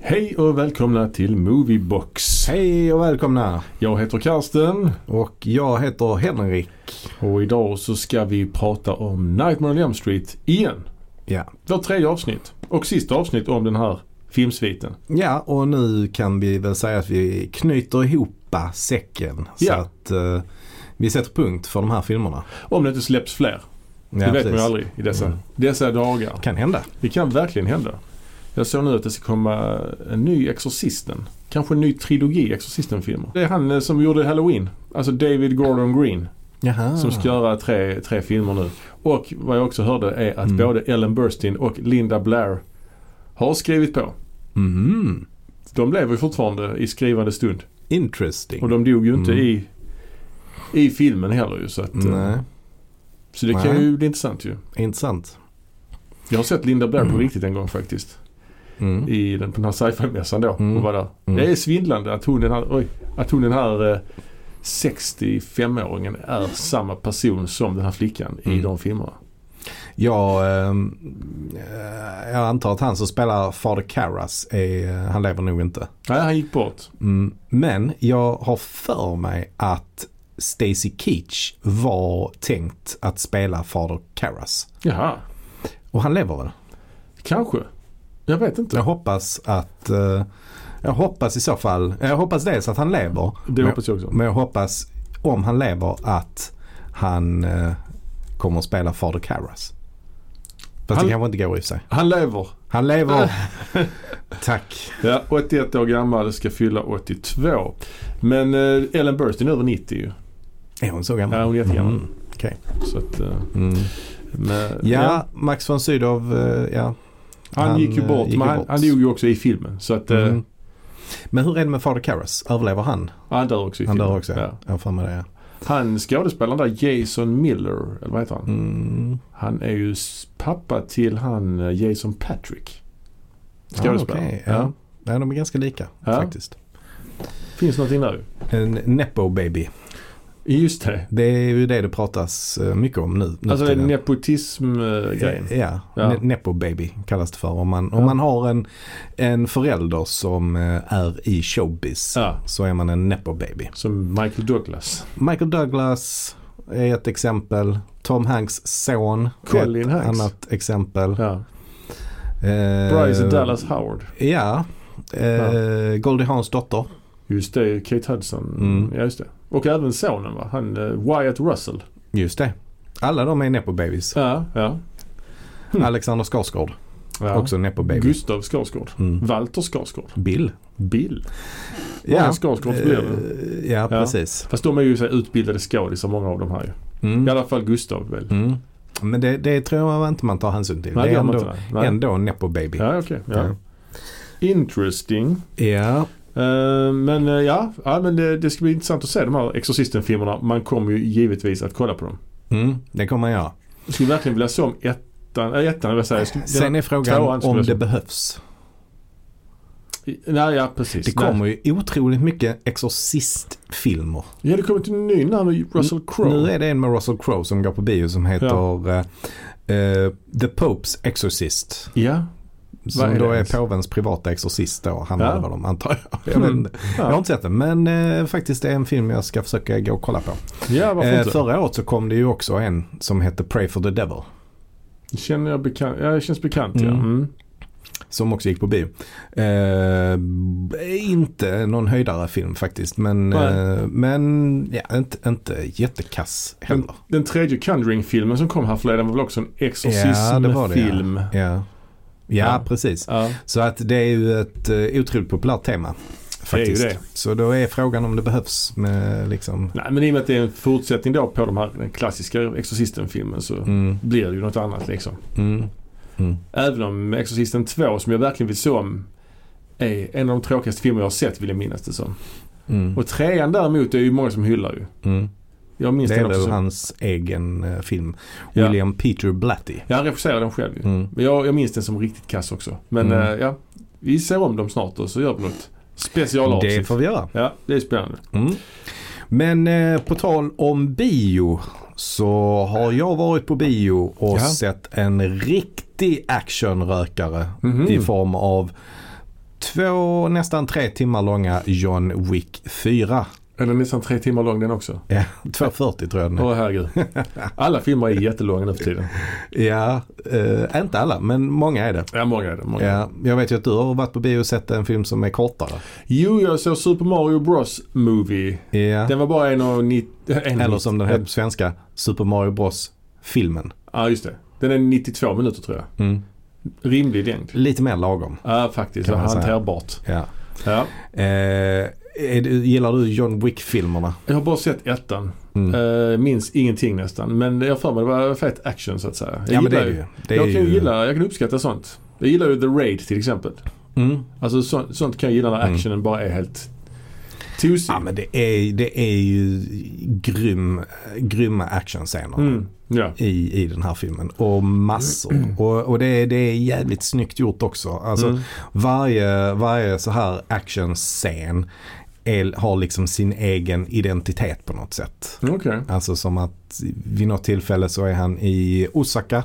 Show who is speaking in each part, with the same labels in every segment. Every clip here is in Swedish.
Speaker 1: Hej och välkomna till Moviebox.
Speaker 2: Hej och välkomna!
Speaker 1: Jag heter Karsten
Speaker 2: Och jag heter Henrik.
Speaker 1: och idag så ska vi prata om Nightmare on Elm Street igen.
Speaker 2: Ja.
Speaker 1: Vårt tredje avsnitt och sista avsnitt om den här filmsviten.
Speaker 2: ja, och nu kan vi väl säga att vi knyter ihop säcken. Så
Speaker 1: Ja.
Speaker 2: att eh, vi sätter punkt för de här filmerna.
Speaker 1: Om det inte släpps fler.
Speaker 2: Ja,
Speaker 1: Det vet man ju
Speaker 2: precis.
Speaker 1: aldrig i dessa,
Speaker 2: Mm.
Speaker 1: dessa dagar.
Speaker 2: kan hända.
Speaker 1: Det kan verkligen hända. Jag såg nu att det ska komma en ny Exorcisten. Kanske en ny trilogi Exorcisten-filmer. Det är han eh, som gjorde Halloween. Alltså David Gordon Green.
Speaker 2: Jaha.
Speaker 1: Som ska göra tre, tre filmer nu. Och vad jag också hörde är att
Speaker 2: Mm.
Speaker 1: både Ellen Burstyn och Linda Blair har skrivit på.
Speaker 2: Mhm.
Speaker 1: De lever ju fortfarande i skrivande stund.
Speaker 2: Interesting.
Speaker 1: Och de dog ju inte
Speaker 2: Mm.
Speaker 1: i, i filmen heller ju. Så, att, eh,
Speaker 2: Nej,
Speaker 1: så det kan
Speaker 2: Nej.
Speaker 1: ju bli intressant ju.
Speaker 2: intressant.
Speaker 1: Jag har sett Linda Blair på
Speaker 2: Mm.
Speaker 1: riktigt en gång faktiskt.
Speaker 2: Mm.
Speaker 1: I den, på den här sci-fi-mässan då.
Speaker 2: Mm.
Speaker 1: Hon var där.
Speaker 2: Mm.
Speaker 1: Det är svindlande att hon den här, oj, att hon den här eh, 65-åringen är samma person som den här flickan i
Speaker 2: Mm.
Speaker 1: de filmerna.
Speaker 2: Jag, ehm, eh, jag antar att han som spelar Fader Karras, är, eh, han lever nog inte.
Speaker 1: Nej, han gick bort.
Speaker 2: Mm. Men jag har för mig att Stacy Keach var tänkt att spela Fader Karras.
Speaker 1: Jaha.
Speaker 2: Och han lever väl?
Speaker 1: Kanske. Jag vet inte.
Speaker 2: Jag hoppas att... eh, jag hoppas i så fall... Jag hoppas dels att han lever.
Speaker 1: Det
Speaker 2: men,
Speaker 1: hoppas jag också.
Speaker 2: men jag hoppas, om han lever, att han eh, kommer att spela Fader Karras. Fast
Speaker 1: Han-
Speaker 2: det kanske inte går i sig.
Speaker 1: Han lever.
Speaker 2: Han lever. Tack.
Speaker 1: Ja, 81 år gammal, ska fylla 82. Men eh, Ellen Burstyn är över 90 ju.
Speaker 2: Är hon så gammal?
Speaker 1: Ja, hon är jättegammal.
Speaker 2: Mm, Okej.
Speaker 1: Så att, eh,
Speaker 2: Mm.
Speaker 1: men,
Speaker 2: Ja, Max von Sydow. eh, ja.
Speaker 1: han,
Speaker 2: han,
Speaker 1: gick ju
Speaker 2: eh,
Speaker 1: bort,
Speaker 2: gick
Speaker 1: men
Speaker 2: ju
Speaker 1: han,
Speaker 2: bort.
Speaker 1: han dog ju också i filmen. Så att eh,
Speaker 2: Mm. Men hur är det med Fader Karras? Överlever han?
Speaker 1: han dör också i
Speaker 2: Han
Speaker 1: filmen.
Speaker 2: dör också?
Speaker 1: Ja.
Speaker 2: Ja. Jag har för mig det. ja.
Speaker 1: Han skådespelaren där, Jason Miller, eller vad heter han?
Speaker 2: Mm.
Speaker 1: Han är ju s- pappa till han eh, Jason Patrick.
Speaker 2: Ah,
Speaker 1: Skådespelaren.
Speaker 2: okej, ja. ja, de är ganska lika
Speaker 1: Ja.
Speaker 2: faktiskt.
Speaker 1: Finns någonting där ju.
Speaker 2: En Nepo baby.
Speaker 1: Just det.
Speaker 2: Det är ju det det pratas eh, mycket om nu. nu
Speaker 1: Alltså det är eh,
Speaker 2: till den.
Speaker 1: nepotism-grejen.
Speaker 2: Ja,
Speaker 1: Ja.
Speaker 2: ne- Nepo baby kallas det för. Om man, om
Speaker 1: Ja.
Speaker 2: man har en, en förälder som eh, är i showbiz
Speaker 1: Ja,
Speaker 2: så är man en Nepo baby.
Speaker 1: som Michael Douglas.
Speaker 2: Michael Douglas är ett exempel. Tom Hanks son är
Speaker 1: Colin
Speaker 2: ett
Speaker 1: Hanks.
Speaker 2: annat exempel.
Speaker 1: Ja.
Speaker 2: Eh,
Speaker 1: Bryce Dallas Howard.
Speaker 2: Ja. Eh, Goldie Hawns dotter.
Speaker 1: Just det, Kate Hudson.
Speaker 2: Mm.
Speaker 1: Ja, just det. Och även sonen va? Han, eh, Wyatt Russell.
Speaker 2: Just det. Alla de är nepo-babies.
Speaker 1: Ja, ja. Mm.
Speaker 2: Alexander Skarsgård,
Speaker 1: ja.
Speaker 2: också nepo-baby.
Speaker 1: Gustav Skarsgård.
Speaker 2: Mm.
Speaker 1: Walter Skarsgård.
Speaker 2: Bill.
Speaker 1: Bill. Många Skarsgård blir det.
Speaker 2: Eh, ja, precis.
Speaker 1: Fast de är ju så här, utbildade skådisar många av de här ju. I
Speaker 2: Mm.
Speaker 1: alla fall Gustav väl?
Speaker 2: Mm. Men det, det tror jag inte man tar hänsyn till.
Speaker 1: Nej,
Speaker 2: det är
Speaker 1: gör man
Speaker 2: ändå,
Speaker 1: inte, nej. Nej.
Speaker 2: ändå en nepo-baby.
Speaker 1: Ja, okej. ja.
Speaker 2: Ja.
Speaker 1: Interesting.
Speaker 2: Ja.
Speaker 1: Eh, men eh, ja, ja men det, det ska bli intressant att se de här Exorcisten-filmerna. Man kommer ju givetvis att kolla på dem.
Speaker 2: Mm. Det kommer man göra.
Speaker 1: Jag skulle verkligen vilja se om ettan, äh, ettan vill jag säga. Jag skulle,
Speaker 2: Sen
Speaker 1: tvåan
Speaker 2: är frågan
Speaker 1: skulle
Speaker 2: om
Speaker 1: jag
Speaker 2: det
Speaker 1: säga.
Speaker 2: behövs.
Speaker 1: nej, ja precis.
Speaker 2: Det
Speaker 1: Nej.
Speaker 2: kommer ju otroligt mycket exorcistfilmer.
Speaker 1: Ja, det kommer till en ny när med Russell Crowe.
Speaker 2: Nu är det en med Russell Crowe som går på bio som heter eh, eh, The Popes Exorcist.
Speaker 1: Ja. Vad
Speaker 2: Som
Speaker 1: är
Speaker 2: då
Speaker 1: det
Speaker 2: är
Speaker 1: ens?
Speaker 2: påvens privata exorcist då. Han
Speaker 1: Ja.
Speaker 2: ja. över dem antar jag. Jag, vet,
Speaker 1: Mm.
Speaker 2: inte. jag har
Speaker 1: Ja,
Speaker 2: inte sett den men eh, faktiskt det är en film jag ska försöka gå och kolla på.
Speaker 1: ja varför
Speaker 2: Eh,
Speaker 1: inte?
Speaker 2: förra året så kom det ju också en som hette Pray for the Devil.
Speaker 1: Känner jag bekant? Ja, det känns bekant ja.
Speaker 2: Mm.
Speaker 1: Mm.
Speaker 2: Som också gick på bio. Eh, b- inte någon höjdare film faktiskt men,
Speaker 1: Nej.
Speaker 2: eh, men ja, inte, inte jättekass heller.
Speaker 1: Den tredje Conjuring-filmen som kom härförleden var väl också en
Speaker 2: Ja, det var det, ja.
Speaker 1: exorcism-film?
Speaker 2: Ja, ja,
Speaker 1: Ja.
Speaker 2: precis.
Speaker 1: ja.
Speaker 2: Så att det är ju ett eh, otroligt populärt tema. Faktiskt.
Speaker 1: Det är ju det.
Speaker 2: Så då är frågan om det behövs med liksom...
Speaker 1: Nej, men i och med att det är en fortsättning då på de här, den klassiska Exorcisten-filmen så
Speaker 2: Mm,
Speaker 1: blir det ju något annat liksom.
Speaker 2: mm, mm.
Speaker 1: Även om Exorcisten 2, som jag verkligen vill se om, är en av de tråkigaste filmer jag har sett vill jag minnas det som.
Speaker 2: Mm,
Speaker 1: Och trean däremot är ju många som hyllar ju.
Speaker 2: mm.
Speaker 1: Jag minns
Speaker 2: Det är
Speaker 1: den också.
Speaker 2: väl
Speaker 1: som-
Speaker 2: hans egen eh, film.
Speaker 1: Ja.
Speaker 2: William Peter Blatty.
Speaker 1: Ja, han regisserade den själv ju.
Speaker 2: Mm.
Speaker 1: Men Jag, jag minns den som riktigt kass också. Men
Speaker 2: Mm.
Speaker 1: eh, ja, vi ser om dem snart och så gör vi något
Speaker 2: Det
Speaker 1: specialavsnitt.
Speaker 2: får vi göra.
Speaker 1: Ja, det är spännande.
Speaker 2: Mm. Men eh, på tal om bio så har jag varit på bio och
Speaker 1: Ja.
Speaker 2: sett en riktig actionrökare
Speaker 1: Mhm.
Speaker 2: i form av två, nästan tre timmar långa John Wick 4.
Speaker 1: Eller nästan tre timmar lång den också.
Speaker 2: Ja, 2.40 tror jag den
Speaker 1: Åh
Speaker 2: är.
Speaker 1: herregud. Alla filmer är jättelånga nu för tiden.
Speaker 2: Ja, eh, inte alla men många är det.
Speaker 1: Ja, många är det. Många.
Speaker 2: Ja, jag vet ju att du har varit på bio och sett en film som är kortare.
Speaker 1: Jo, jag såg Super Mario Bros Movie.
Speaker 2: Ja.
Speaker 1: Den var bara en och nitt- en
Speaker 2: Eller som den heter på svenska, Super Mario Bros. Filmen.
Speaker 1: Ja, ah, just det. Den är 92 minuter tror jag. Rimlig längd.
Speaker 2: Lite mer lagom.
Speaker 1: Ja, faktiskt.
Speaker 2: Kan man säga.
Speaker 1: Hanterbart.
Speaker 2: Ja.
Speaker 1: Ja.
Speaker 2: Eh, är du, gillar du John Wick-filmerna?
Speaker 1: Jag har bara sett ettan.
Speaker 2: Mm.
Speaker 1: Eh, minns ingenting nästan. Men jag har för mig det var fet action så att säga. Jag
Speaker 2: ja men det
Speaker 1: gillar
Speaker 2: är det ju. Det är
Speaker 1: jag kan
Speaker 2: ju
Speaker 1: ju gilla, jag kan uppskatta sånt. Jag gillar ju The Raid till exempel.
Speaker 2: Mm.
Speaker 1: Alltså så, sånt kan jag gilla när
Speaker 2: Mm.
Speaker 1: actionen bara är helt tosig.
Speaker 2: Ja men det är, det är ju grym, grymma actionscener.
Speaker 1: mm. Ja.
Speaker 2: I, I den här filmen. Och massor. Och, och det, är, det är jävligt snyggt gjort också. Alltså,
Speaker 1: Mm.
Speaker 2: Varje, varje så här actionscen är, har liksom sin egen identitet på något sätt.
Speaker 1: Okej.
Speaker 2: Alltså som att vid något tillfälle så är han i Osaka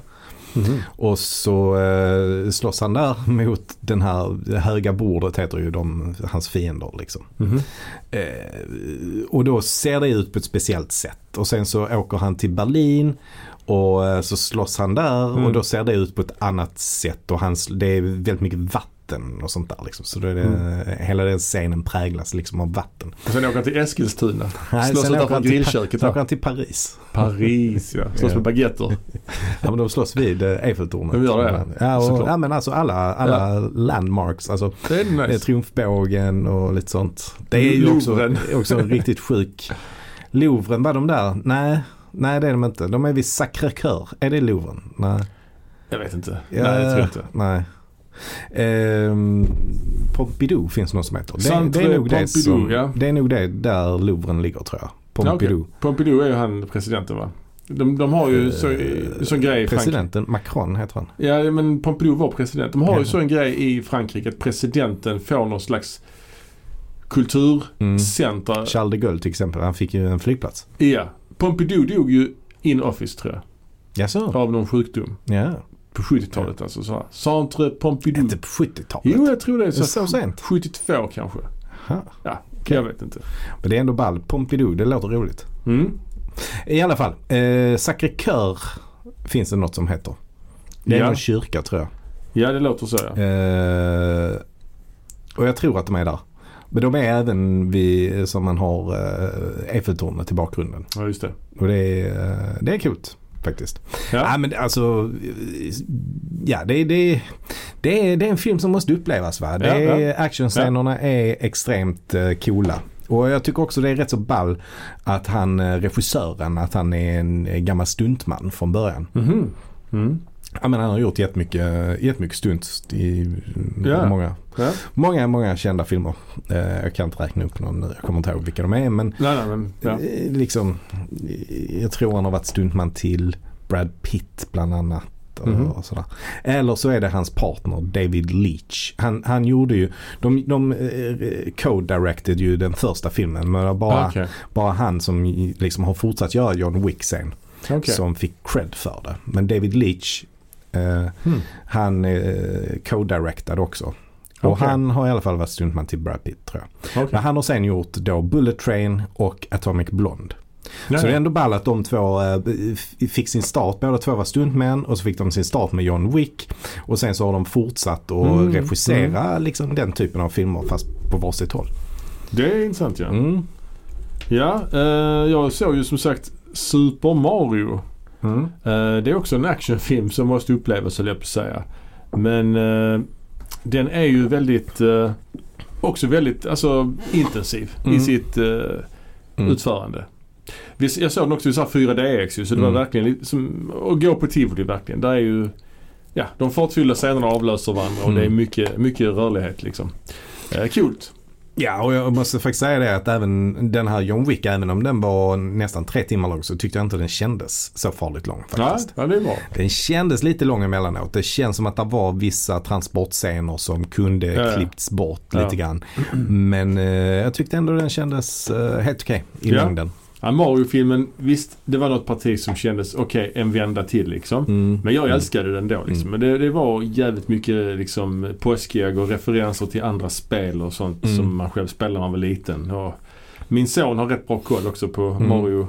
Speaker 1: Mhm.
Speaker 2: och så eh, slåss han där mot den här det höga bordet heter ju de, hans fiender liksom.
Speaker 1: Mhm.
Speaker 2: Eh, och då ser det ut på ett speciellt sätt. Och sen så åker han till Berlin och eh, så slåss han där
Speaker 1: Mm.
Speaker 2: och då ser det ut på ett annat sätt. Och hans, det är väldigt mycket vatten och sånt där. Liksom. Så då är det, hela den scenen präglas liksom av vatten.
Speaker 1: Och sen åker han till Eskilstuna.
Speaker 2: Nej,
Speaker 1: Slåss
Speaker 2: sen åker
Speaker 1: utanför
Speaker 2: han till Pa-
Speaker 1: grillköket
Speaker 2: Sen åker
Speaker 1: där.
Speaker 2: han till Paris.
Speaker 1: Paris ja. Slåss
Speaker 2: Ja.
Speaker 1: med baguetter.
Speaker 2: Ja, men de slåss vid eh, Eiffeltornet.
Speaker 1: De gör det,
Speaker 2: Ja, och,
Speaker 1: såklart.
Speaker 2: ja men alltså alla, alla landmarks. Alltså,
Speaker 1: Det är
Speaker 2: Det är
Speaker 1: nice.
Speaker 2: Triumfbågen och lite sånt. Det är ju också,
Speaker 1: Louvren.
Speaker 2: också en riktigt sjuk. Louvren, var de där? Nej, nej det är de inte. De är vid Sacré-Cœur. Är det Louvren? Nej.
Speaker 1: Jag vet inte.
Speaker 2: Ja,
Speaker 1: Nej, jag tror inte.
Speaker 2: Nej. Ehm, Pompidou finns något som heter. Det, det, är
Speaker 1: Centre
Speaker 2: nog det, som,
Speaker 1: Pompidou, ja.
Speaker 2: det är nog det där Louvren ligger tror jag. Pompidou.
Speaker 1: Pompidou är ju han presidenten va? De, de har ju så,
Speaker 2: Eh,
Speaker 1: sån grej i Frankrike.
Speaker 2: Presidenten Macron heter han.
Speaker 1: Ja men Pompidou var president. De har
Speaker 2: Ja.
Speaker 1: ju så en grej i Frankrike att presidenten får någon slags kulturcentra.
Speaker 2: Mm. Charles de Gaulle till exempel. Han fick ju en flygplats.
Speaker 1: Ja. Pompidou dog ju in office tror jag.
Speaker 2: Jaså?
Speaker 1: Av någon sjukdom.
Speaker 2: Ja.
Speaker 1: På 70-talet alltså. Så här. Centre Pompidou.
Speaker 2: Inte på 70-talet.
Speaker 1: Jo jag tror det är så.
Speaker 2: Så sent?
Speaker 1: 72 kanske.
Speaker 2: Aha.
Speaker 1: Ja,
Speaker 2: Okej.
Speaker 1: jag vet inte.
Speaker 2: Men det är ändå ball. Pompidou, det låter roligt.
Speaker 1: Mm.
Speaker 2: I alla fall, eh, Sacré-Cœur finns det något som heter. Det är
Speaker 1: Ja.
Speaker 2: någon kyrka tror jag.
Speaker 1: Ja det låter så ja.
Speaker 2: Eh, och jag tror att de är där. Men de är även vid, som man har eh, Eiffeltornet i bakgrunden.
Speaker 1: Ja just det.
Speaker 2: Och det är, eh, det är coolt faktiskt. Ja.
Speaker 1: Ja.
Speaker 2: men alltså, eh, ja det, det, det, är, det är en film som måste upplevas va. Det
Speaker 1: Ja,
Speaker 2: är, Actionscenerna är extremt eh, coola. Och jag tycker också det är rätt så ball att han, eh, regissören, att han är en eh, gammal stuntman från början.
Speaker 1: Mhm. Mm.
Speaker 2: Ja, men han har gjort jättemycket, eh, jättemycket stunts i mm,
Speaker 1: Ja.
Speaker 2: många,
Speaker 1: Ja.
Speaker 2: många, många kända filmer. Eh, Jag kan inte räkna upp någon nu, jag kommer inte ihåg vilka de är men
Speaker 1: Nej nej men. Ja.
Speaker 2: eh, liksom, eh, jag tror han har varit stuntman till Brad Pitt bland annat. Och,
Speaker 1: Mhm.
Speaker 2: och sådär. Eller så är det hans partner David Leach. Han, han gjorde ju, de, de eh, co-directed ju den första filmen men det var bara,
Speaker 1: Ah, Okej.
Speaker 2: bara han som liksom har fortsatt göra John Wick sen
Speaker 1: Okej.
Speaker 2: som fick cred för det. Men David Leach, eh,
Speaker 1: Hmm.
Speaker 2: han eh, co-directad också. Och
Speaker 1: Okej.
Speaker 2: han har i alla fall varit stuntman till Brad Pitt tror jag.
Speaker 1: Okej.
Speaker 2: Men han har sen gjort då Bullet Train och Atomic Blonde. Så det är
Speaker 1: Nej.
Speaker 2: ändå ball att de två eh, f- fick sin start. Båda två var stuntmän och så fick de sin start med John Wick. Och sen så har de fortsatt att
Speaker 1: Mm,
Speaker 2: regissera liksom den typen av filmer fast på varsitt håll.
Speaker 1: Det är intressant ja.
Speaker 2: Mm.
Speaker 1: Ja, eh, jag såg ju som sagt Super Mario.
Speaker 2: Mm.
Speaker 1: Eh, det är också en actionfilm som måste upplevas höll jag på att säga. Men eh, den är ju väldigt, eh, också väldigt alltså, intensiv
Speaker 2: Mm.
Speaker 1: i sitt eh,
Speaker 2: Mm.
Speaker 1: utförande. Vi, jag såg den också i så här 4DX ju, så det var
Speaker 2: Mm.
Speaker 1: verkligen lite som att gå på tivoli verkligen. Där är ju, ja de fartfyllda scenerna avlöser varandra och
Speaker 2: Mm.
Speaker 1: det är mycket, mycket rörlighet liksom. Eh, coolt.
Speaker 2: Ja, och jag måste faktiskt säga det att även den här John Wick, även om den var nästan tre timmar lång så tyckte jag inte den kändes så farligt lång
Speaker 1: Ja,
Speaker 2: faktiskt.
Speaker 1: ja, det är bra.
Speaker 2: Den kändes lite lång emellanåt. Det känns som att det var vissa transportscener som kunde
Speaker 1: Ja, ja.
Speaker 2: klippts bort
Speaker 1: Ja.
Speaker 2: lite grann. Men eh, jag tyckte ändå den kändes eh, helt okej i
Speaker 1: Ja.
Speaker 2: längden.
Speaker 1: Ja, Mario-filmen, visst det var något parti som kändes, okej en vända till liksom.
Speaker 2: Mm.
Speaker 1: Men jag
Speaker 2: Mm.
Speaker 1: älskade den då liksom. Men det, det var jävligt mycket liksom påskägg och referenser till andra spel och sånt
Speaker 2: Mm.
Speaker 1: som man själv spelade när man var liten. Och min son har rätt bra koll också på
Speaker 2: Mm.
Speaker 1: Mario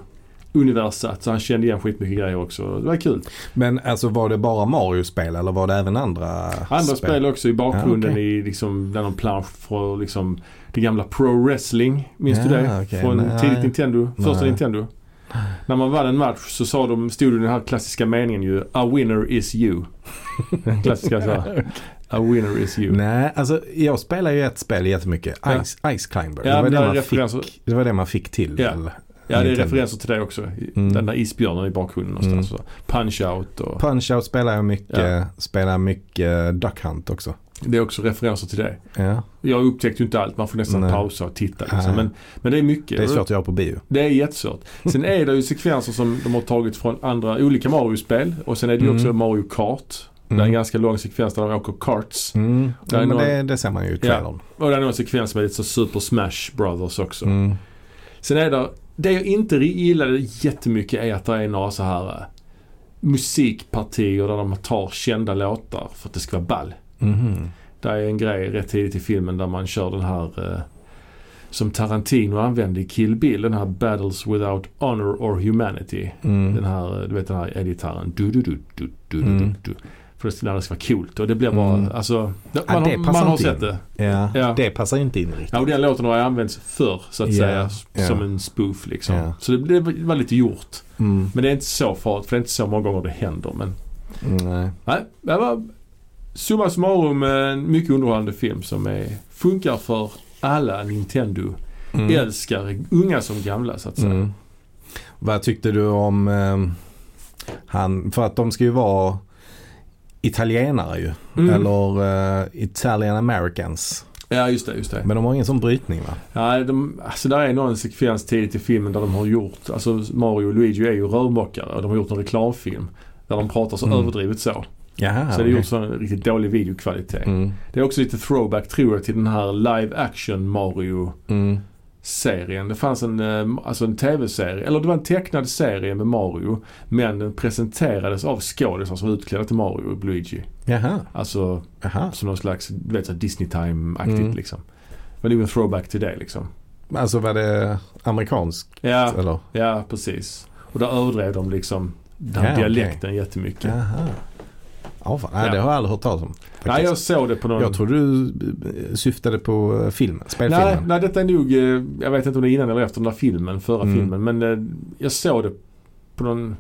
Speaker 1: universat så han kände igen skitmycket grejer också. Det var kul.
Speaker 2: Men alltså var det bara Mario-spel eller var det även andra
Speaker 1: Andra spel, också i bakgrunden
Speaker 2: Ja, okej.
Speaker 1: i liksom, bland de plansch för liksom det gamla Pro Wrestling. Minns du
Speaker 2: Ja,
Speaker 1: det?
Speaker 2: okej.
Speaker 1: Från
Speaker 2: Nej.
Speaker 1: tidigt Nintendo, första
Speaker 2: Nej.
Speaker 1: Nintendo. När man vann en match så sa de, stod det den här klassiska meningen ju A winner is you. Den klassiska så här. A winner is you.
Speaker 2: Nej, alltså jag spelar ju ett spel jättemycket.
Speaker 1: Ja.
Speaker 2: Ice, Ice Climber.
Speaker 1: Ja,
Speaker 2: det, var
Speaker 1: men
Speaker 2: det,
Speaker 1: där är
Speaker 2: man fick,
Speaker 1: referenser.
Speaker 2: det var det man fick till.
Speaker 1: Ja.
Speaker 2: väl?
Speaker 1: Ja, det är
Speaker 2: Nintendo.
Speaker 1: referenser till det också. I-
Speaker 2: Mm.
Speaker 1: Den där isbjörnen i bakgrunden någonstans. Så. Punch out och
Speaker 2: Punch-Out spelar jag mycket.
Speaker 1: Ja.
Speaker 2: Spelar mycket Duck Hunt också.
Speaker 1: det är också referenser till det.
Speaker 2: Ja.
Speaker 1: Jag upptäckte ju inte allt. Man får nästan
Speaker 2: Nej.
Speaker 1: pausa och titta
Speaker 2: Ja.
Speaker 1: liksom. men, men det är mycket.
Speaker 2: Det är svårt att göra på bio.
Speaker 1: Det är jättesvårt. Sen är det ju sekvenser som de har tagit från andra olika Mario-spel. Och sen är det ju också
Speaker 2: Mm.
Speaker 1: Mario Kart. Det är en
Speaker 2: Mm.
Speaker 1: ganska lång sekvens där de åker karts.
Speaker 2: Mm.
Speaker 1: Det är
Speaker 2: Ja, men
Speaker 1: någon-
Speaker 2: det, det ser man ju i trailern.
Speaker 1: Och det är någon sekvens med lite så Super Smash Brothers också.
Speaker 2: Mm.
Speaker 1: Sen är det, det jag inte gillade jättemycket är att det är några så här eh, musikpartier där de tar kända låtar för att det ska vara ball.
Speaker 2: Mhm.
Speaker 1: Det är en grej rätt tidigt i filmen där man kör den här eh, som Tarantino använde i Kill Bill. Den här Battles Without Honor or Humanity.
Speaker 2: Mm.
Speaker 1: Den här, du vet den här elgitarren. Du, du, du, du, du,
Speaker 2: Mm.
Speaker 1: du, du. För det när det ska vara coolt. Och det blir bara,
Speaker 2: Mm.
Speaker 1: alltså. Man,
Speaker 2: Ja, det
Speaker 1: har,
Speaker 2: passar
Speaker 1: man har
Speaker 2: inte
Speaker 1: sett
Speaker 2: in.
Speaker 1: det.
Speaker 2: Ja.
Speaker 1: Ja.
Speaker 2: Det passar ju inte in riktigt.
Speaker 1: Ja, och den låten har jag använts för så att
Speaker 2: Ja,
Speaker 1: säga.
Speaker 2: ja.
Speaker 1: Som en spoof liksom.
Speaker 2: Ja.
Speaker 1: Så det, blev- det var lite gjort.
Speaker 2: Mm.
Speaker 1: Men det är inte så farligt för det är inte så många gånger det händer. Men
Speaker 2: Nej.
Speaker 1: nej, det var summa summarum en mycket underhållande film som är, funkar för alla Nintendo-älskare.
Speaker 2: Mm.
Speaker 1: Unga som gamla så att säga.
Speaker 2: Mm. Vad tyckte du om ehm, han, för att de ska ju vara italienare ju.
Speaker 1: Mm.
Speaker 2: Eller eh, Italian Americans.
Speaker 1: Ja, just det, just det.
Speaker 2: Men de har ingen sån brytning va?
Speaker 1: Nej, de, alltså där är någon sekvens tidigt i filmen där de har gjort, alltså Mario och Luigi är ju rörmokare och de har gjort en reklamfilm där de pratar så
Speaker 2: Mm.
Speaker 1: överdrivet så.
Speaker 2: Jaha,
Speaker 1: Så det är
Speaker 2: okej.
Speaker 1: gjort så en riktigt dålig videokvalitet.
Speaker 2: Mm.
Speaker 1: Det är också lite throwback tror jag till den här live action Mario
Speaker 2: Mm.
Speaker 1: serien. Det fanns en, eh, alltså en tv-serie, eller det var en tecknad serie med Mario men den presenterades av skådisar som var utklädda till Mario och Luigi.
Speaker 2: Jaha,
Speaker 1: Alltså
Speaker 2: jaha.
Speaker 1: som någon slags, du vet såhär Disney time-aktigt
Speaker 2: Mm.
Speaker 1: liksom. Men det är ju en throwback till det liksom.
Speaker 2: Alltså var det amerikanskt
Speaker 1: Ja,
Speaker 2: eller?
Speaker 1: Ja, precis. Och där överdrev de liksom den
Speaker 2: Ja,
Speaker 1: här
Speaker 2: okej.
Speaker 1: dialekten jättemycket.
Speaker 2: Jaha. Ja, fan. Nej,
Speaker 1: Ja.
Speaker 2: det har jag aldrig hört talas om. faktiskt.
Speaker 1: Nej, jag såg det på någon...
Speaker 2: Jag tror du eh, syftade på eh, filmen,
Speaker 1: nej,
Speaker 2: spelfilmen.
Speaker 1: nej, detta är nog... eh, Jag vet inte om det är innan eller efter den där filmen, förra
Speaker 2: Mm.
Speaker 1: filmen. Men eh, jag såg det på någon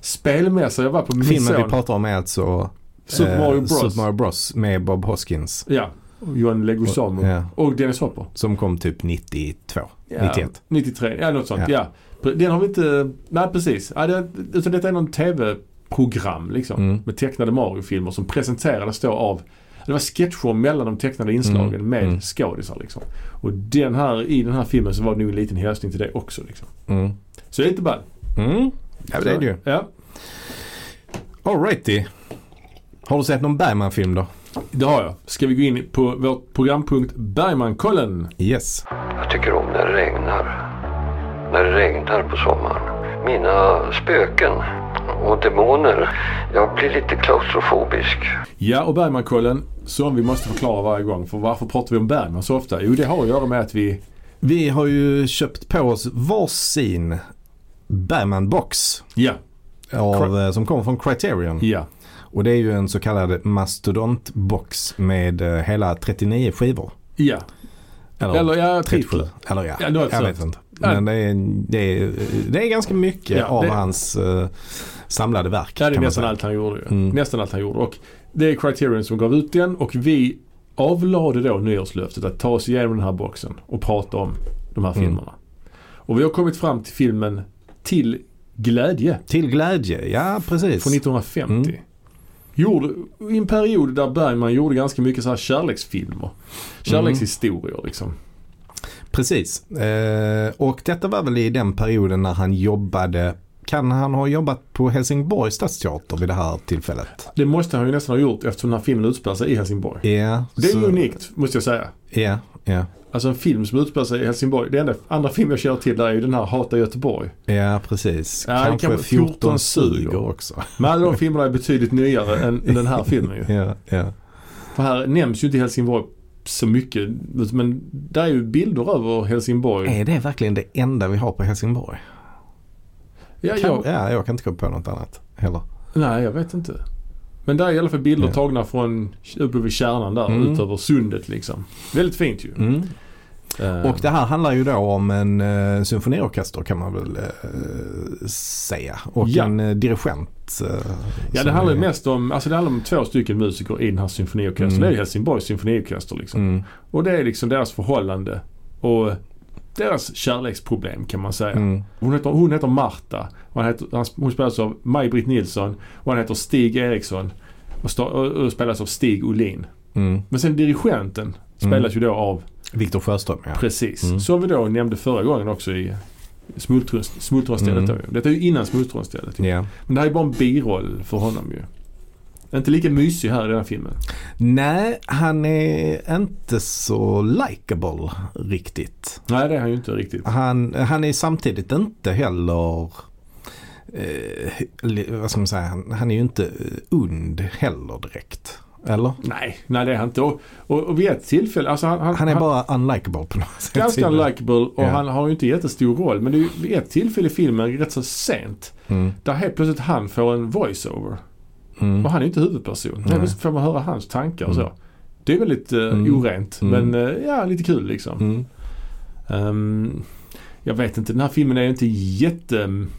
Speaker 1: spelmässa. Jag var på min
Speaker 2: Filmen vi
Speaker 1: son.
Speaker 2: pratar om är alltså
Speaker 1: Super Mario
Speaker 2: eh,
Speaker 1: Bros.
Speaker 2: Super Mario Bros med Bob Hoskins.
Speaker 1: Ja, och Johan Leguizamo.
Speaker 2: Ja.
Speaker 1: Och Dennis Hopper.
Speaker 2: Som kom typ 92,
Speaker 1: Ja,
Speaker 2: 91.
Speaker 1: 93, ja något sånt.
Speaker 2: Ja.
Speaker 1: Ja. Pre- Den har vi inte... Nej, precis. Ja, det, utan detta är någon tv-program liksom.
Speaker 2: Mm.
Speaker 1: med tecknade Mario-filmer som presenterades då av det var sketcher mellan de tecknade inslagen
Speaker 2: Mm,
Speaker 1: med
Speaker 2: mm.
Speaker 1: skådisar. Liksom. Och den här, i den här filmen så var det nog en liten hälsning till det också. Liksom.
Speaker 2: Mm.
Speaker 1: Så det är inte ball.
Speaker 2: Mm. Ja, men det är det ju.
Speaker 1: Ja,
Speaker 2: Alrighty. Har du sett någon Bergman-film då?
Speaker 1: det har jag. Ska vi gå in på vår programpunkt Bergmankollen.
Speaker 2: Yes.
Speaker 3: Jag tycker om när det regnar. När det regnar på sommaren. Mina spöken och demoner. Jag blir lite klaustrofobisk.
Speaker 1: Ja, och Bergmankollen som vi måste förklara varje gång. För varför pratar vi om Bergman så ofta? Jo, det har att göra med att vi...
Speaker 2: Vi har ju köpt på oss varsin Bergman-box
Speaker 1: Ja,
Speaker 2: av, eh, som kommer från Criterion.
Speaker 1: ja.
Speaker 2: Och det är ju en så kallad mastodontbox med eh, hela 39 skivor.
Speaker 1: Ja, eller ja, typ.
Speaker 2: 37.
Speaker 1: titlar.
Speaker 2: Eller ja,
Speaker 1: Ja, det var
Speaker 2: jag
Speaker 1: sant.
Speaker 2: vet inte.
Speaker 1: Ja.
Speaker 2: Men det är, det är, det är ganska mycket
Speaker 1: Ja,
Speaker 2: av
Speaker 1: det-
Speaker 2: hans eh, samlade verk.
Speaker 1: Ja, det är
Speaker 2: kan man
Speaker 1: nästan
Speaker 2: säga.
Speaker 1: allt han gjorde ju.
Speaker 2: Mm.
Speaker 1: Nästan allt han gjorde. Och det är Criterion som gav ut den och vi avlade då nyårslöftet att ta oss igenom den här boxen och prata om de här
Speaker 2: Mm.
Speaker 1: filmerna. Och vi har kommit fram till filmen Till glädje
Speaker 2: Till glädje, ja precis.
Speaker 1: från 1950.
Speaker 2: Mm.
Speaker 1: Gjorde, I en period där Bergman gjorde ganska mycket så här kärleksfilmer. Kärlekshistorier
Speaker 2: Mm.
Speaker 1: liksom.
Speaker 2: Precis. Eh, och detta var väl i den perioden när han jobbade kan han ha jobbat på Helsingborgs stadsteater vid det här tillfället?
Speaker 1: Det måste han ju nästan ha gjort eftersom den här filmen utspelar sig i Helsingborg.
Speaker 2: Ja.
Speaker 1: Det är
Speaker 2: så-
Speaker 1: unikt måste jag säga.
Speaker 2: Ja, ja.
Speaker 1: Alltså en film som utspelar sig i Helsingborg. Den enda andra film jag känner till där är ju den här Hata Göteborg.
Speaker 2: Ja, precis.
Speaker 1: Ja, det
Speaker 2: Kanske
Speaker 1: kan vara
Speaker 2: 14,
Speaker 1: 14
Speaker 2: suger
Speaker 1: suger.
Speaker 2: också.
Speaker 1: Men alla de filmerna är betydligt nyare än den här filmen ju.
Speaker 2: Ja, ja.
Speaker 1: För här nämns ju inte Helsingborg så mycket. Men där är ju bilder över Helsingborg.
Speaker 2: Är det verkligen det enda vi har på Helsingborg?
Speaker 1: Ja,
Speaker 2: Kan,
Speaker 1: jag,
Speaker 2: Ja, jag kan inte komma på något annat heller.
Speaker 1: nej, jag vet inte. Men där är i alla fall bilder
Speaker 2: Ja.
Speaker 1: tagna från uppe vid kärnan där
Speaker 2: Mm.
Speaker 1: ut över sundet liksom. Väldigt fint ju. Eh,
Speaker 2: Och det här handlar ju då om en uh, symfoniorkester kan man väl eh, säga. Och
Speaker 1: Ja.
Speaker 2: en eh, dirigent. eh,
Speaker 1: Ja, det
Speaker 2: som
Speaker 1: handlar ju
Speaker 2: är-
Speaker 1: mest om, alltså det handlar om två stycken musiker i den här symfoniorkestern.
Speaker 2: Mm.
Speaker 1: Det är ju Helsingborgs symfoniorkester liksom.
Speaker 2: Mm,
Speaker 1: Och det är liksom deras förhållande och deras kärleksproblem kan man säga.
Speaker 2: mm,
Speaker 1: Hon, heter, hon heter Marta och han heter, han, hon spelas av Maj-Britt Nilsson och han heter Stig Eriksson och, sta, och, och spelas av Stig Olin.
Speaker 2: mm.
Speaker 1: Men sen dirigenten spelas ju då av,
Speaker 2: Viktor Sjöström ja.
Speaker 1: precis,
Speaker 2: Mm.
Speaker 1: som vi då nämnde förra gången också i Smultron- Smultronstället. då
Speaker 2: Mm.
Speaker 1: ju. Detta är ju innan Smultronstället. ju.
Speaker 2: Ja.
Speaker 1: Men det här är bara en biroll för honom ju. Inte lika mysig här i den här filmen.
Speaker 2: Nej, han är inte så likable riktigt.
Speaker 1: Nej, det är han ju inte riktigt.
Speaker 2: Han, han är samtidigt inte heller eh, li- vad ska man säga, han, han är ju inte eh, ond heller direkt. Eller?
Speaker 1: Nej, nej det är han inte. Och, och, och vid ett tillfälle, alltså han, han,
Speaker 2: Han är bara unlikable på något sätt.
Speaker 1: ganska likable och
Speaker 2: Ja.
Speaker 1: han har ju inte jättestor roll. Men det är ju vid ett tillfälle i filmen, rätt så sent,
Speaker 2: Mm,
Speaker 1: där helt plötsligt han får en voice-over.
Speaker 2: mm.
Speaker 1: Och han är ju inte huvudperson. Helt
Speaker 2: Nej.
Speaker 1: plötsligt får man höra hans tankar och
Speaker 2: Mm.
Speaker 1: så. Det är väldigt eh,
Speaker 2: Mm.
Speaker 1: orent,
Speaker 2: Mm.
Speaker 1: men eh, ja, lite kul liksom.
Speaker 2: Mm.
Speaker 1: Ehm, jag vet inte, den här filmen är ju inte jätte... mm,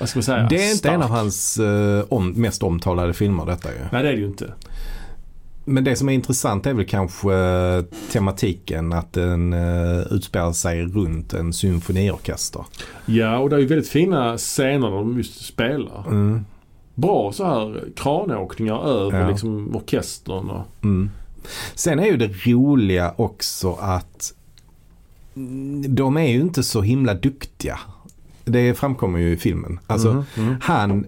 Speaker 1: Vad ska man säga?
Speaker 2: Det är inte
Speaker 1: stark.
Speaker 2: en av hans eh, om, mest omtalade filmer detta ju.
Speaker 1: Nej, det är det ju inte.
Speaker 2: Men det som är intressant är väl kanske eh, tematiken att den eh, utspelar sig runt en symfoniorkester.
Speaker 1: Ja, och det är ju väldigt fina scener där de just spelar.
Speaker 2: Mm.
Speaker 1: bra så här kranåkningar över
Speaker 2: Ja.
Speaker 1: liksom orkestern. Och,
Speaker 2: Mm. Sen är ju det roliga också att mm, de är ju inte så himla duktiga. Det framkommer ju i filmen. Alltså
Speaker 1: Mhm,
Speaker 2: han,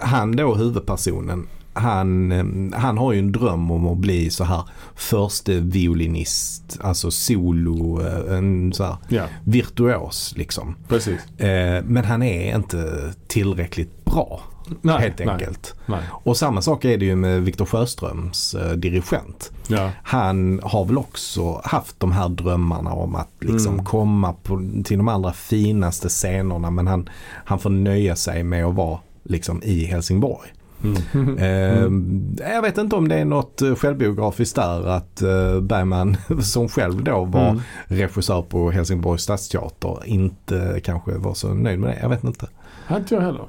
Speaker 2: han då huvudpersonen, han, eh, han har ju en dröm om att bli så här förste violinist, alltså solo, eh, en så här
Speaker 1: Ja,
Speaker 2: virtuos liksom.
Speaker 1: precis.
Speaker 2: Eh, Men han är inte tillräckligt bra
Speaker 1: Nej,
Speaker 2: helt
Speaker 1: nej,
Speaker 2: enkelt.
Speaker 1: Nej.
Speaker 2: Och samma sak är det ju med Viktor Sjöströms eh, dirigent.
Speaker 1: Ja.
Speaker 2: Han har väl också haft de här drömmarna om att liksom
Speaker 1: Mm.
Speaker 2: komma på, till de allra finaste scenerna men han, han får nöja sig med att vara liksom i Helsingborg.
Speaker 1: Mm.
Speaker 2: Eh, Jag vet inte om det är något eh, självbiografiskt där att eh, Bergman som själv då var
Speaker 1: Mm.
Speaker 2: regissör på Helsingborgs stadsteater inte kanske var så nöjd med det. Jag vet inte.
Speaker 1: Här Inte jag heller.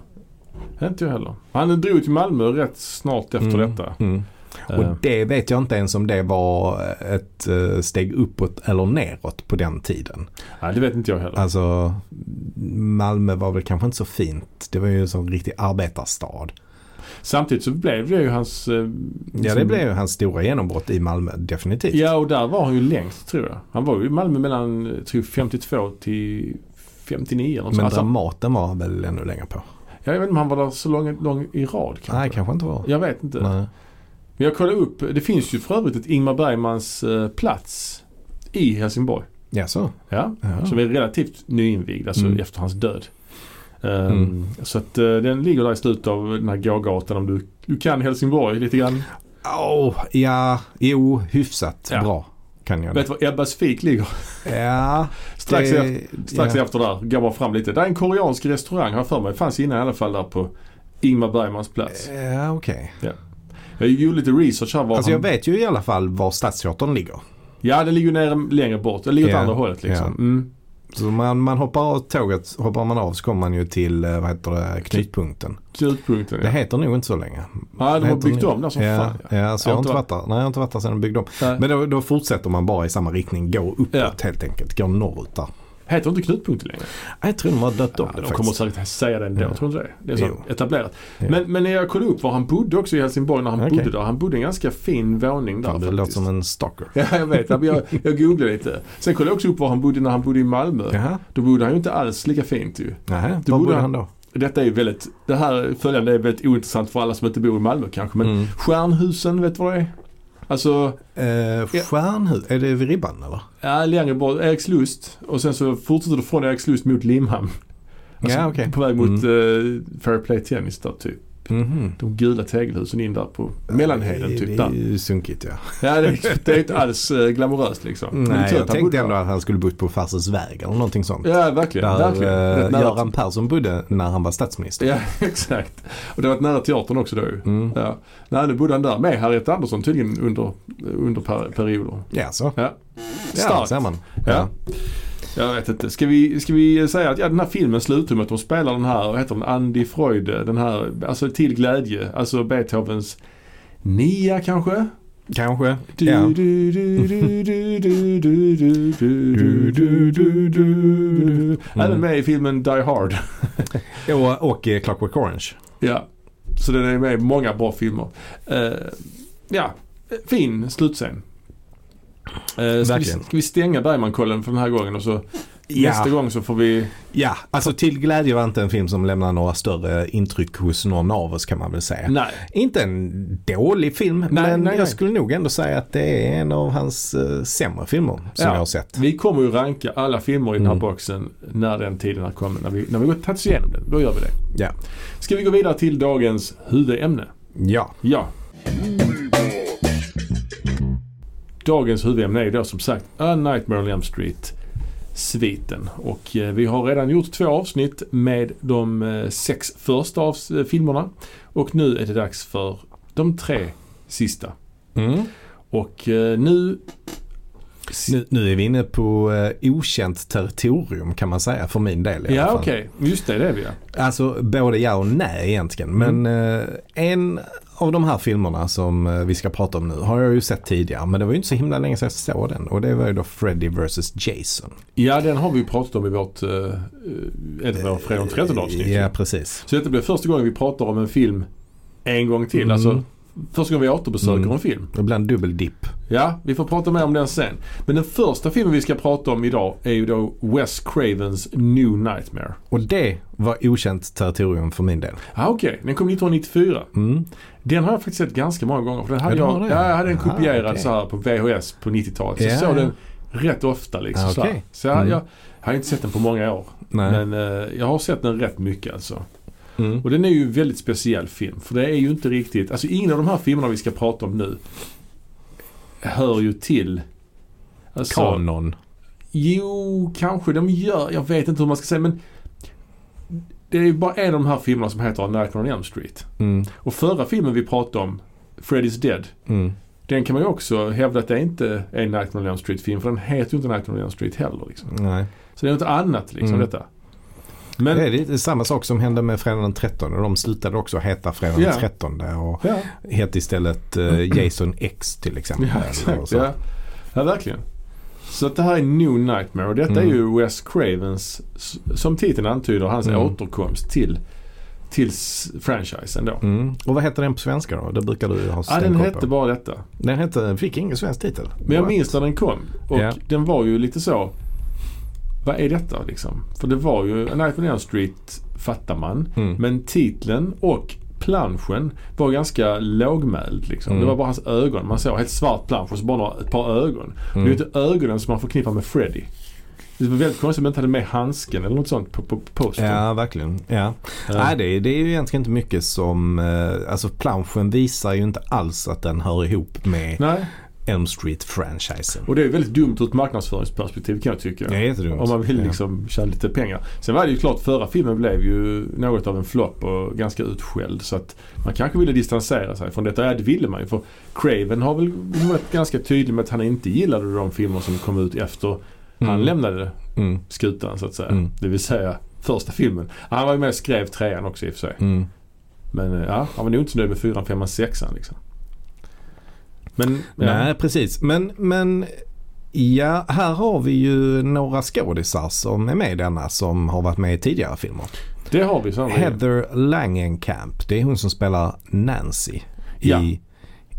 Speaker 1: Här Inte jag heller. Han drog till Malmö rätt snart efter
Speaker 2: Mm.
Speaker 1: detta.
Speaker 2: Mm.
Speaker 1: Eh,
Speaker 2: Och det vet jag inte ens om det var ett eh, steg uppåt eller neråt på den tiden.
Speaker 1: nej, det vet inte jag heller.
Speaker 2: Alltså Malmö var väl kanske inte så fint. Det var ju en sån riktig arbetarstad.
Speaker 1: Samtidigt så blev det ju hans... eh,
Speaker 2: Ja det
Speaker 1: som-
Speaker 2: blev ju hans stora genombrott i Malmö definitivt.
Speaker 1: liksom- Ja, och där var han ju längst tror jag. Han var ju i Malmö mellan eh, tror jag, 52 till 59 eller något
Speaker 2: Men
Speaker 1: sånt. alltså,
Speaker 2: Dramaten var han väl ännu längre på?
Speaker 1: Jag vet inte om han var där så lång, lång i rad kanske.
Speaker 2: Nej kanske inte var.
Speaker 1: Jag vet inte.
Speaker 2: Nej.
Speaker 1: Men jag kollade upp, det finns ju för övrigt ett Ingmar Bergmans eh, plats i Helsingborg.
Speaker 2: Ja, så.
Speaker 1: Ja,
Speaker 2: Ja.
Speaker 1: som är relativt nyinvigd, alltså
Speaker 2: Mm.
Speaker 1: efter hans död. Ehm,
Speaker 2: Mm.
Speaker 1: Så att eh, den ligger där i slutet av den här gågatan om du, du kan Helsingborg lite grann.
Speaker 2: Åh, ja, jo, hyfsat
Speaker 1: Ja.
Speaker 2: bra kan jag.
Speaker 1: Vet
Speaker 2: det.
Speaker 1: du var Ebbas fik ligger?
Speaker 2: Ja,
Speaker 1: Strax,
Speaker 2: det-
Speaker 1: efter, strax
Speaker 2: ja.
Speaker 1: efter där går man fram lite. Det är en koreansk restaurang har jag för mig. Fanns innan i alla fall där på Ingmar Bergmans plats.
Speaker 2: Ja, okej.
Speaker 1: Jag gjorde lite research här. Var
Speaker 2: Eh. Alltså jag
Speaker 1: han,
Speaker 2: vet ju i alla fall var Stadsteatern ligger.
Speaker 1: ja, det ligger ju nere, längre bort. Det ligger åt
Speaker 2: Ja,
Speaker 1: andra hållet liksom.
Speaker 2: ja.
Speaker 1: Mm.
Speaker 2: Så man, man hoppar av tåget, hoppar man av så kommer man ju till, eh, vad heter det, knutpunkten.
Speaker 1: Knutpunkten
Speaker 2: Det
Speaker 1: ja.
Speaker 2: heter nog inte så länge.
Speaker 1: Nej, de har
Speaker 2: Heter
Speaker 1: byggt
Speaker 2: det-
Speaker 1: om där som
Speaker 2: ja,
Speaker 1: fan.
Speaker 2: Ja, så jag har inte varit där. Nej, jag har inte varit där sedan de byggde om.
Speaker 1: Nej.
Speaker 2: Men då, då fortsätter man bara i samma riktning, går uppåt
Speaker 1: Ja.
Speaker 2: helt enkelt. Går norrut där.
Speaker 1: Heter inte knutpunkten längre?
Speaker 2: Jag tror de har dött
Speaker 1: Ja,
Speaker 2: om det
Speaker 1: de
Speaker 2: faktiskt.
Speaker 1: kommer säkert att säga det ändå,
Speaker 2: Ja.
Speaker 1: tror du inte det? Det är
Speaker 2: Jo.
Speaker 1: så etablerat.
Speaker 2: Ja.
Speaker 1: Men, men när jag kollade upp var han bodde också i Helsingborg när han
Speaker 2: Okej.
Speaker 1: bodde där. Han bodde i en ganska fin våning där
Speaker 2: Fan, det
Speaker 1: faktiskt.
Speaker 2: låter som en stalker.
Speaker 1: Ja, jag vet. Jag, jag googlade lite. Sen kollade jag också upp var han bodde när han bodde i Malmö.
Speaker 2: Jaha,
Speaker 1: Då bodde han ju inte alls lika fint ju.
Speaker 2: Nähä.
Speaker 1: Du
Speaker 2: var
Speaker 1: borde
Speaker 2: bodde
Speaker 1: ha-
Speaker 2: han då?
Speaker 1: Detta är ju väldigt, det här följande är väldigt ointressant för alla som inte bor i Malmö kanske. Men
Speaker 2: Mm.
Speaker 1: Stjärnhusen, vet du vad det är? Alltså,
Speaker 2: Eh, Stjärnhus, är det vid ribban eller?
Speaker 1: ja, längre bort, Erikslust och sen så fortsätter du från Erikslust mot Limhamn. Alltså,
Speaker 2: ja, okej.
Speaker 1: På väg mot
Speaker 2: Mm.
Speaker 1: mm. Fair Play Tennis där typ.
Speaker 2: Mhm.
Speaker 1: De gula tegelhusen in där på Mellanheden
Speaker 2: det,
Speaker 1: typ
Speaker 2: Det är
Speaker 1: där.
Speaker 2: ju sunkigt ja.
Speaker 1: Ja, det, är- det är inte alls eh, glamoröst liksom. Men det är
Speaker 2: Mm, Nej,
Speaker 1: tur
Speaker 2: jag
Speaker 1: att han
Speaker 2: tänkte
Speaker 1: bodde
Speaker 2: ändå
Speaker 1: där.
Speaker 2: att han skulle bott på farsens väg eller någonting sånt.
Speaker 1: Ja, verkligen.
Speaker 2: Där
Speaker 1: verkligen.
Speaker 2: eh,
Speaker 1: Rätt nära-
Speaker 2: Göran Persson bodde när han var statsminister.
Speaker 1: Ja, exakt. Och det var nära teatern också då ju.
Speaker 2: Mm.
Speaker 1: Ja. Nej, nu bodde han där med Harriet Andersson tydligen under, under per, perioder.
Speaker 2: Ja, så.
Speaker 1: Ja.
Speaker 2: Ja,
Speaker 1: Starkt.
Speaker 2: ser man.
Speaker 1: Ja. Jag vet inte. Ska vi, ska vi säga att ja, den här filmen slutar med att de spelar den här, vad heter den, Andy Freud, den här, alltså Till glädje, alltså Beethovens nia kanske?
Speaker 2: Kanske.
Speaker 1: Du,
Speaker 2: ja.
Speaker 1: du, du, du, du, du, du, du, du, du, du,
Speaker 2: Mm.
Speaker 1: du. Även med i filmen Die Hard.
Speaker 2: Och, och eh, Clockwork Orange.
Speaker 1: Ja, så den är med i många bra filmer. Eh, ja, fin slutscen. Uh, ska, vi,
Speaker 2: Verkligen.
Speaker 1: ska vi stänga Bergmankollen för den här gången och så nästa gång så får vi...
Speaker 2: ja, alltså Till glädje var inte en film som lämnar några större intryck hos någon av oss kan man väl säga.
Speaker 1: Nej.
Speaker 2: Inte en dålig film, men
Speaker 1: nej,
Speaker 2: jag
Speaker 1: nej.
Speaker 2: skulle nog ändå säga att det är en av hans eh, sämre filmer som
Speaker 1: Ja.
Speaker 2: jag har sett.
Speaker 1: Vi kommer ju ranka alla filmer i den här
Speaker 2: Mm.
Speaker 1: boxen när den tiden har kommit. När vi, när vi har tagit oss igenom den, då gör vi det.
Speaker 2: Ja.
Speaker 1: Ska vi gå vidare till dagens huvudämne?
Speaker 2: ja.
Speaker 1: Ja. Dagens huvudämne är då som sagt A Nightmare on Elm Street sviten. Och eh, vi har redan gjort två avsnitt med de eh, sex första av eh, filmerna. Och nu är det dags för de tre sista.
Speaker 2: Mm.
Speaker 1: Och eh, nu...
Speaker 2: Nu, nu är vi inne på eh, okänt territorium kan man säga för min del. i alla
Speaker 1: Ja
Speaker 2: fall.
Speaker 1: okej, just det det är vi ja.
Speaker 2: Alltså både ja och nej egentligen.
Speaker 1: Mm.
Speaker 2: Men eh, en av de här filmerna som eh, vi ska prata om nu har jag ju sett tidigare. Men det var ju inte så himla länge sedan jag såg den. Och det var ju då Freddy vs Jason.
Speaker 1: Ja den har vi ju pratat om i vårt... eh, eh, Ett av våra fredag den 13 avsnitt.
Speaker 2: Ja, precis.
Speaker 1: Så detta blir första gången vi pratar om en film en gång till.
Speaker 2: Mm.
Speaker 1: Alltså första gången vi återbesöker
Speaker 2: Mm.
Speaker 1: en film.
Speaker 2: Ibland dubbeldipp.
Speaker 1: Ja, vi får prata mer om den sen. Men den första filmen vi ska prata om idag är ju då Wes Cravens New Nightmare.
Speaker 2: Och det var okänt territorium för min del.
Speaker 1: Ah, Okej, den kom 1994.
Speaker 2: Mm.
Speaker 1: Den har jag faktiskt sett ganska många gånger. För den hade
Speaker 2: Ja, du har
Speaker 1: jag,
Speaker 2: det?
Speaker 1: ja, jag hade den
Speaker 2: Ah,
Speaker 1: kopierad
Speaker 2: okej.
Speaker 1: så här på VHS på 90-talet. Så
Speaker 2: Ja,
Speaker 1: jag såg
Speaker 2: ja.
Speaker 1: den rätt ofta liksom.
Speaker 2: Ah,
Speaker 1: så här.
Speaker 2: okej.
Speaker 1: så jag,
Speaker 2: Mm.
Speaker 1: jag har inte sett den på många år.
Speaker 2: Nej.
Speaker 1: Men eh, jag har sett den rätt mycket alltså.
Speaker 2: Mm.
Speaker 1: Och den är ju en väldigt speciell film. För det är ju inte riktigt, alltså ingen av de här filmerna vi ska prata om nu hör ju till alltså,
Speaker 2: Kanon.
Speaker 1: Jo, kanske de gör. Jag vet inte hur man ska säga men det är ju bara en av de här filmerna som heter A Nightmare on Elm Street.
Speaker 2: Mm.
Speaker 1: Och förra filmen vi pratade om, Freddy's Dead,
Speaker 2: Mm.
Speaker 1: den kan man ju också hävda att det inte är en Nightmare on Elm Street-film för den heter ju inte Nightmare on Elm Street heller. Liksom.
Speaker 2: Nej.
Speaker 1: Så det är något annat liksom
Speaker 2: Mm.
Speaker 1: detta. Men,
Speaker 2: det är lite samma sak som hände med Fredagen den 13. Och de slutade också heta Fredagen
Speaker 1: Ja.
Speaker 2: den 13. Och
Speaker 1: ja,
Speaker 2: hette istället eh, Jason X till exempel.
Speaker 1: ja,
Speaker 2: Och
Speaker 1: exakt.
Speaker 2: så.
Speaker 1: Ja. ja, verkligen. Så att det här är New Nightmare och detta
Speaker 2: Mm.
Speaker 1: är ju Wes Cravens, s- som titeln antyder, hans
Speaker 2: Mm.
Speaker 1: återkomst till, till s- franchisen då.
Speaker 2: Mm. Och vad heter den på svenska då? Det brukar du ha
Speaker 1: Ja, den
Speaker 2: stenkoll
Speaker 1: hette
Speaker 2: på.
Speaker 1: bara detta.
Speaker 2: Den hette, den fick ingen svensk titel.
Speaker 1: Men jag minns när den kom. Och
Speaker 2: Ja.
Speaker 1: den var ju lite så... Vad är detta liksom? För det var ju A Night on Elm Street, fattar man.
Speaker 2: Mm.
Speaker 1: Men titeln och planschen var ganska lågmäld. Liksom.
Speaker 2: Mm.
Speaker 1: Det var bara hans ögon. Man såg helt svart plansch och så bara några- ett par ögon. Det
Speaker 2: Mm.
Speaker 1: är ju inte ögonen som man förknippar med Freddy. Det var väldigt konstigt att man inte hade med handsken eller något sånt på, på, på postern.
Speaker 2: Ja, verkligen. Ja.
Speaker 1: Ja.
Speaker 2: Nej, det, är- det är ju egentligen inte mycket som... Eh, alltså planschen visar ju inte alls att den hör ihop med
Speaker 1: Nej,
Speaker 2: Elm Street-franchisen.
Speaker 1: och det är ju väldigt dumt ur ett marknadsföringsperspektiv kan jag tycka.
Speaker 2: Det är jättedumt.
Speaker 1: Om man vill
Speaker 2: Ja.
Speaker 1: liksom tjäna lite pengar. Sen var det ju klart, förra filmen blev ju något av en flopp och ganska utskälld. Så att man kanske ville distansera sig från detta. Ja, det ville man ju. För Craven har väl varit ganska tydlig med att han inte gillade de filmer som kom ut efter han
Speaker 2: Mm.
Speaker 1: lämnade
Speaker 2: Mm.
Speaker 1: skutan så att säga.
Speaker 2: Mm.
Speaker 1: Det vill säga första filmen. Han var ju med och skrev trean också i och för sig.
Speaker 2: Mm.
Speaker 1: Men eh, ja, han var nog inte så nöjd med fyran, femman, sexan liksom. Men, ja.
Speaker 2: Nej, precis. Men, men ja, här har vi ju några skådisar som är med i denna som har varit med i tidigare filmer.
Speaker 1: det har vi sannerligen.
Speaker 2: Heather Langenkamp, det är hon som spelar Nancy
Speaker 1: Ja.
Speaker 2: i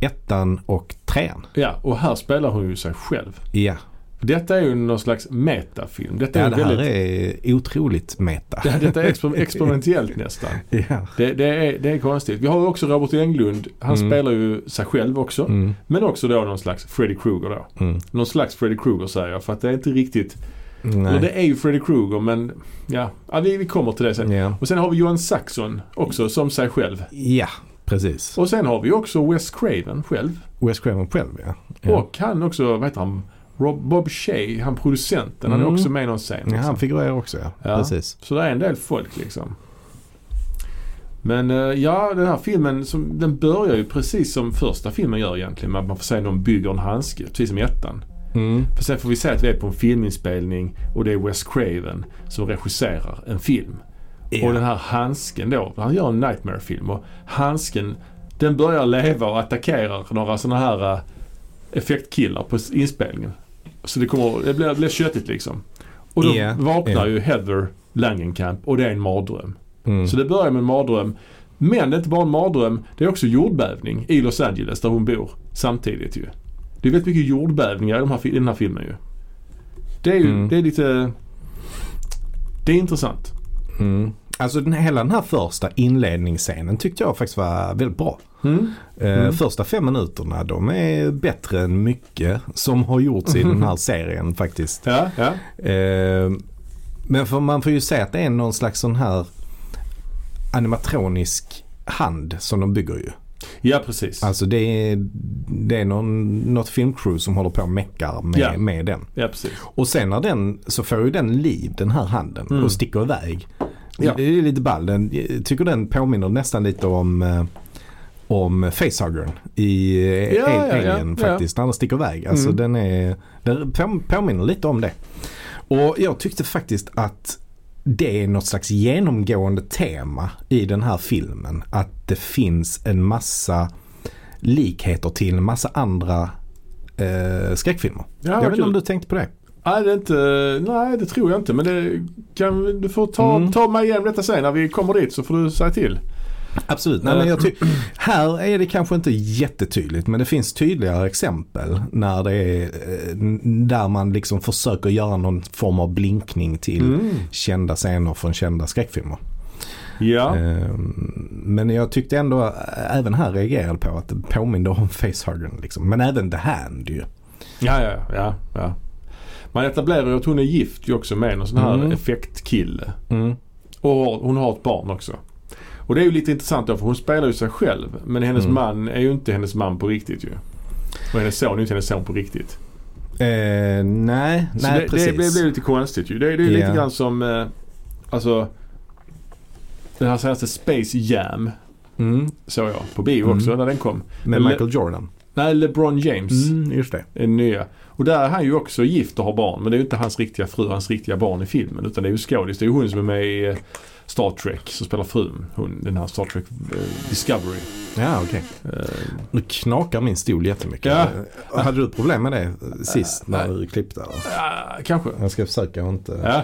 Speaker 2: ettan och trean.
Speaker 1: Ja, och här spelar hon ju sig själv.
Speaker 2: Ja,
Speaker 1: Detta är ju någon slags metafilm. Detta är
Speaker 2: Ja,
Speaker 1: ju
Speaker 2: det här
Speaker 1: väldigt,
Speaker 2: är otroligt meta.
Speaker 1: Ja, Detta är exper- experimentellt nästan.
Speaker 2: Ja.
Speaker 1: Det, det, är, det är konstigt. Vi har också Robert Englund. Han
Speaker 2: Mm.
Speaker 1: spelar ju sig själv också.
Speaker 2: Mm,
Speaker 1: Men också då någon slags Freddy Krueger då.
Speaker 2: mm.
Speaker 1: Någon slags Freddy Krueger säger jag för att det är inte riktigt.
Speaker 2: Nej.
Speaker 1: Och det är ju Freddy Krueger men ja, ja vi, vi kommer till det sen.
Speaker 2: Ja.
Speaker 1: Och sen har vi Johan Saxon också som sig själv.
Speaker 2: ja, precis.
Speaker 1: Och sen har vi också Wes Craven själv.
Speaker 2: Wes Craven själv ja. Ja.
Speaker 1: Och han också, vad heter han? Rob, Bob Shea, han producenten, han
Speaker 2: Mm.
Speaker 1: är också med i någon scen.
Speaker 2: ja,
Speaker 1: liksom.
Speaker 2: han figurerar också ja.
Speaker 1: Ja.
Speaker 2: Precis.
Speaker 1: Så det är en del folk liksom. Men eh, ja, den här filmen som, den börjar ju precis som första filmen gör egentligen. Med att man får se någon bygger en handske, precis som i ettan.
Speaker 2: Mm.
Speaker 1: För sen får vi se att vi är på en filminspelning och det är Wes Craven som regisserar en film. Och den här handsken då, han gör en Nightmare-film och handsken den börjar leva och attackerar några sådana här eh, effektkillar på inspelningen. Så det, kommer, det, blir, det blir köttigt liksom. Och då
Speaker 2: Ja,
Speaker 1: vaknar
Speaker 2: ja.
Speaker 1: ju Heather Langenkamp och det är en mardröm.
Speaker 2: Mm.
Speaker 1: Så det börjar med en mardröm. Men det är inte bara en mardröm, det är också jordbävning i Los Angeles där hon bor samtidigt ju. Det är väldigt mycket jordbävningar i, de här, fi- i den här filmen ju. Det är ju,
Speaker 2: Mm.
Speaker 1: det är lite... Det är intressant.
Speaker 2: Mm. Alltså den, hela den här första inledningsscenen tyckte jag faktiskt var väldigt bra.
Speaker 1: Mm.
Speaker 2: Eh, Första fem minuterna de är bättre än mycket som har gjorts i den här serien faktiskt.
Speaker 1: Ja, ja.
Speaker 2: Eh, men för man får ju se att det är någon slags sån här animatronisk hand som de bygger ju.
Speaker 1: Ja, precis.
Speaker 2: Alltså det är, det är någon, något filmcrew som håller på och meckar med,
Speaker 1: Ja.
Speaker 2: med den.
Speaker 1: Ja, precis.
Speaker 2: Och sen när den, så får ju den liv den här handen
Speaker 1: Mm.
Speaker 2: och sticker iväg.
Speaker 1: Ja.
Speaker 2: Det är lite ball. Den, jag tycker den påminner nästan lite om, eh, om facehuggern i eh,
Speaker 1: Ja, ja, ja,
Speaker 2: Alien
Speaker 1: ja.
Speaker 2: faktiskt. När den sticker iväg. Alltså
Speaker 1: Mm.
Speaker 2: den, är, den på- påminner lite om det. Och jag tyckte faktiskt att det är något slags genomgående tema i den här filmen. Att det finns en massa likheter till en massa andra eh, skräckfilmer.
Speaker 1: Ja,
Speaker 2: jag
Speaker 1: vad
Speaker 2: vet inte
Speaker 1: kul.
Speaker 2: om du tänkte på det?
Speaker 1: Nej, det är inte, nej, det tror jag inte. Men det kan, du får ta,
Speaker 2: Mm.
Speaker 1: ta mig igenom detta sen. När vi kommer dit så får du säga till. Eh.
Speaker 2: Absolut. Nej, men jag ty- här är det kanske inte jättetydligt men det finns tydligare exempel när det är, eh, n- där man liksom försöker göra någon form av blinkning till
Speaker 1: Mm.
Speaker 2: kända scener från kända skräckfilmer.
Speaker 1: Ja.
Speaker 2: Eh, Men jag tyckte ändå, eh, även här reagerade på att det påminde om facehuggern. Liksom. Men även The Hand ju.
Speaker 1: Ja, ja, ja, ja. Man etablerar ju att hon är gift ju också med en sån här
Speaker 2: Mm.
Speaker 1: effektkille. Och har- hon har ett barn också. Och det är ju lite intressant då för hon spelar ju sig själv. Men hennes
Speaker 2: Mm.
Speaker 1: man är ju inte hennes man på riktigt ju. Och hennes son är ju inte hennes son på riktigt.
Speaker 2: Eh, nej,
Speaker 1: Så
Speaker 2: nej
Speaker 1: det,
Speaker 2: precis.
Speaker 1: Det, det blir lite konstigt ju. Det, det är ju
Speaker 2: Ja.
Speaker 1: lite grann som eh, alltså den här senaste Space Jam
Speaker 2: mm,
Speaker 1: såg jag på bio
Speaker 2: Mm.
Speaker 1: också när den kom.
Speaker 2: med
Speaker 1: Le-
Speaker 2: Michael Jordan.
Speaker 1: Nej, LeBron James.
Speaker 2: just det.
Speaker 1: är nya. Och där är han ju också gift och har barn. Men det är ju inte hans riktiga fru, hans riktiga barn i filmen. Utan det är ju skådis. Det är ju hon som är med i eh, Star Trek som spelar frun. Hon, den här Star Trek eh, Discovery.
Speaker 2: Ja, okej.
Speaker 1: Eh,
Speaker 2: Nu knakar min stol jättemycket.
Speaker 1: Ja.
Speaker 2: Eh, Hade du problem med det eh, sist när
Speaker 1: nej.
Speaker 2: du klippte? eller?
Speaker 1: ah, kanske.
Speaker 2: Jag ska försöka att inte...
Speaker 1: Ja.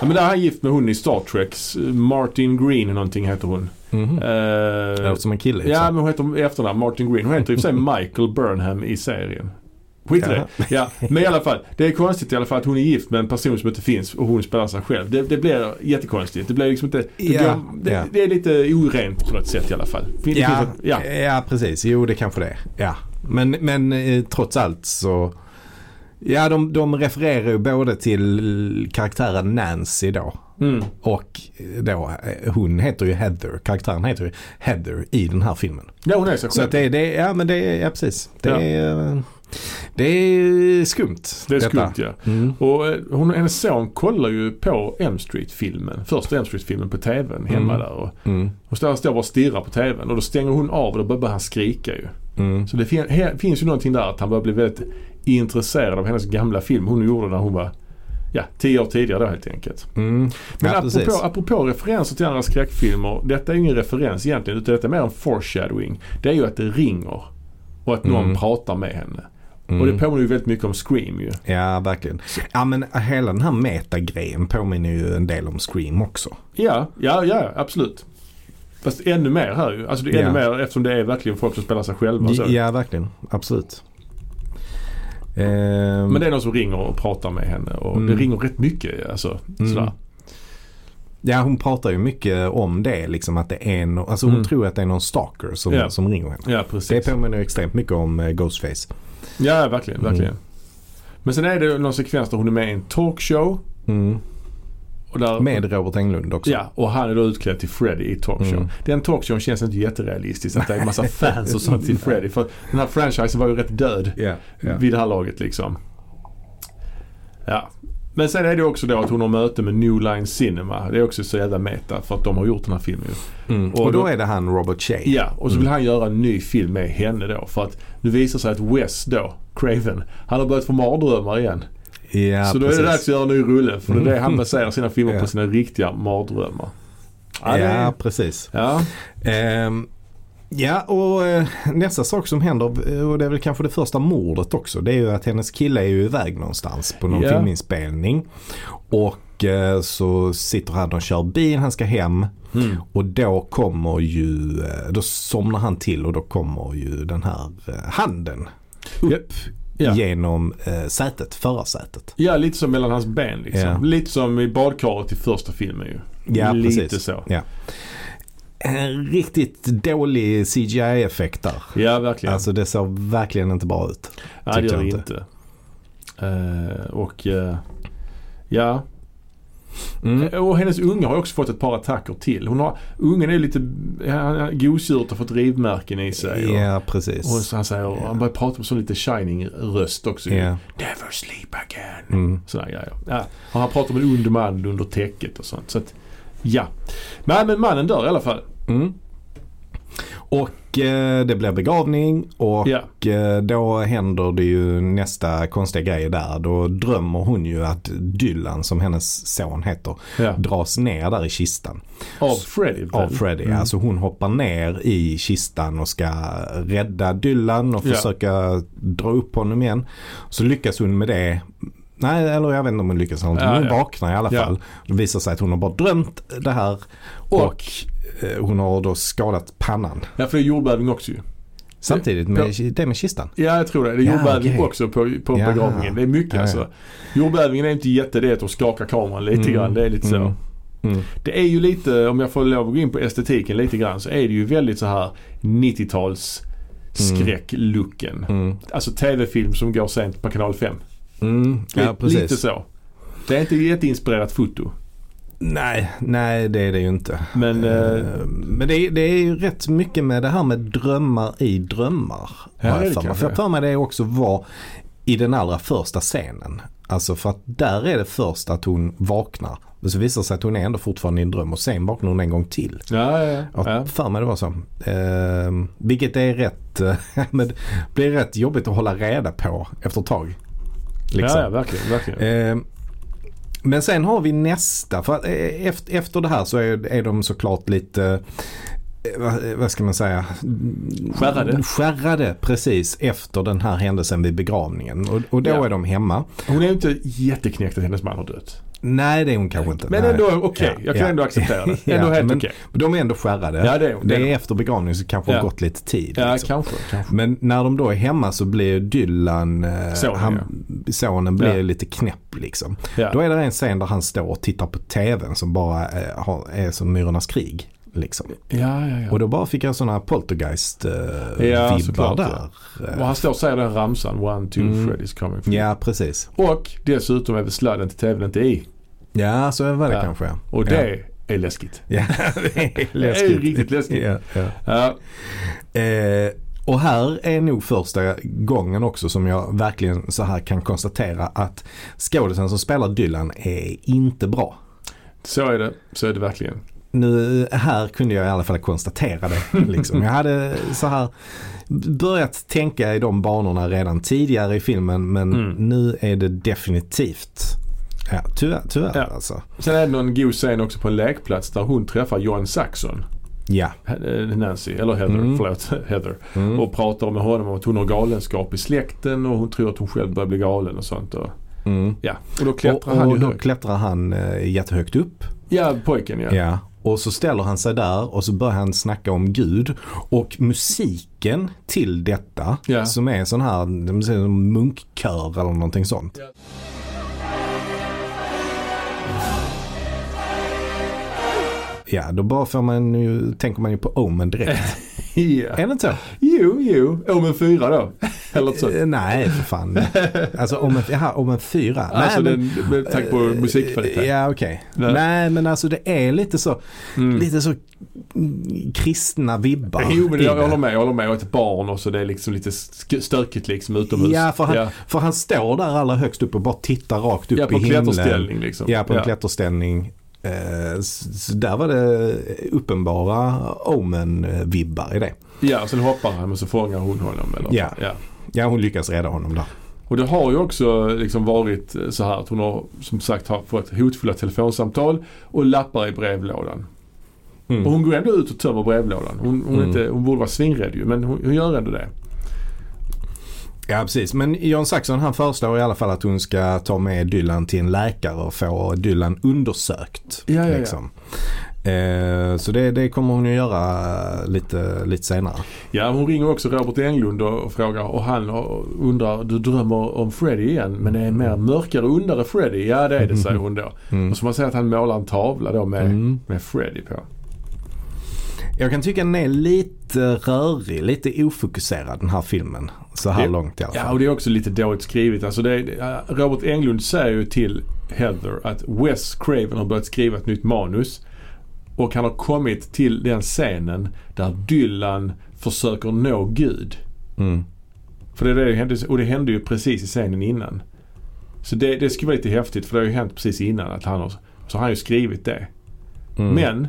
Speaker 1: ja. Men där är han gift med hon i Star Trek. S- Martin Green någonting heter hon.
Speaker 2: Mhm.
Speaker 1: Eh,
Speaker 2: Det låter som en kille.
Speaker 1: ja,
Speaker 2: liksom.
Speaker 1: men hon heter i efternamn Martin Green. Hon heter i och för sig Michael Burnham i serien. Skit i det. Ja, men i alla fall. Det är konstigt i alla fall att hon är gift med en person som inte finns och hon spelar sig själv. Det, det blir jättekonstigt. Det blir liksom inte... Det,
Speaker 2: Ja,
Speaker 1: går, det,
Speaker 2: ja.
Speaker 1: det är lite orent på något sätt i alla fall. Det
Speaker 2: Ja,
Speaker 1: finns ett-
Speaker 2: ja.
Speaker 1: ja.
Speaker 2: precis. Jo, det kanske det är. Ja. Men, men eh, trots allt så... Ja, de, de refererar ju både till karaktären Nancy då.
Speaker 1: Mm.
Speaker 2: Och då, eh, hon heter ju Heather. Karaktären heter ju Heather i den här filmen.
Speaker 1: ja, hon är sig
Speaker 2: Så
Speaker 1: själv.
Speaker 2: att det, det, ja men det är, ja precis. Det,
Speaker 1: Ja.
Speaker 2: Är, det är skumt.
Speaker 1: det är
Speaker 2: detta.
Speaker 1: skumt ja.
Speaker 2: Mm.
Speaker 1: Och eh, hon, hennes son kollar ju på M Street-filmen. Första M Street-filmen på TVn hemma
Speaker 2: Mm.
Speaker 1: där. Och
Speaker 2: Mm.
Speaker 1: hon står står bara och stirrar på TVn och då stänger hon av och då börjar han skrika ju.
Speaker 2: Mm.
Speaker 1: Så det fin- he- finns ju någonting där att han börjar bli väldigt intresserad av hennes gamla film hon gjorde när hon var ja, tio år tidigare då helt enkelt.
Speaker 2: Mm.
Speaker 1: Men
Speaker 2: ja,
Speaker 1: apropå,
Speaker 2: precis.
Speaker 1: apropå referenser till andra skräckfilmer. Detta är ingen referens egentligen utan detta är mer en foreshadowing. Det är ju att det ringer och att någon
Speaker 2: Mm.
Speaker 1: pratar med henne.
Speaker 2: Mm.
Speaker 1: Och det påminner ju väldigt mycket om Scream ju.
Speaker 2: Ja, verkligen. Ja, men hela den här metagrejen påminner ju en del om Scream också.
Speaker 1: Ja, ja, ja absolut. Fast ännu mer här ju. Alltså det är ännu mer eftersom det är verkligen folk som spelar sig själva. Så.
Speaker 2: Ja, verkligen. Absolut. Ehm,
Speaker 1: Men det är någon som ringer och pratar med henne och
Speaker 2: Mm.
Speaker 1: det ringer rätt mycket. Alltså,
Speaker 2: Mm.
Speaker 1: sådär.
Speaker 2: Ja, hon pratar ju mycket om det. Liksom att det är no- alltså hon
Speaker 1: Mm.
Speaker 2: tror att det är någon stalker som,
Speaker 1: Ja.
Speaker 2: som ringer henne.
Speaker 1: Ja,
Speaker 2: Det
Speaker 1: precis.
Speaker 2: påminner ju extremt mycket om eh, Ghostface.
Speaker 1: Ja, verkligen.
Speaker 2: Mm.
Speaker 1: verkligen. Men sen är det någon sekvens där hon är med i en talkshow.
Speaker 2: Mm.
Speaker 1: Och där,
Speaker 2: Med Robert Englund också.
Speaker 1: Ja, och han är då utklädd till Freddy i talkshow.
Speaker 2: Mm.
Speaker 1: Den talkshowen känns inte jätterealistisk att det är en massa fans och sånt till Freddy. För den här franchisen var ju rätt död
Speaker 2: Ja, ja.
Speaker 1: vid det här laget liksom. Ja. Men sen är det också då att hon har möte med New Line Cinema. Det är också så jävla meta för att de har gjort den här filmen ju.
Speaker 2: Mm. Och då är Mm. det han Robert Shea.
Speaker 1: Ja, och så vill han göra en ny film med henne då. För att nu visar sig att Wes då, Craven, han har börjat få mardrömmar igen.
Speaker 2: Ja, Mm.
Speaker 1: så då är det dags att göra en ny rulle. För det är det han baserar sina filmer
Speaker 2: Ja.
Speaker 1: på, sina riktiga mardrömmar. Ja, det är-
Speaker 2: Ja, precis.
Speaker 1: ja.
Speaker 2: Ehm, ja, och eh, nästa sak som händer, eh, och det är väl kanske det första mordet också, det är ju att hennes kille är ju iväg någonstans på någon
Speaker 1: Ja.
Speaker 2: filminspelning. Och eh, så sitter han och kör bil, han ska hem.
Speaker 1: Mm.
Speaker 2: Och då kommer ju, eh, då somnar han till och då kommer ju den här eh, handen upp
Speaker 1: Ja.
Speaker 2: genom eh, sätet, förarsätet.
Speaker 1: ja, lite som mellan hans ben liksom.
Speaker 2: Ja.
Speaker 1: Lite som i badkaret i första filmen ju.
Speaker 2: Ja,
Speaker 1: lite
Speaker 2: precis.
Speaker 1: så.
Speaker 2: Ja. En riktigt dålig CGI-effekt där.
Speaker 1: Ja, verkligen.
Speaker 2: Alltså det såg verkligen inte bra ut.
Speaker 1: Nej, det
Speaker 2: tyckte
Speaker 1: gör
Speaker 2: jag
Speaker 1: det
Speaker 2: inte.
Speaker 1: inte. Eh, och eh, ja,
Speaker 2: Mm.
Speaker 1: Eh, och hennes unge har ju också fått ett par attacker till. Hon har, ungen är ju lite, han- han- gosedjuret har fått rivmärken i sig. och-
Speaker 2: Ja, precis.
Speaker 1: Och så han säger, och han börjar prata med sån lite shining-röst också. ju.
Speaker 2: Ja.
Speaker 1: Never sleep again.
Speaker 2: Mm.
Speaker 1: Sådana grejer. Ja. Och han pratar om en ond man under täcket och sånt. Så att, ja. Men, men mannen dör i alla fall.
Speaker 2: Mm. Och eh, det blir begravning och
Speaker 1: Ja.
Speaker 2: eh, då händer det ju nästa konstiga grej där. Då drömmer hon ju att Dylan, som hennes son heter,
Speaker 1: Ja.
Speaker 2: dras ner där i kistan.
Speaker 1: Av Freddy. Mm.
Speaker 2: Av
Speaker 1: väl?
Speaker 2: Freddy. Alltså hon hoppar ner i kistan och ska rädda Dylan och
Speaker 1: Ja.
Speaker 2: försöka dra upp honom igen. Så lyckas hon med det. Nej, eller jag vet inte om hon lyckas eller inte. men
Speaker 1: Ja,
Speaker 2: hon
Speaker 1: ja.
Speaker 2: vaknar i alla
Speaker 1: Ja.
Speaker 2: fall. Det visar sig att hon har bara drömt det här. Och,
Speaker 1: Och,
Speaker 2: eh, hon har då skadat pannan.
Speaker 1: ja för det är jordbävning också ju.
Speaker 2: Samtidigt med det med kistan.
Speaker 1: Ja, jag tror det. Det är
Speaker 2: Ja,
Speaker 1: jordbävning
Speaker 2: okej.
Speaker 1: också på, på
Speaker 2: Jaha.
Speaker 1: begravningen. Det är mycket
Speaker 2: Ja, ja.
Speaker 1: alltså. Jordbävningen är inte jätte, det är att de skakar kameran lite
Speaker 2: Mm.
Speaker 1: grann. Det är lite så.
Speaker 2: Mm. Mm.
Speaker 1: Det är ju lite, om jag får lov att gå in på estetiken lite grann, så är det ju väldigt så här 90-tals skräcklooken.
Speaker 2: Mm.
Speaker 1: Alltså tv-film som går sent på kanal 5.
Speaker 2: Mm. Ja,
Speaker 1: Lite- Lite
Speaker 2: precis.
Speaker 1: så. Det är inte jätteinspirerat foto.
Speaker 2: Nej, nej det är det ju inte.
Speaker 1: Men eh,
Speaker 2: Eh, Men det är, det är ju rätt mycket med det här med drömmar i drömmar.
Speaker 1: Ja,
Speaker 2: har jag
Speaker 1: det
Speaker 2: för mig.
Speaker 1: kanske
Speaker 2: För jag
Speaker 1: är.
Speaker 2: för mig det också var i den allra första scenen. Alltså för att där är det först att hon vaknar. Men så visar det sig att hon är ändå fortfarande i en dröm och sen vaknar hon en gång till.
Speaker 1: ja, ja,
Speaker 2: Jag
Speaker 1: ja.
Speaker 2: för mig det var så. Eh, vilket är rätt, men det blir rätt jobbigt att hålla reda på efter ett tag. Liksom.
Speaker 1: ja, ja verkligen. verkligen.
Speaker 2: Eh, Men sen har vi nästa. För att, eh, efter, efter det här så är, är de såklart lite, eh, vad, vad ska man säga?
Speaker 1: Skärrade.
Speaker 2: Skärrade precis efter den här händelsen vid begravningen. Och, och då
Speaker 1: Ja.
Speaker 2: är de hemma.
Speaker 1: Hon är ju inte jätteknäckt att hennes man har dött.
Speaker 2: Nej det är hon kanske inte.
Speaker 1: Men
Speaker 2: Nej.
Speaker 1: ändå okej.
Speaker 2: Ja,
Speaker 1: Jag kan
Speaker 2: ja.
Speaker 1: ändå acceptera det.
Speaker 2: Ja,
Speaker 1: Ändå helt
Speaker 2: men
Speaker 1: okej.
Speaker 2: De är ändå skärrade.
Speaker 1: Ja, det är- det är de.
Speaker 2: efter begravningen så kanske
Speaker 1: Ja.
Speaker 2: har gått lite tid.
Speaker 1: Ja,
Speaker 2: liksom.
Speaker 1: kanske. kanske.
Speaker 2: Men när de då är hemma så blir Dylan, eh,
Speaker 1: Sonen,
Speaker 2: han, sonen blir
Speaker 1: Ja.
Speaker 2: lite knäpp liksom.
Speaker 1: Ja.
Speaker 2: Då är det en scen där han står och tittar på tvn som bara eh, har, är som Myrornas krig. Liksom.
Speaker 1: Ja, ja, ja.
Speaker 2: Och då bara fick jag sådana poltergeist-vibbar
Speaker 1: Ja, såklart,
Speaker 2: eh, där. Eh,
Speaker 1: Och han står och säger den ramsan. One, two, Freddy's coming. for you."
Speaker 2: Mm. Ja, precis.
Speaker 1: Och dessutom är väl sladden till tvn inte i.
Speaker 2: Ja, så var det
Speaker 1: Ja.
Speaker 2: kanske.
Speaker 1: Och det är läskigt.
Speaker 2: Ja, det är
Speaker 1: Det är
Speaker 2: läskigt.
Speaker 1: riktigt läskigt.
Speaker 2: Ja, ja.
Speaker 1: Ja,
Speaker 2: Eh, och här är nog första gången också som jag verkligen så här kan konstatera att skådisen som spelar Dylan är inte bra.
Speaker 1: så är det. Så är det verkligen.
Speaker 2: Nu, här kunde jag i alla fall konstatera det. Liksom. Jag hade så här börjat tänka i de banorna redan tidigare i filmen men
Speaker 1: Mm.
Speaker 2: nu är det definitivt Ja, tyvärr, tyvärr
Speaker 1: Ja.
Speaker 2: alltså.
Speaker 1: Sen är det någon god scen också på en lekplats där hon träffar John Saxon.
Speaker 2: Ja.
Speaker 1: Eh, Nancy, eller Heather,
Speaker 2: Mm.
Speaker 1: förlåt. Heather.
Speaker 2: Mm.
Speaker 1: Och pratar med honom om att hon har galenskap i släkten och hon tror att hon själv börjar bli galen och sånt. Och,
Speaker 2: mm.
Speaker 1: ja. och då
Speaker 2: och,
Speaker 1: klättrar han
Speaker 2: och
Speaker 1: ju
Speaker 2: då
Speaker 1: högt.
Speaker 2: klättrar han eh, jättehögt upp.
Speaker 1: Ja, pojken ja.
Speaker 2: Ja. Och så ställer han sig där och så börjar han snacka om Gud. Och musiken till detta
Speaker 1: Ja.
Speaker 2: som är sån här de säger som munkkör eller någonting sånt. Ja, då bara får man ju, tänker man ju på Omen direkt.
Speaker 1: Ja.
Speaker 2: är det inte så?
Speaker 1: Jo, jo. Omen 4 då. Eller så.
Speaker 2: Eh, Nej, för fan. Alltså Omen, jaha, Omen 4.
Speaker 1: Alltså
Speaker 2: Nej, men-
Speaker 1: den, med tanke på musikkvalitet.
Speaker 2: Eh, Ja, okej.
Speaker 1: Nej.
Speaker 2: Nej, men alltså det är lite så, lite så kristna vibbar.
Speaker 1: Mm. Jo, men
Speaker 2: i
Speaker 1: jag
Speaker 2: det.
Speaker 1: håller med. Jag håller med. Jag är ett barn och så det är liksom lite sk- stökigt liksom utomhus.
Speaker 2: Ja för, han,
Speaker 1: ja.
Speaker 2: för han står där allra högst upp och bara tittar rakt upp
Speaker 1: Ja, på
Speaker 2: i
Speaker 1: en
Speaker 2: himlen.
Speaker 1: klätterställning liksom.
Speaker 2: Ja, på en
Speaker 1: Ja.
Speaker 2: klätterställning. Eh, s- Så där var det uppenbara Omen-vibbar i det.
Speaker 1: ja, och sen hoppar han och så fångar hon honom. Eller?
Speaker 2: Ja.
Speaker 1: ja.
Speaker 2: Ja, hon lyckas rädda honom där.
Speaker 1: Och det har ju också liksom varit så här att hon har som sagt har fått hotfulla telefonsamtal och lappar i brevlådan.
Speaker 2: Mm.
Speaker 1: Och hon går ändå ut och tömmer brevlådan. Hon, hon, är
Speaker 2: Mm.
Speaker 1: inte, hon borde vara svinrädd ju, men hon, hon gör ändå det.
Speaker 2: Ja, precis. Men John Saxon han föreslår i alla fall att hon ska ta med Dylan till en läkare och få Dylan undersökt. liksom.
Speaker 1: Ja, ja, ja.
Speaker 2: Eh, så det, det kommer hon ju göra lite, lite senare.
Speaker 1: Ja, hon ringer också Robert Englund och och frågar och han har- undrar, du drömmer om Freddy igen men det är en mer mörkare och ondare Freddy. Ja det är det, säger hon då.
Speaker 2: Mm.
Speaker 1: Och så man säger att han målar en tavla då med,
Speaker 2: Mm.
Speaker 1: med Freddy på.
Speaker 2: Jag kan tycka den är lite rörig, lite ofokuserad den här filmen. Så här
Speaker 1: Det-
Speaker 2: långt i alla
Speaker 1: Ja,
Speaker 2: fall.
Speaker 1: och det är också lite dåligt skrivet. Alltså det är, Robert Englund säger ju till Heather att Wes Craven har börjat skriva ett nytt manus och han har kommit till den scenen där Dylan försöker nå Gud.
Speaker 2: Mm.
Speaker 1: För det, är det som hände, och det hände ju precis i scenen innan. Så det, det skulle vara lite häftigt för det har ju hänt precis innan. Att han har, så har han ju skrivit det.
Speaker 2: Mm.
Speaker 1: Men,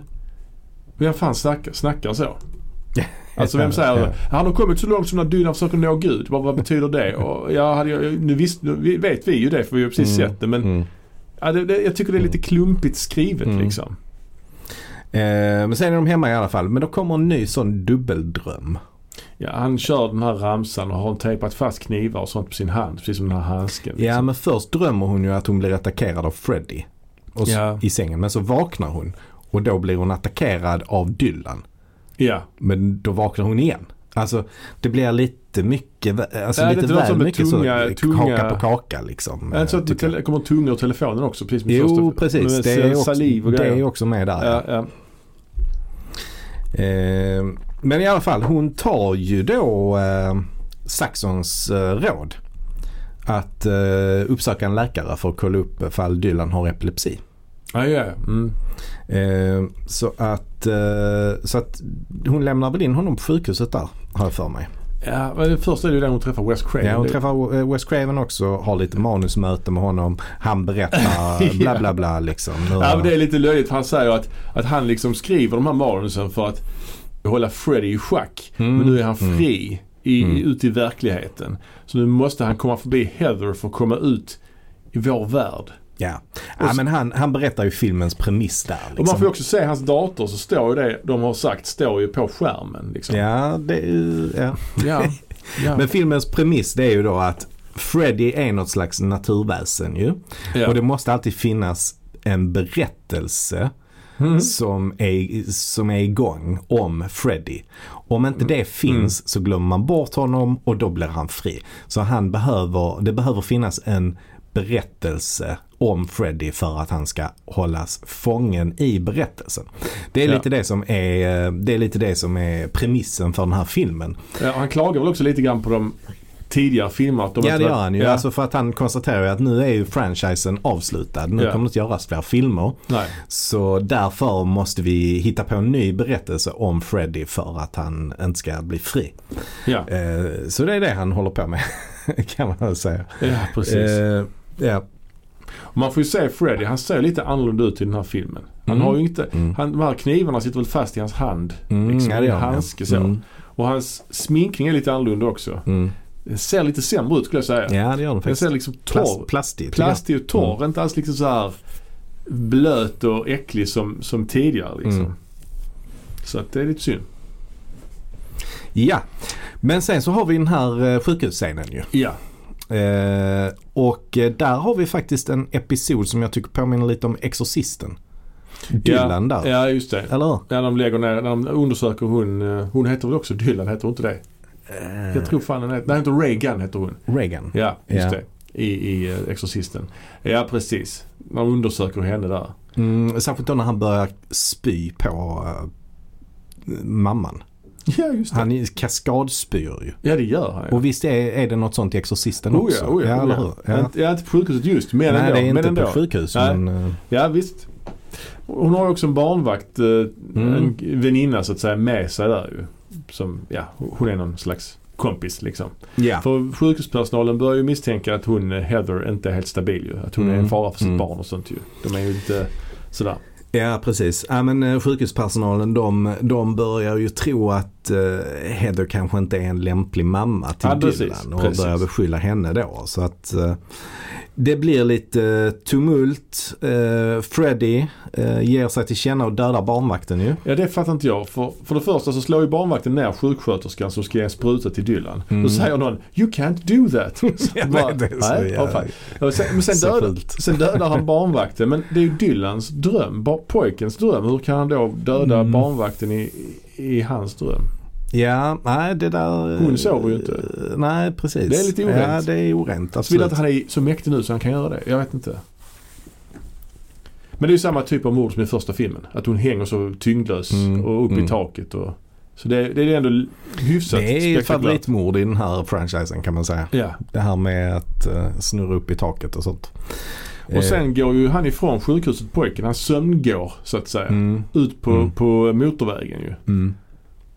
Speaker 1: vem fan snackar, snackar så? Alltså vem säger det? Han har kommit så långt som när Dylan försöker nå Gud. Vad, vad betyder det? Och, ja, hade jag, nu, visst, nu vet vi ju det för vi har precis
Speaker 2: Mm.
Speaker 1: sett det. Men
Speaker 2: Mm.
Speaker 1: ja, det, det, jag tycker det är lite klumpigt skrivet
Speaker 2: Mm.
Speaker 1: liksom.
Speaker 2: Eh, men sen är de hemma i alla fall. Men då kommer en ny sån dubbeldröm.
Speaker 1: Ja, han kör den här ramsan och har tejpat fast knivar och sånt på sin hand. Precis som den här handsken. Liksom.
Speaker 2: Ja men först drömmer hon ju att hon blir attackerad av Freddy. Och så,
Speaker 1: Ja.
Speaker 2: I sängen. Men så vaknar hon. Och då blir hon attackerad av Dylan.
Speaker 1: ja.
Speaker 2: Men då vaknar hon igen. Alltså det blir lite mycket, vä- alltså
Speaker 1: Ja, det
Speaker 2: lite
Speaker 1: låter
Speaker 2: väl
Speaker 1: som det
Speaker 2: mycket
Speaker 1: tunga-
Speaker 2: så
Speaker 1: tunga-
Speaker 2: kaka på kaka liksom.
Speaker 1: Äh, så
Speaker 2: eh,
Speaker 1: att det
Speaker 2: tycker jag.
Speaker 1: tele- kommer tungor ur telefonen också. Precis som
Speaker 2: Jo
Speaker 1: första-
Speaker 2: precis,
Speaker 1: med
Speaker 2: det är, också,
Speaker 1: saliv och
Speaker 2: det
Speaker 1: grejer.
Speaker 2: är också med där.
Speaker 1: ja, ja.
Speaker 2: Eh, men i alla fall, hon tar ju då eh, Saxons eh, råd. Att eh, uppsöka en läkare för att kolla upp ifall Dylan har epilepsi.
Speaker 1: Ja, ja. Mm.
Speaker 2: Eh, så, att, eh, så att hon lämnar väl in honom på sjukhuset där, har jag för mig.
Speaker 1: ja men först är det ju där hon träffar West Craven.
Speaker 2: Ja, hon
Speaker 1: Det-
Speaker 2: träffar eh, Wes Craven också, har lite manusmöte med honom. Han berättar bla bla bla liksom.
Speaker 1: Ja, men det är lite löjligt. för Han säger att, att han liksom skriver de här manusen för att hålla Freddy i schack.
Speaker 2: Mm.
Speaker 1: Men nu är han fri i, ut i verkligheten. Så nu måste han komma förbi Heather för att komma ut i vår värld.
Speaker 2: ja. ja men han, han berättar ju filmens premiss där. Liksom.
Speaker 1: Och man får ju också se hans dator så står ju det de har sagt står ju på skärmen. Liksom.
Speaker 2: Ja, det är ju- ja.
Speaker 1: Ja. Ja.
Speaker 2: Men filmens premiss det är ju då att Freddy är något slags naturväsen ju.
Speaker 1: Ja.
Speaker 2: Och det måste alltid finnas en berättelse
Speaker 1: Mm.
Speaker 2: som, är, som är igång om Freddy. Om inte
Speaker 1: Mm.
Speaker 2: det finns så glömmer man bort honom och då blir han fri. Så han behöver, det behöver finnas en berättelse om Freddy för att han ska hållas fången i berättelsen. Det är,
Speaker 1: Ja.
Speaker 2: lite, det, som är, det är lite det som är premissen för den här filmen.
Speaker 1: Ja, han klagar väl också lite grann på de tidigare filmerna. att de
Speaker 2: Ja
Speaker 1: inte
Speaker 2: det
Speaker 1: var-
Speaker 2: gör han ju.
Speaker 1: Ja.
Speaker 2: Alltså för att han konstaterar ju att nu är ju franchisen avslutad. Nu
Speaker 1: Ja.
Speaker 2: kommer det inte göras fler filmer.
Speaker 1: Nej.
Speaker 2: Så därför måste vi hitta på en ny berättelse om Freddy för att han inte ska bli fri.
Speaker 1: Ja.
Speaker 2: Eh, så det är det han håller på med. kan man väl säga.
Speaker 1: ja, precis.
Speaker 2: Eh, ja.
Speaker 1: Man får ju se Freddy, han ser lite annorlunda ut i den här filmen. Han
Speaker 2: Mm.
Speaker 1: har ju inte,
Speaker 2: Mm.
Speaker 1: han, de här knivarna sitter väl fast i hans hand.
Speaker 2: Mm,
Speaker 1: liksom,
Speaker 2: ja,
Speaker 1: i
Speaker 2: det
Speaker 1: en
Speaker 2: gör han, ja.
Speaker 1: handske så.
Speaker 2: Mm.
Speaker 1: Och hans sminkning är lite annorlunda också.
Speaker 2: Mm.
Speaker 1: Den ser lite sämre ut skulle jag säga.
Speaker 2: ja det gör han
Speaker 1: Den
Speaker 2: faktiskt.
Speaker 1: ser liksom torr,
Speaker 2: Plast, Mm. plastigt.
Speaker 1: plastig och torr. Inte alls liksom så här blöt och äcklig som, som tidigare liksom.
Speaker 2: Mm.
Speaker 1: Så att det är lite synd.
Speaker 2: Ja. Men sen så har vi den här eh, sjukhusscenen ju.
Speaker 1: Ja.
Speaker 2: Eh, och eh, där har vi faktiskt en episod som jag tycker påminner lite om Exorcisten. Dylan
Speaker 1: ja,
Speaker 2: där.
Speaker 1: Ja, just det.
Speaker 2: Eller hur?
Speaker 1: När de lägger ner, när de undersöker hon, eh, hon heter väl också Dylan, heter hon inte det? Jag tror fan hon heter, nej inte Reagan heter hon.
Speaker 2: Reagan.
Speaker 1: Ja, just
Speaker 2: Ja.
Speaker 1: det. I, i eh, Exorcisten. Ja, precis. När de undersöker henne där.
Speaker 2: Mm, särskilt då när han börjar spy på eh, mamman.
Speaker 1: Ja, just det.
Speaker 2: Han är- kaskadspyr ju.
Speaker 1: Ja, det gör han. ja.
Speaker 2: Och visst är, är det något sånt i Exorcisten
Speaker 1: Oh
Speaker 2: också?
Speaker 1: ja, oh ja,
Speaker 2: ja,
Speaker 1: oh
Speaker 2: eller
Speaker 1: ja.
Speaker 2: hur? Ja.
Speaker 1: Inte- Ja, inte på sjukhuset just, men
Speaker 2: Nej,
Speaker 1: ändå.
Speaker 2: det är
Speaker 1: men
Speaker 2: inte
Speaker 1: ändå.
Speaker 2: på sjukhus.
Speaker 1: Nej.
Speaker 2: Men, eh,
Speaker 1: Ja, visst. Hon har ju också en barnvakt, eh, en
Speaker 2: Mm.
Speaker 1: väninna så att säga, med sig där ju. Som, ja, hon är någon slags kompis liksom.
Speaker 2: ja.
Speaker 1: För sjukhuspersonalen börjar ju misstänka att hon, eh, Heather, inte är helt stabil ju. Att hon är en
Speaker 2: Mm.
Speaker 1: fara för sitt
Speaker 2: Mm.
Speaker 1: barn och sånt ju. De är ju inte sådär.
Speaker 2: ja, precis. Ja, men, eh, sjukhuspersonalen de, de börjar ju tro att eh, Heather kanske inte är en lämplig mamma till
Speaker 1: Ja, precis,
Speaker 2: Dylan. Och
Speaker 1: precis.
Speaker 2: börjar beskylla henne då. Så att eh, det blir lite eh, tumult. Eh, Freddy eh, ger sig till känna och dödar barnvakten ju.
Speaker 1: Ja det fattar inte jag. För, för det första så slår ju barnvakten ner sjuksköterskan som ska ge en spruta till Dylan. Då säger någon “You can't do that”. Så
Speaker 2: Mm. Ja,
Speaker 1: bara,
Speaker 2: det är så
Speaker 1: "Nej,
Speaker 2: jävla-
Speaker 1: åh, fan." Och sen, men
Speaker 2: Så
Speaker 1: sen, dödar,
Speaker 2: fult.
Speaker 1: sen dödar han barnvakten. Men det är ju Dylans dröm. Ba- Pojkens dröm. Hur kan han då döda
Speaker 2: Mm.
Speaker 1: barnvakten i, i hans dröm?
Speaker 2: Ja, nej det där...
Speaker 1: Hon sover ju inte.
Speaker 2: eh, Nej, precis.
Speaker 1: Det är lite orent.
Speaker 2: Ja, det är orent.
Speaker 1: Så vill
Speaker 2: Absolut.
Speaker 1: att han är så mäktig nu så han kan göra det. Jag vet inte. Men det är ju samma typ av mord som i första filmen. Att hon hänger så tyngdlös
Speaker 2: Mm,
Speaker 1: och upp i
Speaker 2: mm.
Speaker 1: taket. Och, så det, det är ändå hyfsat
Speaker 2: Det är ju
Speaker 1: spektakulärt.
Speaker 2: favoritmord i den här franchisen kan man säga.
Speaker 1: Ja.
Speaker 2: Det här med att eh, snurra upp i taket och sånt.
Speaker 1: Och
Speaker 2: Eh.
Speaker 1: sen går ju han ifrån sjukhuset pojken. Han sömngår så att säga.
Speaker 2: Mm,
Speaker 1: Ut på,
Speaker 2: Mm.
Speaker 1: på motorvägen ju.
Speaker 2: mm.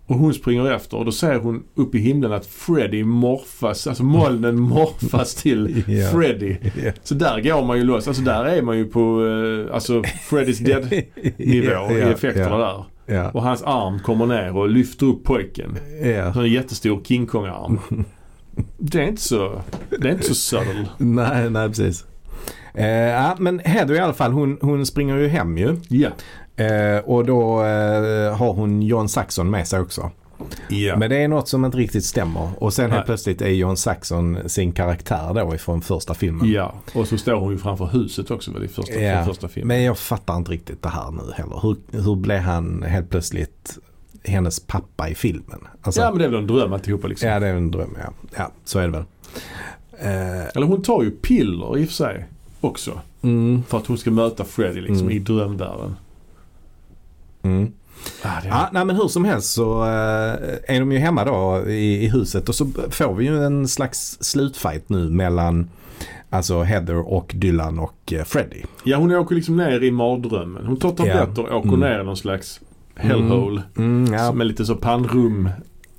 Speaker 1: Och hon springer efter och då ser hon upp i himlen att Freddy morfas, alltså molnen morfas till
Speaker 2: Ja.
Speaker 1: Freddy.
Speaker 2: Ja.
Speaker 1: Så där går man ju loss. Alltså där är man ju på eh, alltså Freddys dead nivå
Speaker 2: Ja,
Speaker 1: i
Speaker 2: ja,
Speaker 1: effekterna
Speaker 2: ja,
Speaker 1: där.
Speaker 2: Ja,
Speaker 1: Och hans arm kommer ner och lyfter upp pojken.
Speaker 2: ja.
Speaker 1: Så en jättestor King Kong-arm. Det är inte så, det är inte så subtle.
Speaker 2: Nej, nej precis. Eh, ja, men Heather i alla fall, hon, hon springer ju hem ju.
Speaker 1: Ja.
Speaker 2: Eh, och då eh, har hon John Saxon med sig också.
Speaker 1: ja.
Speaker 2: Men det är något som inte riktigt stämmer. Och sen
Speaker 1: Nej.
Speaker 2: helt plötsligt är John Saxon sin karaktär då ifrån första filmen.
Speaker 1: Ja, och så står hon ju framför huset också väl i första,
Speaker 2: Ja,
Speaker 1: i första filmen.
Speaker 2: Men jag fattar inte riktigt det här nu heller. Hur, hur blev han helt plötsligt hennes pappa i filmen? Alltså,
Speaker 1: ja
Speaker 2: ja,
Speaker 1: men det är väl en dröm alltihopa liksom.
Speaker 2: det är en dröm ja. Ja, så är det väl. Eh,
Speaker 1: Eller hon tar ju piller i och för sig också.
Speaker 2: mm,
Speaker 1: För att hon ska möta Freddy liksom
Speaker 2: Mm.
Speaker 1: i drömvärlden.
Speaker 2: mm.
Speaker 1: Ah, det är...
Speaker 2: Ja, nej, men hur som helst så eh, är de ju hemma då i, i huset och så får vi ju en slags slutfight nu mellan alltså Heather och Dylan och eh, Freddy.
Speaker 1: Ja hon åker liksom ner i mardrömmen. Hon tar tabletter och åker
Speaker 2: Mm.
Speaker 1: ner i någon slags hellhole.
Speaker 2: Mm, ja,
Speaker 1: Som är lite så pannrum.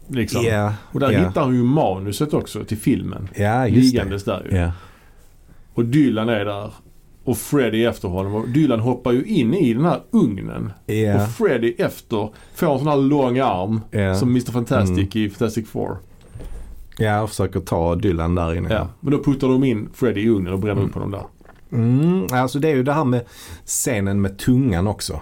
Speaker 1: Liksom.
Speaker 2: ja,
Speaker 1: Och där
Speaker 2: ja,
Speaker 1: hittar hon ju manuset också till filmen.
Speaker 2: ja, just det.
Speaker 1: Liggandes där ju.
Speaker 2: Ja.
Speaker 1: Och Dylan är där. Och Freddy är efter honom. Och Dylan hoppar ju in i den här ugnen.
Speaker 2: Ja.
Speaker 1: Och Freddy efter får en sån här lång arm.
Speaker 2: Ja. Mm.
Speaker 1: Som Mr Fantastic i Fantastic Four.
Speaker 2: ja, och försöker ta Dylan där inne.
Speaker 1: Ja. Men då puttar de in Freddy i ugnen och bränner upp honom där.
Speaker 2: Mm, alltså det är ju det här med scenen med tungan också.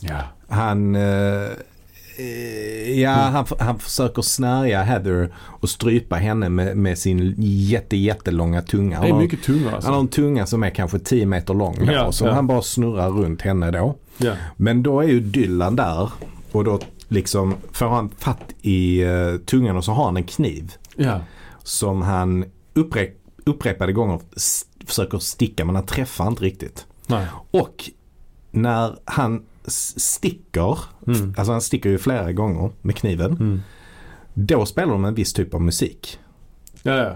Speaker 1: Ja.
Speaker 2: Han, eh, eh, ja,
Speaker 1: Mm.
Speaker 2: han, f- han försöker snärja Heather och strypa henne med, med sin jätte, jättelånga tunga.
Speaker 1: Det
Speaker 2: Han
Speaker 1: är
Speaker 2: har,
Speaker 1: mycket tungare
Speaker 2: han har
Speaker 1: alltså.
Speaker 2: en tunga som är kanske 10 meter lång då,
Speaker 1: Ja,
Speaker 2: som
Speaker 1: ja.
Speaker 2: han bara snurrar runt henne då.
Speaker 1: Ja.
Speaker 2: Men då är ju Dylan där och då liksom får han fatt i eh, tungan och så har han en kniv
Speaker 1: Ja.
Speaker 2: som han upprep, upprepade gånger s- försöker sticka men han träffar inte riktigt.
Speaker 1: Nej.
Speaker 2: Och när han s- sticker,
Speaker 1: Mm.
Speaker 2: alltså han sticker ju flera gånger med kniven.
Speaker 1: Mm.
Speaker 2: Då spelar de en viss typ av musik.
Speaker 1: Ja, ja.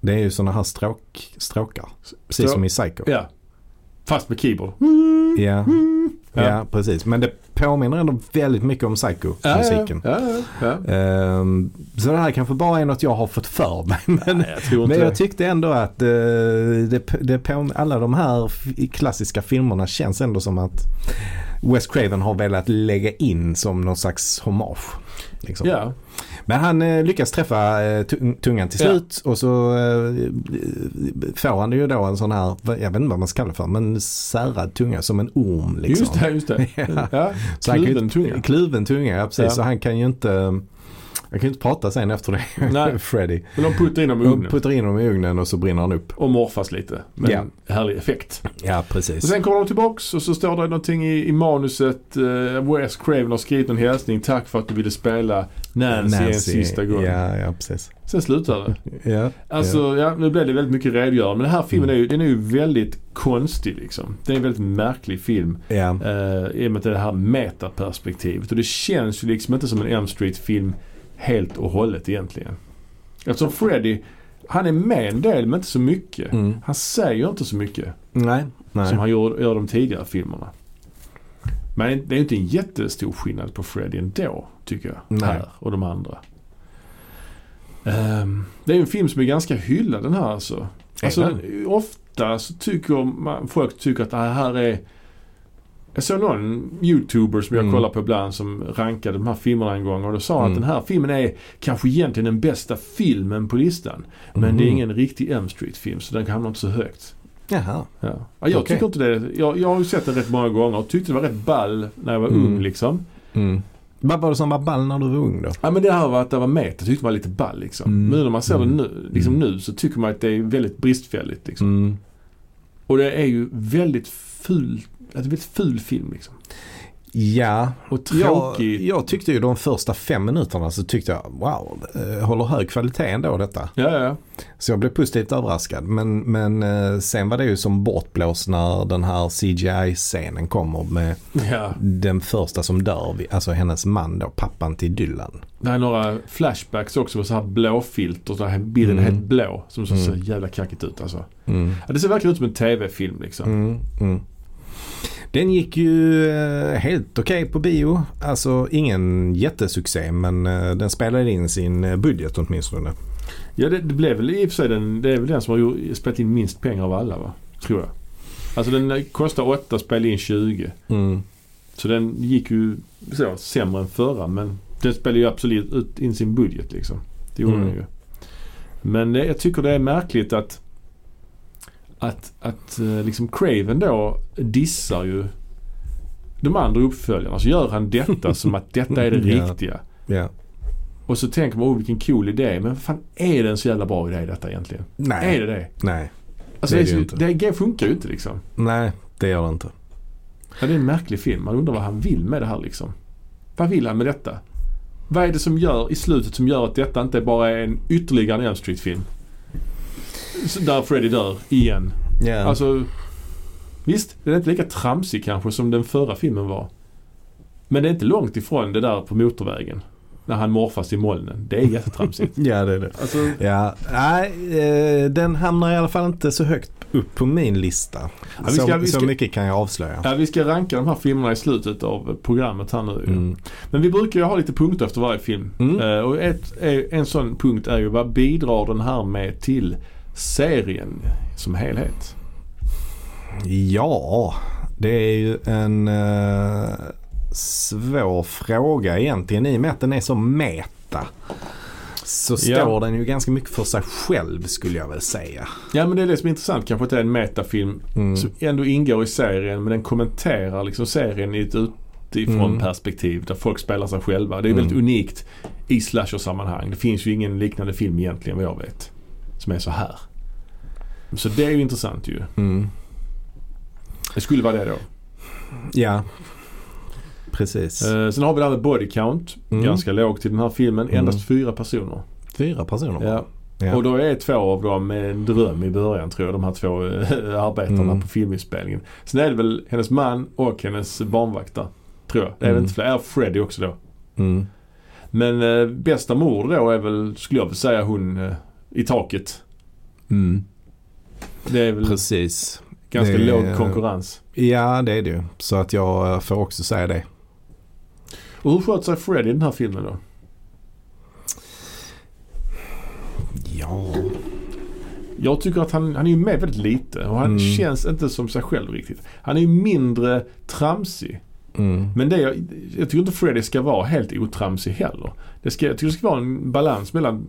Speaker 2: Det är ju sådana här stråk, stråkar. Precis
Speaker 1: Strå-
Speaker 2: som i Psycho. Ja.
Speaker 1: ja. Fast med keyboard.
Speaker 2: Mm. Ja.
Speaker 1: Mm. Ja.
Speaker 2: precis. Men det påminner ändå väldigt mycket om
Speaker 1: Ja,
Speaker 2: Psycho-musiken.
Speaker 1: Ja, ja, ja.
Speaker 2: Ehm, så det här kanske bara är något jag har fått för mig. Men,
Speaker 1: Nej, jag tror inte
Speaker 2: men
Speaker 1: det.
Speaker 2: jag tyckte ändå att eh, det, det på, alla de här f- klassiska filmerna känns ändå som att Wes Craven har velat lägga in som någon slags hommage. Liksom.
Speaker 1: Ja,
Speaker 2: Men han eh, lyckas träffa eh, tu- tungan till
Speaker 1: Ja.
Speaker 2: slut och så eh, får han ju då en sån här, vad- jag vet inte vad man ska kalla det för, men särad tunga som en orm. Liksom.
Speaker 1: just det, just det.
Speaker 2: Ja.
Speaker 1: Ja.
Speaker 2: Så han kan ju
Speaker 1: Kluven
Speaker 2: inte-
Speaker 1: tunga.
Speaker 2: Kluven tunga, ja precis.
Speaker 1: Ja.
Speaker 2: Så han kan ju inte Jag kan ju inte prata sen efter det.
Speaker 1: Nej.
Speaker 2: Freddy.
Speaker 1: Men de puttar in dem i
Speaker 2: De
Speaker 1: ugnen
Speaker 2: puttar in honom i ugnen och så brinner han upp.
Speaker 1: och morfas lite. Men
Speaker 2: Ja.
Speaker 1: härlig effekt.
Speaker 2: Ja,
Speaker 1: Och
Speaker 2: precis.
Speaker 1: sen kommer de tillbaks och så står det någonting i, i manuset. Eh, Wes Craven har skrivit en hälsning. Tack för att du ville spela Nancy, en sista gång.
Speaker 2: Ja, ja precis.
Speaker 1: Sen slutar det.
Speaker 2: Ja, Mm.
Speaker 1: Alltså, ja. nu blev det väldigt mycket redogörelse. Men den här filmen är ju, den är ju väldigt konstig liksom. Det är en väldigt märklig film.
Speaker 2: ja. ja.
Speaker 1: Eh, I och med att det är det här metaperspektivet. Och det känns ju liksom inte som en M Street-film helt och hållet egentligen. Eftersom Freddy, han är med en del men inte så mycket.
Speaker 2: Mm.
Speaker 1: Han säger inte så mycket
Speaker 2: Nej,
Speaker 1: som
Speaker 2: nej.
Speaker 1: han gör, gör de tidigare filmerna. Men det är ju inte en jättestor skillnad på Freddy ändå, tycker jag.
Speaker 2: Nej.
Speaker 1: Här och de andra. Ehm, det är ju en film som är ganska hyllad den här alltså.
Speaker 2: Är
Speaker 1: alltså ofta så tycker man, folk tycker att det här är... Jag såg någon youtuber som jag
Speaker 2: Mm.
Speaker 1: kollar på ibland som rankade de här filmerna en gång och då sa han
Speaker 2: Mm.
Speaker 1: att den här filmen är kanske egentligen den bästa filmen på listan. Men det är
Speaker 2: Mhm.
Speaker 1: ingen riktig M Street-film så den hamnar inte så högt.
Speaker 2: Jaha.
Speaker 1: Ja. Ja, jag
Speaker 2: Okej.
Speaker 1: tycker inte det. Jag, jag har ju sett den rätt många gånger och tyckte det var rätt ball när jag var
Speaker 2: Mm.
Speaker 1: ung liksom.
Speaker 2: Mm. Vad var det som var ball när du var ung då?
Speaker 1: Ja men det här var att det var med, jag tyckte man var lite ball liksom.
Speaker 2: Mm.
Speaker 1: Men nu när man ser
Speaker 2: Mm.
Speaker 1: det nu, liksom
Speaker 2: Mm.
Speaker 1: nu så tycker man att det är väldigt bristfälligt liksom.
Speaker 2: Mm.
Speaker 1: Och det är ju väldigt ful, det är en väldigt ful film liksom.
Speaker 2: Ja,
Speaker 1: Och
Speaker 2: jag,
Speaker 1: tråkig.
Speaker 2: jag tyckte ju de första fem minuterna så tyckte jag wow, eh, håller hög kvalitet ändå detta.
Speaker 1: Ja, ja, ja.
Speaker 2: Så jag blev positivt överraskad. Men, men eh, sen var det ju som bortblåst när den här CGI-scenen kommer med
Speaker 1: ja.
Speaker 2: den första som dör, vid- alltså hennes man då, pappan till Dylan.
Speaker 1: Det är några flashbacks också med så här blåfilter. Så här bilden är
Speaker 2: Mm.
Speaker 1: helt blå. Som ser så
Speaker 2: Mm.
Speaker 1: jävla kackigt ut alltså.
Speaker 2: Mm.
Speaker 1: Ja, det ser verkligen ut som en TV-film liksom.
Speaker 2: Mm, mm. Den gick ju eh, helt okej på bio. Alltså ingen jättesuccé men eh, den spelade in sin eh, budget åtminstone.
Speaker 1: Ja, det, det blev väl i och för sig den, det är väl den som har gjort- spelat in minst pengar av alla va? Tror jag. Alltså den eh, kostar 8, spelade in 20.
Speaker 2: Mm.
Speaker 1: Så den gick ju så, sämre än förra men den spelade ju absolut ut in sin budget liksom. Det gjorde
Speaker 2: Mm.
Speaker 1: den ju. Men det, jag tycker det är märkligt att att, att eh, liksom Craven då dissar ju de andra uppföljarna. Så gör han detta som att detta är det
Speaker 2: Ja.
Speaker 1: riktiga.
Speaker 2: Ja.
Speaker 1: Och så tänker man, oh vilken cool idé. Men vad fan är det en så jävla bra idé detta egentligen?
Speaker 2: Nej.
Speaker 1: Är det det?
Speaker 2: Nej.
Speaker 1: Alltså, det,
Speaker 2: Det är det ju
Speaker 1: är
Speaker 2: inte.
Speaker 1: så, det, det funkar ju inte liksom.
Speaker 2: Nej, det gör det inte.
Speaker 1: Ja, det är en märklig film. Man undrar vad han vill med det här liksom. Vad vill han med detta? Vad är det som gör i slutet som gör att detta inte bara är en ytterligare en Elm Street-film? Så Där Freddy dör igen.
Speaker 2: Ja.
Speaker 1: Alltså, visst, den är inte lika tramsig kanske som den förra filmen var. Men det är inte långt ifrån det där på motorvägen. När han morfas i molnen. Det är jättetramsigt.
Speaker 2: ja, det är det.
Speaker 1: alltså,
Speaker 2: Ja, nej, eh, den hamnar i alla fall inte så högt upp på min lista.
Speaker 1: vi ska-
Speaker 2: så,
Speaker 1: vi ska-
Speaker 2: så mycket kan jag avslöja.
Speaker 1: ja, vi ska ranka de här filmerna i slutet av programmet här nu.
Speaker 2: Mm.
Speaker 1: Men vi brukar ju ha lite punkter efter varje film.
Speaker 2: Mm.
Speaker 1: Eh, och ett, eh, en sån punkt är ju vad bidrar den här med till serien som helhet?
Speaker 2: Ja, det är ju en eh, svår fråga egentligen i och med att den är så meta. Så står
Speaker 1: Ja.
Speaker 2: den ju ganska mycket för sig själv skulle jag väl säga.
Speaker 1: Ja men det är det som är intressant kanske att det är en metafilm
Speaker 2: Mm.
Speaker 1: som ändå ingår i serien men den kommenterar liksom serien i ett utifrån
Speaker 2: Mm.
Speaker 1: perspektiv där folk spelar sig själva. Det är
Speaker 2: Mm.
Speaker 1: väldigt unikt i slasher-sammanhang. Det finns ju ingen liknande film egentligen vad jag vet som är så här. Så det är ju intressant ju.
Speaker 2: Mm.
Speaker 1: Det skulle vara det då.
Speaker 2: Ja, precis.
Speaker 1: Eh, sen har vi det här med body count.
Speaker 2: Mm.
Speaker 1: Ganska lågt i den här filmen.
Speaker 2: Mm.
Speaker 1: Endast fyra personer.
Speaker 2: Fyra personer bara.
Speaker 1: Ja.
Speaker 2: Ja.
Speaker 1: Och då är två av dem en dröm i början tror jag. De här två eh, arbetarna
Speaker 2: Mm.
Speaker 1: på filminspelningen. Sen är det väl hennes man och hennes barnvakt där. Tror jag. Det är väl
Speaker 2: Mm.
Speaker 1: inte fler. Är Freddy också då.
Speaker 2: Mm.
Speaker 1: Men eh, bästa mord då är väl, skulle jag väl säga, hon eh, i taket.
Speaker 2: Mm.
Speaker 1: Det är väl
Speaker 2: Precis.
Speaker 1: ganska
Speaker 2: det är-
Speaker 1: låg konkurrens.
Speaker 2: Ja, det är det ju. Så att jag eh, får också säga det.
Speaker 1: Och hur sköt sig Freddy i den här filmen då?
Speaker 2: Ja.
Speaker 1: Jag tycker att han, han är ju med väldigt lite och han
Speaker 2: Mm.
Speaker 1: känns inte som sig själv riktigt. Han är ju mindre tramsig.
Speaker 2: Mm.
Speaker 1: Men det, jag, jag tycker inte Freddy ska vara helt otramsig heller. Det ska, jag tycker det ska vara en balans mellan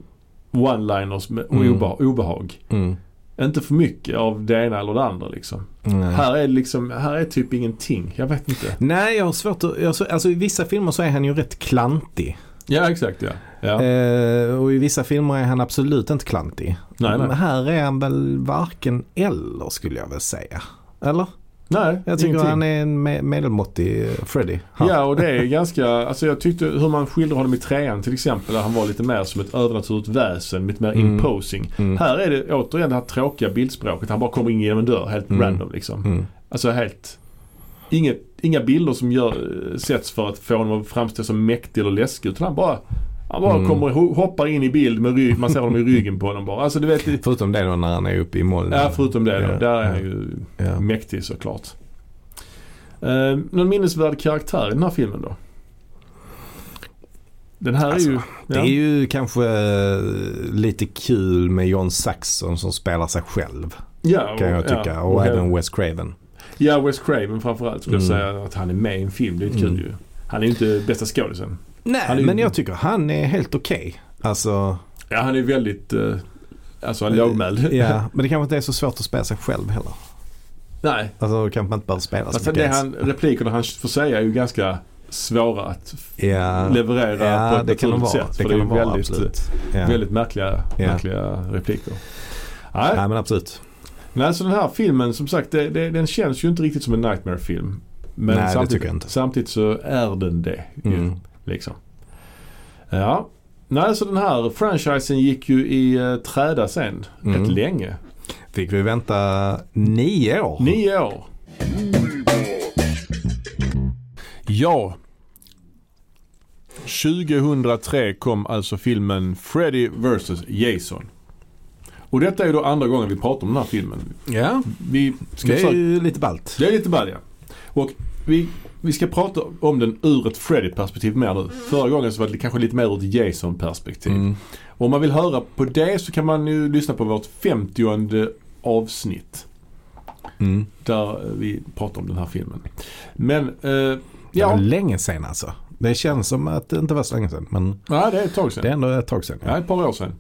Speaker 1: one-liners med- och
Speaker 2: Mm.
Speaker 1: obeha, obehag.
Speaker 2: Mm.
Speaker 1: Inte för mycket av det ena eller det andra liksom.
Speaker 2: Nej.
Speaker 1: Här är det liksom, här är typ ingenting. Jag vet inte.
Speaker 2: Nej, jag har svårt att... Jag, har svå- alltså, I vissa filmer så är han ju rätt klantig.
Speaker 1: Ja, exakt ja. ja.
Speaker 2: Eh, och i vissa filmer är han absolut inte klantig.
Speaker 1: nej,
Speaker 2: Men
Speaker 1: nej.
Speaker 2: här är han väl varken eller skulle jag väl säga. Eller?
Speaker 1: Nej,
Speaker 2: Jag tycker
Speaker 1: ingenting.
Speaker 2: han är en me- medelmåttig eh, Freddy. Han.
Speaker 1: Ja, och det är ganska... Alltså jag tyckte hur man skildrar honom i trean till exempel, där han var lite mer som ett övernaturligt väsen, lite mer
Speaker 2: Mm.
Speaker 1: imposing.
Speaker 2: Mm.
Speaker 1: Här är det återigen det här tråkiga bildspråket. Han bara kommer in genom en dörr helt
Speaker 2: Mm.
Speaker 1: random liksom.
Speaker 2: Mm.
Speaker 1: Alltså helt... Inget, inga bilder som gör, eh, sätts för att få honom att framstå som mäktig eller läskig. Utan han bara, han bara
Speaker 2: Mm.
Speaker 1: kommer, ho- hoppar in i bild med rygg, man ser honom i ryggen på honom bara. Alltså du vet, det-
Speaker 2: Förutom det då när han är uppe i molnen.
Speaker 1: ja, förutom det då.
Speaker 2: Ja,
Speaker 1: Där är
Speaker 2: ja,
Speaker 1: han ju
Speaker 2: ja.
Speaker 1: mäktig såklart. Eh, någon minnesvärd karaktär i den här filmen då? Den här
Speaker 2: Alltså,
Speaker 1: är ju...
Speaker 2: Det är ju kanske eh, lite kul med John Saxon som spelar sig själv.
Speaker 1: ja,
Speaker 2: Kan jag tycka.
Speaker 1: Ja,
Speaker 2: och
Speaker 1: och-
Speaker 2: även Wes Craven.
Speaker 1: ja, Wes Craven framförallt skulle
Speaker 2: Mm.
Speaker 1: jag säga att han är med i en film. Det är ju
Speaker 2: Mm.
Speaker 1: kul ju. Han är ju inte bästa skådisen. Han är
Speaker 2: Nej,
Speaker 1: ju-
Speaker 2: men jag tycker han är helt okej. Alltså,
Speaker 1: Ja, han är väldigt... eh, alltså han är lågmäld.
Speaker 2: Eh, ja. Men det kanske inte är så svårt att spela sig själv heller.
Speaker 1: Nej.
Speaker 2: Alltså då kanske man inte behöver spela
Speaker 1: Fast
Speaker 2: så
Speaker 1: Alltså, det
Speaker 2: mycket ens.
Speaker 1: han, replikerna han får säga är ju ganska svåra att f-
Speaker 2: Ja,
Speaker 1: leverera på
Speaker 2: ja
Speaker 1: ett
Speaker 2: det kan de
Speaker 1: naturligt
Speaker 2: vara.
Speaker 1: sätt.
Speaker 2: Det
Speaker 1: för
Speaker 2: kan
Speaker 1: det
Speaker 2: de
Speaker 1: är ju
Speaker 2: vara,
Speaker 1: väldigt,
Speaker 2: absolut. Ja.
Speaker 1: väldigt märkliga,
Speaker 2: Ja.
Speaker 1: märkliga repliker. Nej,
Speaker 2: Nej, men absolut.
Speaker 1: Nej, så alltså den här filmen som sagt, det, det, den känns ju inte riktigt som en Nightmare-film. Men
Speaker 2: Nej, det
Speaker 1: samtidigt,
Speaker 2: tycker jag inte.
Speaker 1: samtidigt så är den det ju.
Speaker 2: Mm.
Speaker 1: Liksom. Ja. Nej, så den här franchisen gick ju i eh, träda sen.
Speaker 2: Mm.
Speaker 1: Rätt länge.
Speaker 2: Fick vi vänta nio år?
Speaker 1: Nio år. Ja. 2003 kom alltså filmen Freddy vs Jason. Och detta är ju då andra gången vi pratar om den här filmen.
Speaker 2: Ja,
Speaker 1: Vi ska
Speaker 2: det är
Speaker 1: försöka
Speaker 2: ju lite ballt.
Speaker 1: det är lite ball, ja. Och vi, vi ska prata om den ur ett Freddy-perspektiv mer nu. Förra gången så var det kanske lite mer ur ett Jason-perspektiv.
Speaker 2: Mm.
Speaker 1: Och om man vill höra på det så kan man ju lyssna på vårt 50 avsnitt.
Speaker 2: Mm.
Speaker 1: Där eh, vi pratar om den här filmen. Men, eh,
Speaker 2: Det
Speaker 1: ja.
Speaker 2: var länge sen alltså. Det känns som att det inte var så länge sen. Men
Speaker 1: Ja, det är ett tag sedan.
Speaker 2: det är ändå ett tag sen.
Speaker 1: Ja, ett par år sedan.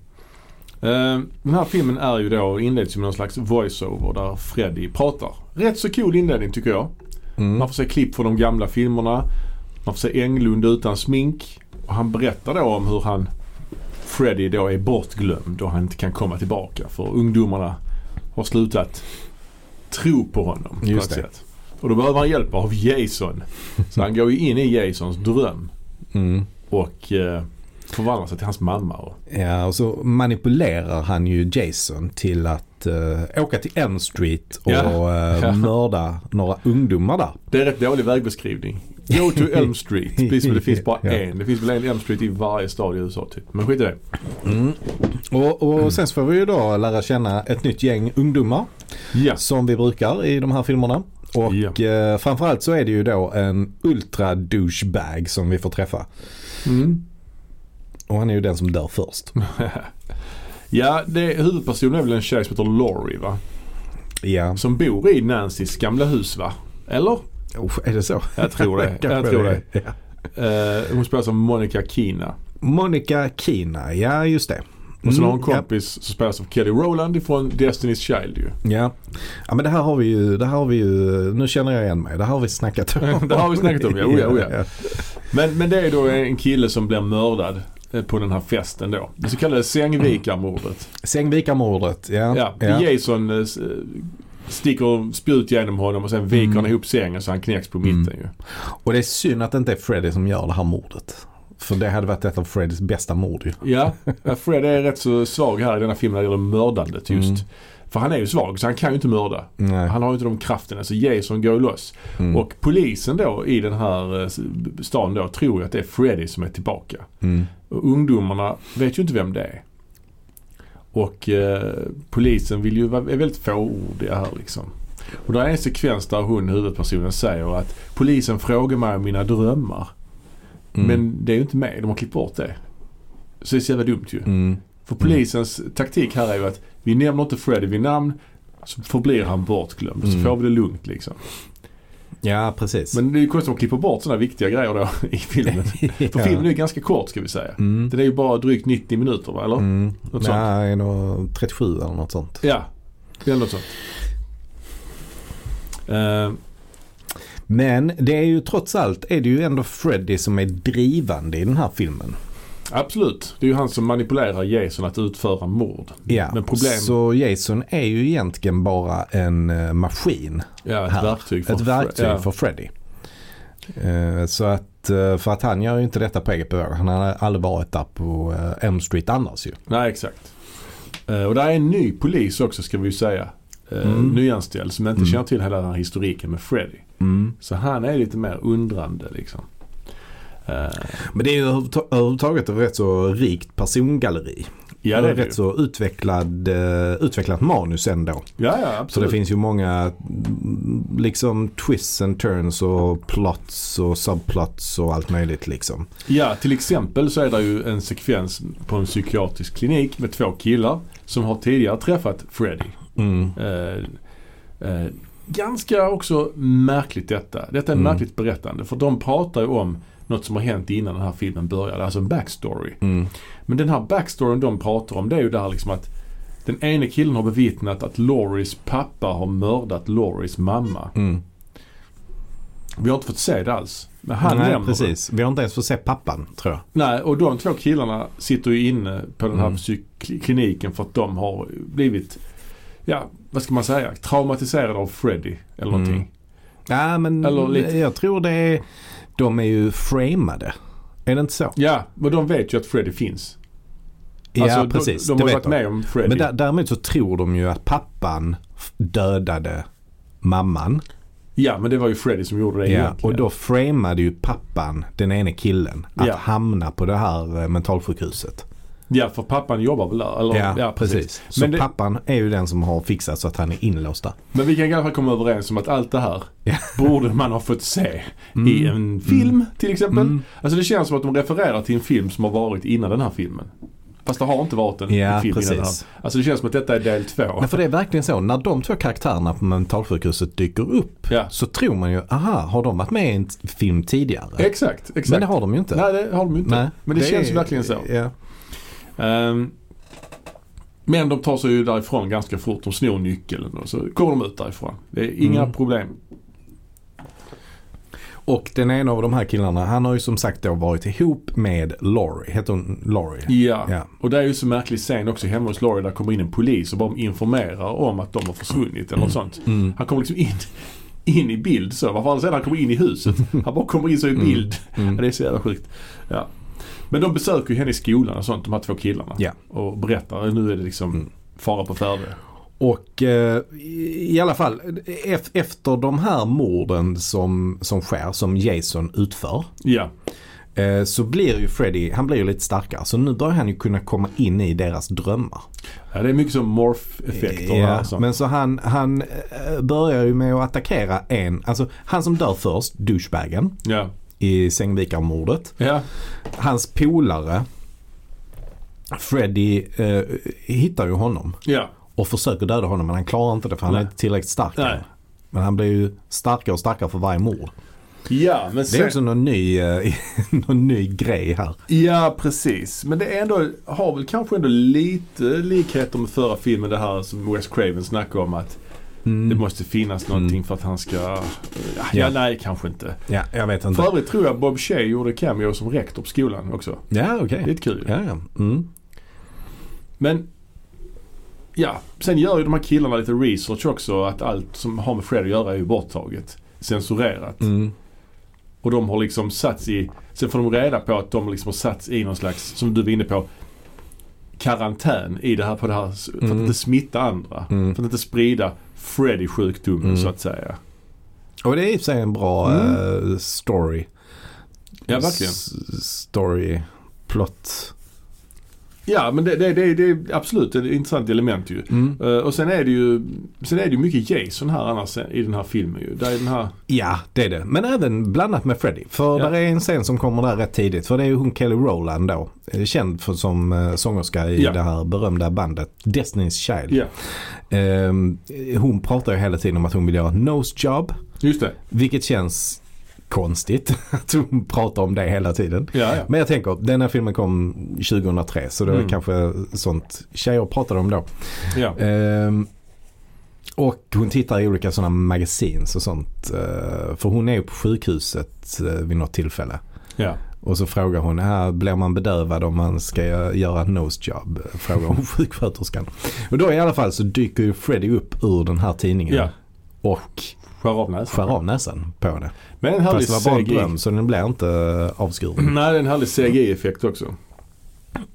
Speaker 1: Eh, Den här filmen är ju då inleds ju med någon slags voiceover där Freddy pratar. Rätt så cool inledning tycker jag. Man
Speaker 2: Mm.
Speaker 1: får se klipp från de gamla filmerna. Man får se Englund utan smink. Och han berättar då om hur han Freddy då är bortglömd och han inte kan komma tillbaka för ungdomarna har slutat tro på honom. på
Speaker 2: Just
Speaker 1: något
Speaker 2: det.
Speaker 1: sätt. Och då behöver han hjälp av Jason. Så han går ju in i Jasons dröm
Speaker 2: Mm.
Speaker 1: och eh, förvandlar sig till hans mamma. Och,
Speaker 2: Ja, och så manipulerar han ju Jason till att eh, åka till M Street och
Speaker 1: Ja.
Speaker 2: eh,
Speaker 1: Ja.
Speaker 2: mörda några ungdomar där.
Speaker 1: det är rätt dålig vägbeskrivning. Go to Elm Street. Precis som det finns bara
Speaker 2: Ja.
Speaker 1: en. Det finns väl en Elm Street i varje stad i USA typ. Men skit i det.
Speaker 2: Och, och
Speaker 1: Mm.
Speaker 2: sen så får vi ju då lära känna ett nytt gäng ungdomar
Speaker 1: Ja.
Speaker 2: som vi brukar i de här filmerna. Och
Speaker 1: Ja.
Speaker 2: eh, framförallt så är det ju då en ultra douchebag som vi får träffa.
Speaker 1: Mm.
Speaker 2: Och han är ju den som dör först.
Speaker 1: Ja, det, huvudpersonen är väl en tjej som heter Laurie va?
Speaker 2: Ja,
Speaker 1: Som bor i Nancys gamla hus va? Eller?
Speaker 2: Usch, är det så?
Speaker 1: Jag tror det.
Speaker 2: Kanske
Speaker 1: jag tror det.
Speaker 2: är. Ja.
Speaker 1: Eh, hon spelas av Monica Keena.
Speaker 2: Monica Kina, ja just det.
Speaker 1: Och sen har hon
Speaker 2: Mm, ja.
Speaker 1: kompis som spelas av Kelly Rowland ifrån Destiny's Child ju.
Speaker 2: Ja. ja, men det här har vi ju, det här har vi ju, nu känner jag igen mig. Det här har vi snackat om.
Speaker 1: Det har vi snackat om, ja. Oh, ja, oh, ja. Men, men det är då en kille som blir mördad eh, på den här festen då. Det så kallade Sängvikarmordet.
Speaker 2: Sängvikarmordet, ja.
Speaker 1: Ja,
Speaker 2: ja.
Speaker 1: Jason eh, s- eh, sticker spjut genom honom och sen viker
Speaker 2: Mm.
Speaker 1: han ihop sängen så han knäcks på mitten ju.
Speaker 2: Och det är synd att det inte är Freddy som gör det här mordet. För det hade varit ett av Freddys bästa mord ju.
Speaker 1: Ja, eh, Fred är rätt så svag här i denna filmen när det gäller mördandet just.
Speaker 2: Mm.
Speaker 1: För han är ju svag så han kan ju inte mörda.
Speaker 2: Nej.
Speaker 1: Han har ju inte de krafterna så Jason går loss.
Speaker 2: Mm.
Speaker 1: Och polisen då i den här eh, stan då tror ju att det är Freddy som är tillbaka.
Speaker 2: Mm.
Speaker 1: Och ungdomarna vet ju inte vem det är. Och eh, polisen vill ju vara är väldigt fåordiga här liksom. Och det är en sekvens där hon, huvudpersonen, säger att polisen frågar mig om mina drömmar.
Speaker 2: Mm.
Speaker 1: Men det är ju inte med. De har klippt bort det. Så det är så jävla dumt ju.
Speaker 2: Mm.
Speaker 1: För polisens taktik här är ju att vi nämner inte Freddy vid namn så förblir han bortglömd. Så
Speaker 2: Mm.
Speaker 1: får vi det lugnt liksom.
Speaker 2: Ja, precis.
Speaker 1: Men det är ju konstigt att de klipper bort sådana viktiga grejer då i filmen. För
Speaker 2: Ja.
Speaker 1: filmen är ju ganska kort ska vi säga.
Speaker 2: Mm.
Speaker 1: Den är ju bara drygt 90 minuter va, eller?
Speaker 2: Mm.
Speaker 1: Något sånt.
Speaker 2: Nej, nog 37 eller något sånt.
Speaker 1: Ja, det är något sånt. Eh,
Speaker 2: Men det är ju trots allt är det ju ändå Freddy som är drivande i den här filmen.
Speaker 1: Absolut. Det är ju han som manipulerar Jason att utföra mord.
Speaker 2: Ja,
Speaker 1: Men problem-
Speaker 2: så Jason är ju egentligen bara en eh, maskin.
Speaker 1: Ja, ett
Speaker 2: Här.
Speaker 1: verktyg för
Speaker 2: ett verktyg
Speaker 1: ja.
Speaker 2: för Freddy. Eh, Så att, eh, för att han gör ju inte detta på eget bevåg. Han har aldrig varit där på eh, M Street annars ju.
Speaker 1: Nej, exakt. Eh, Och där är en ny polis också ska vi ju säga. Eh,
Speaker 2: Mm.
Speaker 1: Nyanställd som inte
Speaker 2: Mm.
Speaker 1: känner till hela den här historiken med Freddy. Så han är lite mer undrande liksom. Eh,
Speaker 2: Men det är ju överhuvudta- överhuvudtaget ett rätt så rikt persongalleri.
Speaker 1: Ja, det är det ju.
Speaker 2: rätt så utvecklad, eh, utvecklat manus ändå.
Speaker 1: Ja, ja
Speaker 2: Så det
Speaker 1: absolut.
Speaker 2: finns ju många mm, liksom twists and turns och plots och subplots och allt möjligt liksom.
Speaker 1: Ja, till exempel så är det ju en sekvens på en psykiatrisk klinik med två killar som har tidigare träffat Freddy.
Speaker 2: Mm.
Speaker 1: Eh, eh, ganska också märkligt detta. Detta är
Speaker 2: Mm.
Speaker 1: märkligt berättande för de pratar ju om något som har hänt innan den här filmen började, alltså en backstory.
Speaker 2: Mm.
Speaker 1: Men den här backstoryn de pratar om det är ju det här liksom att den ene killen har bevittnat att Loris pappa har mördat Loris mamma.
Speaker 2: Mm.
Speaker 1: Vi har inte fått se det alls. Men han
Speaker 2: Nej,
Speaker 1: nämner det.
Speaker 2: precis. Vi har inte ens fått se pappan tror jag.
Speaker 1: Nej, och de två killarna sitter ju inne på den här
Speaker 2: Mm.
Speaker 1: psyk- kliniken för att de har blivit, ja vad ska man säga, traumatiserade av Freddy eller
Speaker 2: Mm.
Speaker 1: någonting.
Speaker 2: Ja, men
Speaker 1: Eller lite-
Speaker 2: jag tror det är... De är ju framade. Är det inte så?
Speaker 1: Ja, men de vet ju att Freddy finns. Alltså,
Speaker 2: ja,
Speaker 1: de-
Speaker 2: precis.
Speaker 1: De,
Speaker 2: det
Speaker 1: har
Speaker 2: vet
Speaker 1: varit med om Freddy.
Speaker 2: Men dä- däremot så tror de ju att pappan f- dödade mamman.
Speaker 1: Ja, men det var ju Freddy som gjorde det
Speaker 2: Ja,
Speaker 1: egentligen.
Speaker 2: och då framade ju pappan den ene killen att
Speaker 1: Ja.
Speaker 2: hamna på det här eh, mentalsjukhuset.
Speaker 1: Ja, för pappan jobbar väl där? Eller,
Speaker 2: Ja, precis. Så
Speaker 1: Men det-
Speaker 2: pappan är ju den som har fixat så att han är inlåst där.
Speaker 1: Men vi kan i alla fall komma överens om att allt det här
Speaker 2: Ja. Mm.
Speaker 1: borde man ha fått se i en film till exempel. Alltså det känns som att de refererar till en film som har varit innan den här filmen. Fast det har inte varit en
Speaker 2: Ja,
Speaker 1: en film innan den
Speaker 2: precis.
Speaker 1: här. Alltså det känns som att detta är del två.
Speaker 2: Men för det är verkligen så, när de två karaktärerna på mentalsjukhuset dyker upp
Speaker 1: Ja.
Speaker 2: så tror man ju, aha, har de varit med i en t- film tidigare?
Speaker 1: Exakt, exakt.
Speaker 2: Men det har de ju inte.
Speaker 1: Nej, det har de ju inte.
Speaker 2: Nej,
Speaker 1: Men det, känns
Speaker 2: är-
Speaker 1: ju verkligen så.
Speaker 2: Ja.
Speaker 1: Ehm, men de tar sig ju därifrån ganska fort. De snor nyckeln och så kommer de ut därifrån. Det är inga
Speaker 2: Mm.
Speaker 1: problem.
Speaker 2: Och den ena av de här killarna, han har ju som sagt då varit ihop med Laurie. Heter hon Laurie?
Speaker 1: Ja.
Speaker 2: Ja.
Speaker 1: och det är ju så märklig scen också hemma hos Laurie. Där kommer in en polis och bara informerar om att de har försvunnit eller något sånt.
Speaker 2: Mm.
Speaker 1: Han kommer liksom in, in i bild så. Varför han sedan kommer in i huset. Han bara kommer in så i
Speaker 2: Mm.
Speaker 1: bild. Ja, det är så jävla sjukt. Ja. Men de besöker ju henne i skolan och sånt, de här två killarna.
Speaker 2: Ja.
Speaker 1: Och berättar, nu är det liksom
Speaker 2: Mm.
Speaker 1: fara på färde.
Speaker 2: Och eh, i i alla fall, ef- efter de här morden som, som sker, som Jason utför.
Speaker 1: Ja,
Speaker 2: Eh, så blir ju Freddy, han blir ju lite starkare. Så nu börjar han ju kunna komma in i deras drömmar.
Speaker 1: ja det är mycket som alltså. morph-effekter. och
Speaker 2: Ja,
Speaker 1: sånt.
Speaker 2: men så han, han eh, börjar ju med att attackera en, alltså han som dör först, douchebagen
Speaker 1: ja.
Speaker 2: i Sängvikarmordet.
Speaker 1: Ja.
Speaker 2: Hans polare Freddy eh, hittar ju honom
Speaker 1: ja,
Speaker 2: och försöker döda honom men han klarar inte det för han
Speaker 1: Nej.
Speaker 2: är inte tillräckligt stark.
Speaker 1: Nej.
Speaker 2: Men han blir ju starkare och starkare för varje mord.
Speaker 1: ja, men
Speaker 2: Det är
Speaker 1: sen,
Speaker 2: också någon ny, eh, någon ny grej här.
Speaker 1: Ja, precis. Men det är ändå, har väl kanske ändå lite likheter med förra filmen det här som Wes Craven snackade om att det måste finnas någonting för att han ska... Ja, ja,
Speaker 2: Mm. Ja.
Speaker 1: nej kanske inte.
Speaker 2: Ja, jag vet inte.
Speaker 1: För övrigt tror jag Bob Shea gjorde cameo som rektor på skolan också.
Speaker 2: Ja, okej.
Speaker 1: Lite kul ju.
Speaker 2: Ja, ja. Mm.
Speaker 1: Men ja, sen gör ju de här killarna lite research också att allt som har med Fred att göra är ju borttaget. Censurerat.
Speaker 2: Mm.
Speaker 1: Och de har liksom satts i, sen får de reda på att de liksom har satts i någon slags, som du var inne på, karantän i det här, på det här för att
Speaker 2: Mm.
Speaker 1: inte smitta andra.
Speaker 2: Mm.
Speaker 1: För att inte sprida Freddy-sjukdomen
Speaker 2: Mm.
Speaker 1: så att säga.
Speaker 2: Och det är i och för sig en bra
Speaker 1: Mm.
Speaker 2: eh, story.
Speaker 1: Ja, verkligen.
Speaker 2: S- story, plot.
Speaker 1: Ja, men det, det, det, det är absolut ett intressant element ju.
Speaker 2: Mm.
Speaker 1: Eh, och sen är det ju sen är det ju mycket Jason här annars i den här filmen ju. Där är den här,
Speaker 2: Ja, det är det. Men även blandat med Freddy. För
Speaker 1: Ja.
Speaker 2: där är en scen som kommer där rätt tidigt. För det är ju hon Kelly Rowland då. eh, Känd för, som eh, sångerska i
Speaker 1: Ja.
Speaker 2: det här berömda bandet Destiny's Child.
Speaker 1: ja,
Speaker 2: Ehm, hon pratar ju hela tiden om att hon vill göra ett nose job.
Speaker 1: just det.
Speaker 2: Vilket känns konstigt att hon pratar om det hela tiden.
Speaker 1: Ja, ja.
Speaker 2: Men jag tänker, den här filmen kom 2003 så det var
Speaker 1: Mm.
Speaker 2: kanske sånt tjejer pratade om då.
Speaker 1: Ja.
Speaker 2: Ehm, och hon tittar i olika sådana magazins och sånt. eh, för hon är ju på sjukhuset eh, vid något tillfälle.
Speaker 1: ja.
Speaker 2: Och så frågar hon, ah, blir man bedövad om man ska göra en nosejob? Frågar hon sjuksköterskan. Och då i alla fall så dyker ju Freddy upp ur den här tidningen.
Speaker 1: Ja.
Speaker 2: Och
Speaker 1: Skär av näsan.
Speaker 2: skär av näsan på det.
Speaker 1: Men en härlig
Speaker 2: Fast det var bara en
Speaker 1: CGI.
Speaker 2: dröm så den blir inte eh, avskuren.
Speaker 1: Nej, det är en härlig CGI-effekt också.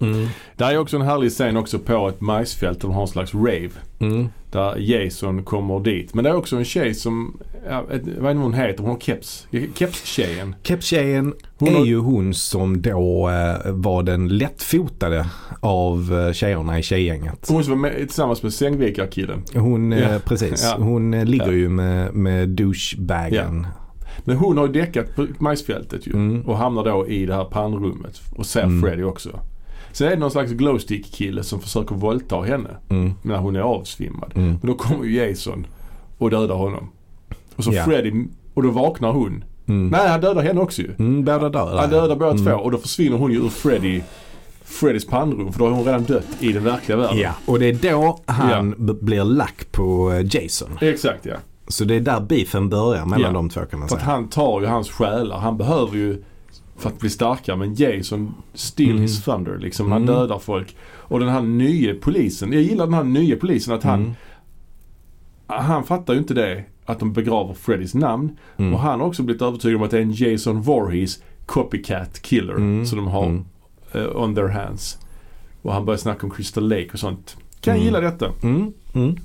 Speaker 2: Mm.
Speaker 1: Där är också en härlig scen också på ett majsfält där de har en slags rave.
Speaker 2: Mm.
Speaker 1: Där Jason kommer dit. Men det är också en tjej som, ja, ett- vad är det hon heter? Hon har keps. Keps-tjejen.
Speaker 2: Keps-tjejen
Speaker 1: Hon
Speaker 2: är
Speaker 1: har-
Speaker 2: ju hon som då eh, var den lättfotade av eh, tjejerna i tjejgänget.
Speaker 1: Hon som var med, tillsammans med Sängvikarkillen.
Speaker 2: Hon, eh,
Speaker 1: Ja.
Speaker 2: precis.
Speaker 1: Ja.
Speaker 2: Hon eh, ligger
Speaker 1: Ja.
Speaker 2: ju med, med douchebagen.
Speaker 1: Men hon har ju däckat på majsfältet ju.
Speaker 2: Mm.
Speaker 1: Och hamnar då i det här pannrummet. Och ser
Speaker 2: Mm.
Speaker 1: Freddy också. Sen är det någon slags glowstick-kille som försöker våldta henne.
Speaker 2: Mm.
Speaker 1: När hon är avsvimmad.
Speaker 2: Mm.
Speaker 1: Men då kommer ju Jason och dödar honom. Och så
Speaker 2: Ja.
Speaker 1: Freddy, och då vaknar hon.
Speaker 2: Mm.
Speaker 1: Nej, han dödar henne också ju.
Speaker 2: Mm, båda dör.
Speaker 1: Han dödar båda
Speaker 2: Mm.
Speaker 1: två och då försvinner hon ju ur Freddy, Freddys pannrum. För då har hon redan dött i den verkliga världen.
Speaker 2: Ja, och det är då han b- blir lack på eh, Jason.
Speaker 1: Exakt ja.
Speaker 2: Så det är där beefen börjar mellan
Speaker 1: Ja.
Speaker 2: de två kan man
Speaker 1: För att
Speaker 2: säga.
Speaker 1: han tar ju hans själar. Han behöver ju för att bli starkare. Men Jason still
Speaker 2: Mm.
Speaker 1: his thunder liksom. Han
Speaker 2: Mm.
Speaker 1: dödar folk. Och den här nya polisen. Jag gillar den här nya polisen att han,
Speaker 2: Mm.
Speaker 1: han fattar ju inte det. Att de begraver Freddys namn.
Speaker 2: Mm.
Speaker 1: Och han har också blivit övertygad om att det är en Jason Voorhees copycat killer.
Speaker 2: Mm.
Speaker 1: Som de har
Speaker 2: Mm.
Speaker 1: eh, on their hands. Och han börjar snacka om Crystal Lake och sånt. Kan
Speaker 2: Mm.
Speaker 1: gilla detta.
Speaker 2: Mm. Mm.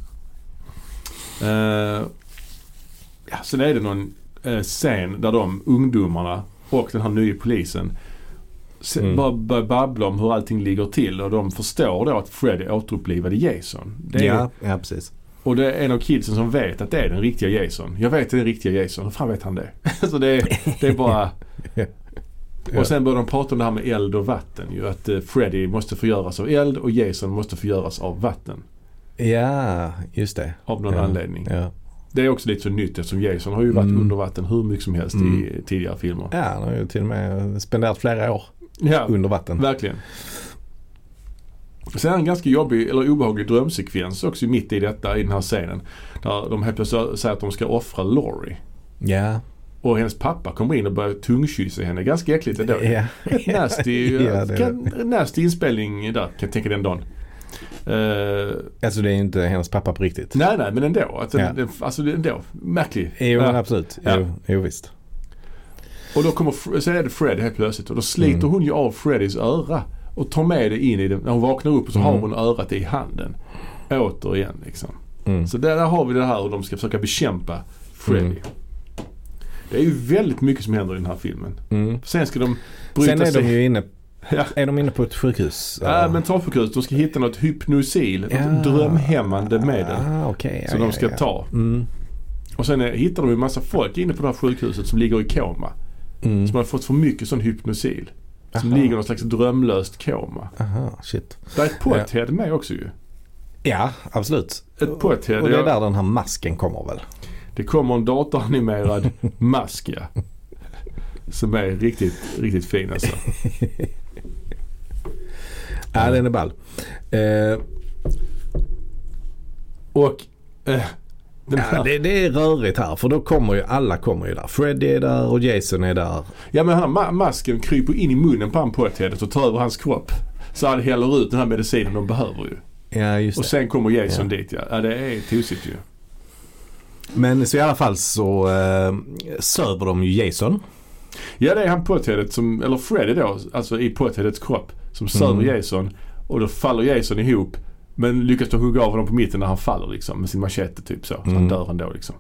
Speaker 1: Eh, ja, sen är det någon eh, scen där de ungdomarna och den här nya polisen se-
Speaker 2: Mm.
Speaker 1: bara börjar babbla om hur allting ligger till och de förstår då att Freddy återupplivade Jason. Det är,
Speaker 2: Ja, ja, precis.
Speaker 1: Och det är en av kidsen som vet att det är den riktiga Jason. Jag vet att det är den riktiga Jason. Hur fan vet han det? Så det är, det är bara...
Speaker 2: Ja.
Speaker 1: Och sen börjar de prata om det här med eld och vatten ju. Att eh, Freddy måste förgöras av eld och Jason måste förgöras av vatten.
Speaker 2: Ja, just det.
Speaker 1: Av någon
Speaker 2: Ja.
Speaker 1: anledning.
Speaker 2: Ja,
Speaker 1: Det är också lite så nytt eftersom Jason har ju varit
Speaker 2: Mm.
Speaker 1: under vatten hur mycket som helst i
Speaker 2: Mm.
Speaker 1: tidigare filmer.
Speaker 2: ja han har ju till och med spenderat flera år
Speaker 1: Ja,
Speaker 2: under vatten.
Speaker 1: verkligen. Sen en ganska jobbig eller obehaglig drömsekvens också mitt i detta i den här scenen. Där de helt plötsligt säger att de ska offra Laurie.
Speaker 2: Ja.
Speaker 1: Och hennes pappa kommer in och börjar tungkyssa henne. Ganska äckligt ändå.
Speaker 2: Ja.
Speaker 1: Rätt nasty,
Speaker 2: Ja, det är
Speaker 1: kan, nasty inspelning där kan jag tänka den dagen. Eh,
Speaker 2: Alltså det är ju inte hennes pappa på riktigt.
Speaker 1: nej, nej, men ändå. Alltså,
Speaker 2: Ja.
Speaker 1: det, alltså det är ändå. Märklig.
Speaker 2: Jo,
Speaker 1: Ja.
Speaker 2: men absolut.
Speaker 1: Ja.
Speaker 2: Jo, jo visst.
Speaker 1: Och då kommer, Fre- så är det Fred helt plötsligt och då sliter
Speaker 2: Mm.
Speaker 1: hon ju av Freddys öra och tar med det in i den. När hon vaknar upp så har
Speaker 2: Mm.
Speaker 1: hon örat i handen. Återigen liksom.
Speaker 2: Mm.
Speaker 1: Så där, där har vi det här hur de ska försöka bekämpa Freddy.
Speaker 2: Mm.
Speaker 1: Det är ju väldigt mycket som händer i den här filmen.
Speaker 2: Mm.
Speaker 1: Sen ska de bryta
Speaker 2: Sen är de
Speaker 1: sig.
Speaker 2: ju inne,
Speaker 1: Ja.
Speaker 2: är de inne på ett sjukhus.
Speaker 1: Ja, mentalsjukhus. De ska hitta något hypnosil, något drömhämmande medel
Speaker 2: Ah, okay. ja,
Speaker 1: som de
Speaker 2: ja,
Speaker 1: ska
Speaker 2: ja.
Speaker 1: ta.
Speaker 2: Mm.
Speaker 1: Och sen eh, hittar de ju massa folk inne på det här sjukhuset som ligger i koma.
Speaker 2: Mm.
Speaker 1: Som har fått för mycket sån hypnosil. Som
Speaker 2: Aha.
Speaker 1: ligger i någon slags drömlöst koma.
Speaker 2: Aha, shit.
Speaker 1: Där är ett pothead med också ju.
Speaker 2: Ja, absolut.
Speaker 1: Ett pothead.
Speaker 2: Och det är
Speaker 1: ja.
Speaker 2: där den här masken kommer väl?
Speaker 1: det kommer en datoranimerad mask ja. Som är riktigt, riktigt fin alltså.
Speaker 2: Ja, den är ball. Eh,
Speaker 1: Och eh, den
Speaker 2: ja,
Speaker 1: här,
Speaker 2: det, det är rörigt här för då kommer ju alla kommer ju där. Freddy är där och Jason är där.
Speaker 1: ja men han, ma- masken kryper in i munnen på han potheadet och tar över hans kropp. Så han häller ut den här medicinen de behöver ju.
Speaker 2: Ja, just
Speaker 1: Och
Speaker 2: det.
Speaker 1: sen kommer Jason dit ja. ja. det är tosigt ju.
Speaker 2: Men så i alla fall så eh, söver de ju Jason.
Speaker 1: Ja det är han potheadet som, eller Freddy då, alltså i potheadets kropp som söver
Speaker 2: Mm.
Speaker 1: Jason. Och då faller Jason ihop. Men lyckas då hugga av honom på mitten när han faller liksom med sin machete typ så. Så han
Speaker 2: Mm.
Speaker 1: dör ändå liksom.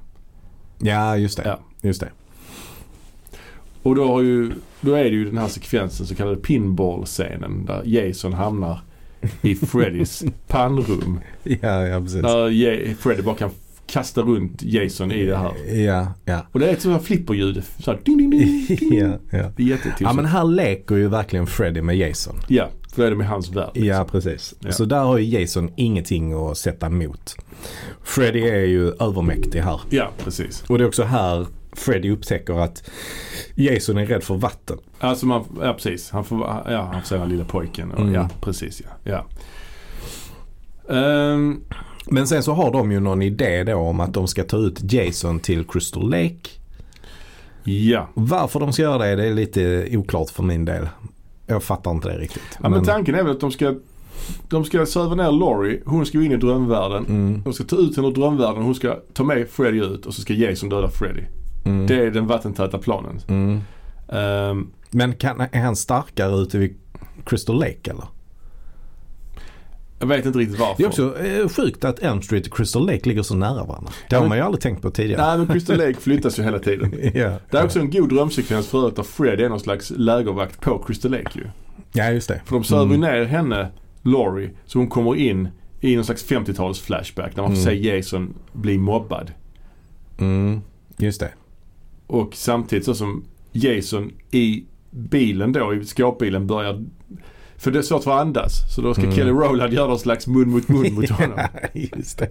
Speaker 2: Ja, just det.
Speaker 1: Ja.
Speaker 2: Just det.
Speaker 1: Och då, har ju, då är det ju den här sekvensen, så kallade pinball-scenen där Jason hamnar i Freddys pannrum.
Speaker 2: Ja, ja precis.
Speaker 1: Där Ja- Freddy bara kan f- kasta runt Jason i det här.
Speaker 2: Ja, ja.
Speaker 1: Och det är ett sånt här flipperljud. Så här, ding, ding, ding, ding.
Speaker 2: ja, ja.
Speaker 1: Det är jättetusigt.
Speaker 2: ja, men här leker ju verkligen Freddy med Jason.
Speaker 1: Ja, för då är det med hans värld. liksom.
Speaker 2: Ja, precis.
Speaker 1: Ja.
Speaker 2: Så där har ju Jason ingenting att sätta emot. Freddy är ju övermäktig här.
Speaker 1: Ja, precis.
Speaker 2: Och det är också här Freddy upptäcker att Jason är rädd för vatten.
Speaker 1: Alltså man, ja precis. Han får, ja, han får se den här lilla pojken. Och,
Speaker 2: Mm.
Speaker 1: Ja, precis ja. ja. Ehm,
Speaker 2: Men sen så har de ju någon idé då om att de ska ta ut Jason till Crystal Lake.
Speaker 1: Ja.
Speaker 2: Varför de ska göra det, det är lite oklart för min del. Jag fattar inte det riktigt.
Speaker 1: ja men,
Speaker 2: Men-
Speaker 1: tanken är väl att de ska, de ska söva ner Laurie. Hon ska in i drömvärlden.
Speaker 2: Mm.
Speaker 1: De ska ta ut henne ur drömvärlden. Hon ska ta med Freddy ut och så ska Jason döda Freddy.
Speaker 2: Mm.
Speaker 1: Det är den vattentäta planen.
Speaker 2: Mm.
Speaker 1: Ehm,
Speaker 2: Men kan, är han starkare ute vid Crystal Lake eller?
Speaker 1: jag vet inte riktigt varför.
Speaker 2: Det är också eh, sjukt att Elm Street och Crystal Lake ligger så nära varandra. Det
Speaker 1: Ja,
Speaker 2: har
Speaker 1: men-
Speaker 2: man ju aldrig tänkt på tidigare.
Speaker 1: Nej men Crystal Lake flyttas ju hela tiden.
Speaker 2: Ja.
Speaker 1: Det är också en god drömsekvens förut där Fred är någon slags lägervakt på Crystal Lake ju.
Speaker 2: ja, just det.
Speaker 1: För de söver ju
Speaker 2: Mm.
Speaker 1: ner henne, Laurie, så hon kommer in i någon slags 50-tals flashback där man får
Speaker 2: Mm.
Speaker 1: se Jason bli mobbad.
Speaker 2: Mm. Just det.
Speaker 1: Och samtidigt så som Jason i bilen då, i skåpbilen börjar... För det är svårt för att andas. Så då ska
Speaker 2: Mm.
Speaker 1: Kelly Rowland göra någon slags mun mot mun mot honom.
Speaker 2: Just det.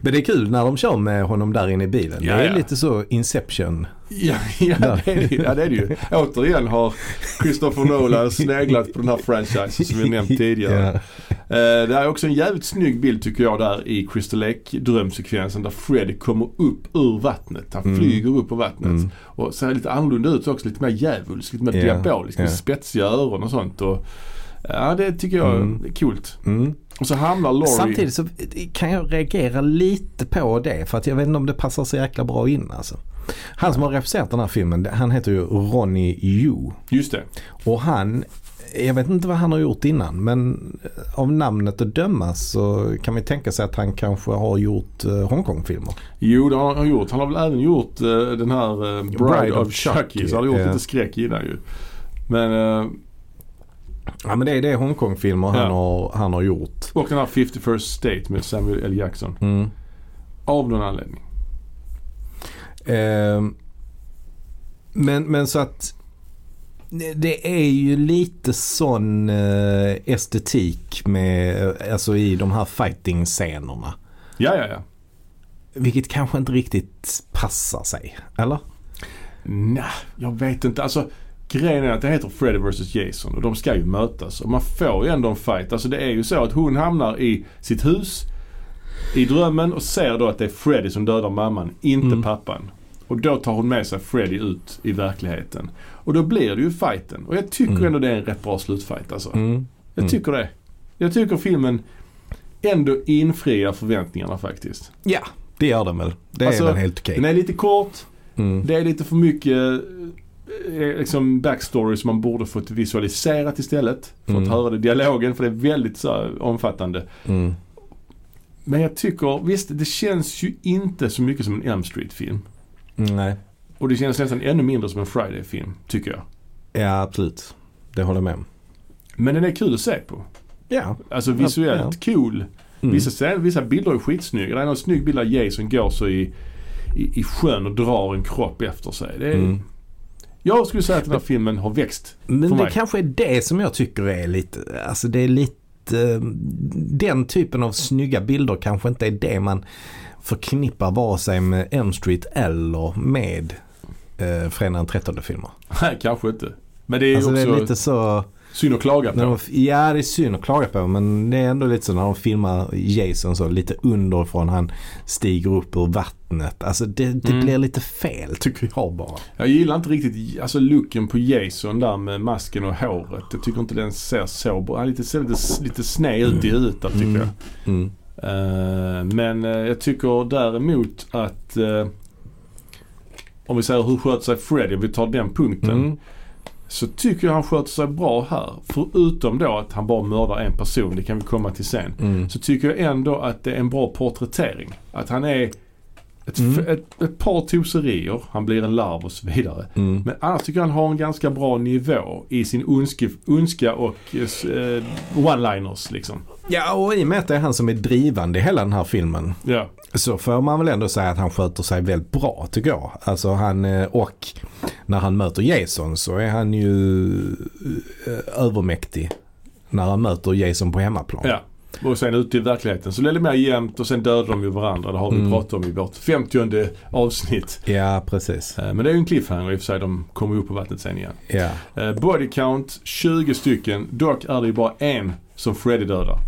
Speaker 2: Men det är kul när de kör med honom där inne i bilen.
Speaker 1: Ja,
Speaker 2: det är
Speaker 1: ja.
Speaker 2: lite så Inception.
Speaker 1: Ja, ja, det är det, ju. ja det är det ju. Återigen har Christopher Nolan sneglat på den här franchisen som vi nämnt tidigare.
Speaker 2: Ja.
Speaker 1: Eh, Det här är också en jävligt snygg bild tycker jag där i Crystal Lake drömsekvensen där Fred kommer upp ur vattnet. Han
Speaker 2: Mm.
Speaker 1: flyger upp ur vattnet.
Speaker 2: Mm.
Speaker 1: Och ser lite annorlunda ut också. Lite mer djävulskt, lite mer
Speaker 2: Ja,
Speaker 1: diabolisk. Med
Speaker 2: ja.
Speaker 1: spetsiga öron och sånt. Och, ja det tycker jag
Speaker 2: Mm.
Speaker 1: är coolt.
Speaker 2: Mm.
Speaker 1: Och så hamnar Laurie...
Speaker 2: Samtidigt så kan jag reagera lite på det för att jag vet inte om det passar så jäkla bra in alltså. Han som har regisserat den här filmen, han heter ju Ronnie Yu.
Speaker 1: Just det.
Speaker 2: Och han, jag vet inte vad han har gjort innan men eh, av namnet att döma så kan vi tänka sig att han kanske har gjort eh, Hongkong-filmer.
Speaker 1: Jo det har han gjort. Han har väl även gjort eh, den här eh, Bride,
Speaker 2: Bride
Speaker 1: of
Speaker 2: of
Speaker 1: Chucky.
Speaker 2: Chucky,
Speaker 1: Så han har gjort
Speaker 2: ja.
Speaker 1: lite skräck innan ju. Men, eh,
Speaker 2: Ja men det är det är Hongkong-filmer han,
Speaker 1: Ja.
Speaker 2: har, han har gjort.
Speaker 1: och den här 51st State med Samuel L. Jackson.
Speaker 2: Mm.
Speaker 1: Av någon anledning.
Speaker 2: Ehm, men, men så att det är ju lite sån eh, estetik med, alltså i de här fighting-scenerna.
Speaker 1: Ja, ja, ja.
Speaker 2: Vilket kanske inte riktigt passar sig. Eller?
Speaker 1: Nej, jag vet inte. Alltså, grejen är att det heter Freddy vs Jason och de ska ju mötas. Och man får ju ändå en fight. Alltså det är ju så att hon hamnar i sitt hus i drömmen och ser då att det är Freddy som dödar mamman, inte
Speaker 2: Mm.
Speaker 1: pappan. Och då tar hon med sig Freddy ut i verkligheten. Och då blir det ju fighten. Och jag tycker
Speaker 2: Mm.
Speaker 1: ändå det är en rätt bra slutfight alltså.
Speaker 2: Mm.
Speaker 1: Jag
Speaker 2: Mm.
Speaker 1: tycker det. Jag tycker filmen ändå infriar förväntningarna faktiskt.
Speaker 2: Ja, det gör den väl. Det
Speaker 1: Alltså,
Speaker 2: är väl helt okej.
Speaker 1: Den är lite kort,
Speaker 2: Mm.
Speaker 1: Det är lite för mycket eh, liksom backstory som man borde fått visualiserat istället. För att
Speaker 2: Mm.
Speaker 1: höra det i dialogen för det är väldigt så här, omfattande.
Speaker 2: Mm.
Speaker 1: Men jag tycker, visst det känns ju inte så mycket som en Elm Street-film.
Speaker 2: Mm, Nej.
Speaker 1: Och det känns nästan ännu mindre som en Friday-film, tycker jag.
Speaker 2: Ja, absolut. Det håller jag med om.
Speaker 1: Men den är kul att se på.
Speaker 2: Ja.
Speaker 1: Alltså visuellt cool.
Speaker 2: Mm.
Speaker 1: Vissa, scener- vissa bilder är skitsnygga. Det är någon snygg bild där Jason går så i, i, i sjön och drar en kropp efter sig. Det är,
Speaker 2: Mm.
Speaker 1: Jag skulle säga att den här filmen har växt
Speaker 2: Men
Speaker 1: för
Speaker 2: det
Speaker 1: mig.
Speaker 2: kanske är det som jag tycker är lite, alltså det är lite, eh, den typen av snygga bilder kanske inte är det man förknippar vare sig med Elm Street eller med eh, Fredagen den 13 filmer.
Speaker 1: Nej, kanske inte. Men det är ju
Speaker 2: Alltså det
Speaker 1: också
Speaker 2: är lite så,
Speaker 1: synd att klaga på.
Speaker 2: när de, ja det är synd att klaga på men det är ändå lite så när de filmar Jason så lite underifrån han stiger upp ur vattnet. Alltså det, det
Speaker 1: Mm.
Speaker 2: blir lite fel tycker jag bara.
Speaker 1: Jag gillar inte riktigt alltså, looken på Jason där med masken och håret. Jag tycker inte den ser så bra. Han är lite, ser lite, lite sned ut i ytan tycker jag.
Speaker 2: Mm.
Speaker 1: Eh, men eh, jag tycker däremot att eh, om vi säger hur sköter sig Freddy, om vi tar den punkten.
Speaker 2: Mm.
Speaker 1: Så tycker jag han sköter sig bra här. Förutom då att han bara mördar en person, det kan vi komma till sen.
Speaker 2: Mm.
Speaker 1: så tycker jag ändå att det är en bra porträttering. Att han är ett,
Speaker 2: Mm.
Speaker 1: ett, ett par toserier, han blir en larv och så vidare.
Speaker 2: Mm.
Speaker 1: Men annars tycker jag han har en ganska bra nivå i sin ondske, ondska och eh, s- eh, one-liners liksom.
Speaker 2: Ja och i och med att det är han som är drivande i hela den här filmen
Speaker 1: Ja.
Speaker 2: så får man väl ändå säga att han sköter sig väldigt bra tycker jag. Alltså han eh, och när han möter Jason så är han ju eh, övermäktig när han möter Jason på hemmaplan.
Speaker 1: ja. Och sen ute i verkligheten så blir det mer jämnt och sen dödar de ju varandra. Det har vi
Speaker 2: Mm.
Speaker 1: pratat om i vårt 50 avsnitt.
Speaker 2: Ja, precis.
Speaker 1: Eh, Men det är ju en cliffhanger i och för sig. De kommer ju upp på vattnet sen igen.
Speaker 2: Ja.
Speaker 1: Eh, Body count 20 stycken. Dock är det ju bara en som Freddy dödar.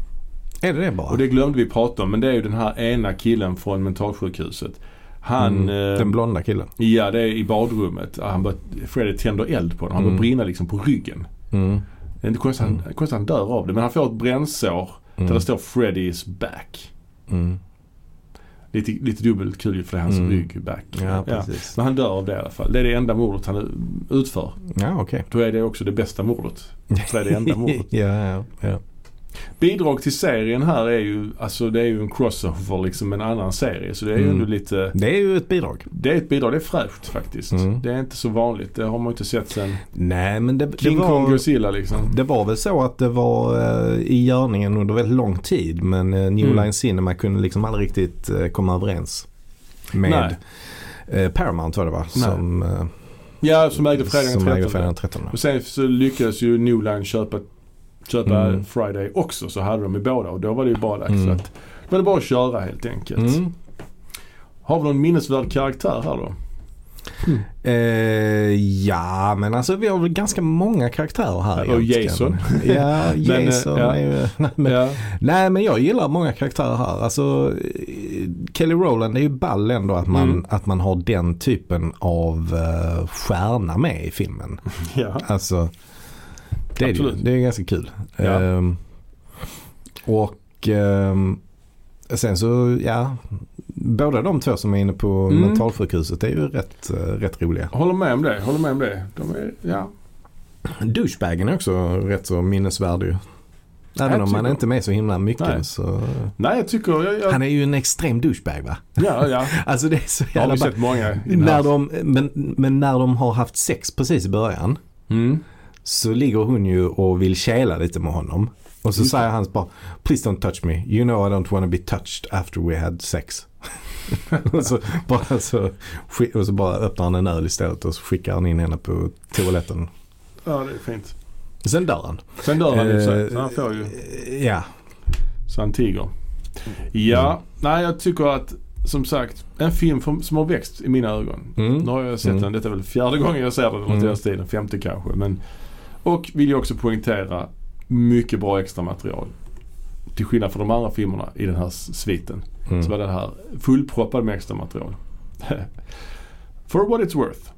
Speaker 2: Är det det bara?
Speaker 1: Och det glömde vi prata om men det är ju den här ena killen från mentalsjukhuset. Han... eh,
Speaker 2: Mm. Den blonda killen.
Speaker 1: Ja, det är i badrummet. Han bör, Freddy tänder eld på honom. Han börjar brinna liksom på ryggen.
Speaker 2: Mm.
Speaker 1: Det är inte konstigt att han, konstigt att han dör av det. Men han får ett brännsår där det står Freddy's back.
Speaker 2: Mm.
Speaker 1: Lite, lite dubbelt kul för det är hans rygg back.
Speaker 2: Ja, precis.
Speaker 1: Men han dör av det i alla fall. Det är det enda mordet han utför.
Speaker 2: Ja, okej.
Speaker 1: Då är det också det bästa mordet. För det är det enda mordet.
Speaker 2: ja, ja, ja.
Speaker 1: Bidrag till serien här är ju, alltså det är ju en crossover liksom med en annan serie. Så det är
Speaker 2: Mm.
Speaker 1: ju ändå lite,
Speaker 2: Det är ju ett bidrag.
Speaker 1: det är ett bidrag. Det är fräscht faktiskt.
Speaker 2: Mm.
Speaker 1: Det är inte så vanligt. Det har man ju inte sett sen
Speaker 2: Nej, men det, det,
Speaker 1: King Kong
Speaker 2: var,
Speaker 1: Godzilla liksom.
Speaker 2: det var väl så att det var eh, i görningen under väldigt lång tid. Men eh, New
Speaker 1: Mm.
Speaker 2: Line Cinema kunde liksom aldrig riktigt eh, komma överens med eh, Paramount var det va? Som, eh,
Speaker 1: Ja, som ägde
Speaker 2: som
Speaker 1: Fredagen
Speaker 2: ägde
Speaker 1: den 13.
Speaker 2: fredagen 13.
Speaker 1: Och sen så lyckades ju New Line köpa, köpa
Speaker 2: Mm.
Speaker 1: Friday också. Så hade de ju båda och då var det ju bara dags
Speaker 2: Mm.
Speaker 1: att... Men det var bara att köra helt enkelt.
Speaker 2: Mm.
Speaker 1: Har vi någon minnesvärd karaktär här då?
Speaker 2: Eh, ja, men alltså vi har väl ganska många karaktärer här.
Speaker 1: Ja, och
Speaker 2: egentligen.
Speaker 1: Jason.
Speaker 2: Ja,
Speaker 1: Men, eh,
Speaker 2: Jason
Speaker 1: ja.
Speaker 2: är ju... Nej men,
Speaker 1: ja.
Speaker 2: nej, men jag gillar många karaktärer här. Alltså, eh, Kelly Rowland, det är ju ball ändå att man,
Speaker 1: Mm.
Speaker 2: att man har den typen av uh, stjärna med i filmen.
Speaker 1: ja.
Speaker 2: Alltså, det är, det ju,
Speaker 1: Absolut.
Speaker 2: det är ganska kul.
Speaker 1: Ja.
Speaker 2: Ehm, och ehm, sen så, ja. Båda de två som är inne på
Speaker 1: Mm.
Speaker 2: mentalsjukhuset är ju rätt, eh, rätt roliga.
Speaker 1: Håller med om det. Håller med om det. De är, ja.
Speaker 2: Douchebagen är också rätt så minnesvärd ju. Även
Speaker 1: Jag
Speaker 2: om han
Speaker 1: tycker-
Speaker 2: inte är med så himla mycket
Speaker 1: Nej.
Speaker 2: så.
Speaker 1: Nej, jag tycker... Jag, jag,
Speaker 2: Han är ju en extrem douchebag va?
Speaker 1: ja, ja.
Speaker 2: Alltså det är så
Speaker 1: Jag har
Speaker 2: jävla
Speaker 1: vi
Speaker 2: bara,
Speaker 1: sett många. i den
Speaker 2: när
Speaker 1: här.
Speaker 2: de, men, men när de har haft sex precis i början
Speaker 1: Mm.
Speaker 2: så ligger hon ju och vill käla lite med honom. Och
Speaker 1: Mm.
Speaker 2: så säger han bara “Please don't touch me. You know I don't wanna be touched after we had sex”. och, så bara så, sk- och så bara öppnar han en öl istället och så skickar han in henne på toaletten.
Speaker 1: Ja, det är fint.
Speaker 2: Sen dör han.
Speaker 1: Sen dör han ju så.
Speaker 2: Eh,
Speaker 1: så Han får ju...
Speaker 2: Ja.
Speaker 1: Så han tiger.
Speaker 2: Mm.
Speaker 1: Ja, nej jag tycker att som sagt en film för, som har växt i mina ögon.
Speaker 2: Mm.
Speaker 1: Nu har jag sett
Speaker 2: Mm.
Speaker 1: den, detta är väl fjärde gången jag ser den eller
Speaker 2: Mm.
Speaker 1: mm. tiden, femte kanske. Men, och vill jag också poängtera, mycket bra extra material. Till skillnad från de andra filmerna i den här s- sviten
Speaker 2: Mm.
Speaker 1: så var den här fullproppad med extra material. For what it's worth.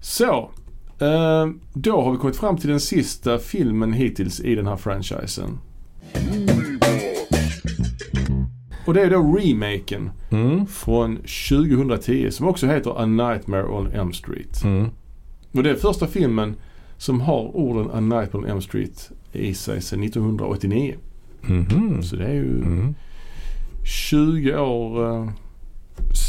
Speaker 1: Så, eh, då har vi kommit fram till den sista filmen hittills i den här franchisen. Och det är då remaken
Speaker 2: Mm.
Speaker 1: från 2010 som också heter A Nightmare on Elm Street.
Speaker 2: Mm.
Speaker 1: Och det är första filmen som har orden A Nightmare on Elm Street i sig sedan 1989.
Speaker 2: Mhm.
Speaker 1: Så det är ju
Speaker 2: Mm.
Speaker 1: 20 år eh,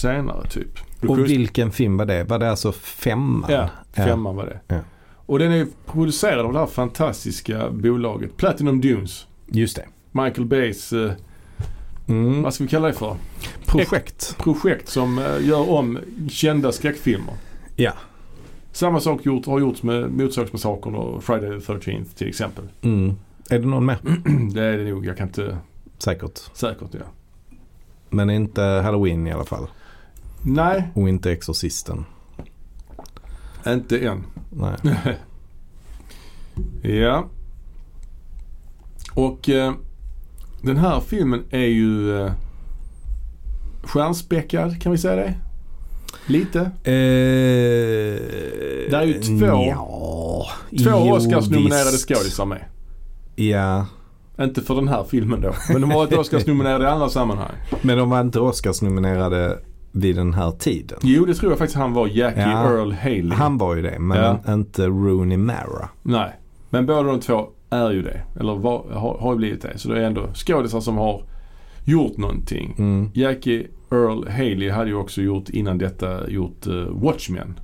Speaker 1: senare typ.
Speaker 2: Och vilken film var det? Var det alltså femman?
Speaker 1: Ja,
Speaker 2: Ja.
Speaker 1: femman var det.
Speaker 2: Ja.
Speaker 1: Och den är producerad av det här fantastiska bolaget Platinum Dunes.
Speaker 2: Just det.
Speaker 1: Michael Bays, eh,
Speaker 2: Mm.
Speaker 1: vad ska vi kalla det för?
Speaker 2: Projekt.
Speaker 1: Projekt som eh, gör om kända skräckfilmer.
Speaker 2: Ja.
Speaker 1: Samma sak gjort, har gjorts med Motorsågsmassakern och Friday the 13th till exempel.
Speaker 2: Mm. Är det någon mer?
Speaker 1: Det är det nog, jag kan inte
Speaker 2: Säkert.
Speaker 1: säkert ja.
Speaker 2: Men inte Halloween i alla fall.
Speaker 1: Nej,
Speaker 2: Och inte Exorcisten.
Speaker 1: inte än.
Speaker 2: Nej.
Speaker 1: Ja. Och eh, den här filmen är ju eh, stjärnspäckad, kan vi säga det? Lite.
Speaker 2: det
Speaker 1: är ju två-
Speaker 2: Ja,
Speaker 1: Två
Speaker 2: jo,
Speaker 1: Oscars-nominerade
Speaker 2: visst.
Speaker 1: skådisar med.
Speaker 2: Ja,
Speaker 1: Inte för den här filmen då, men de har varit Oscars-nominerade i andra sammanhang.
Speaker 2: men de var inte Oscars-nominerade vid den här tiden.
Speaker 1: Jo, det tror jag faktiskt han var, Jackie
Speaker 2: Ja.
Speaker 1: Earl Haley.
Speaker 2: Han var ju det, men
Speaker 1: Ja.
Speaker 2: en- inte Rooney Mara.
Speaker 1: Nej, men båda de två är ju det. Eller var, har, har ju blivit det. Så det är ändå skådisar som har gjort någonting.
Speaker 2: Mm.
Speaker 1: Jackie Earl Haley hade ju också gjort innan detta gjort eh, Watchmen.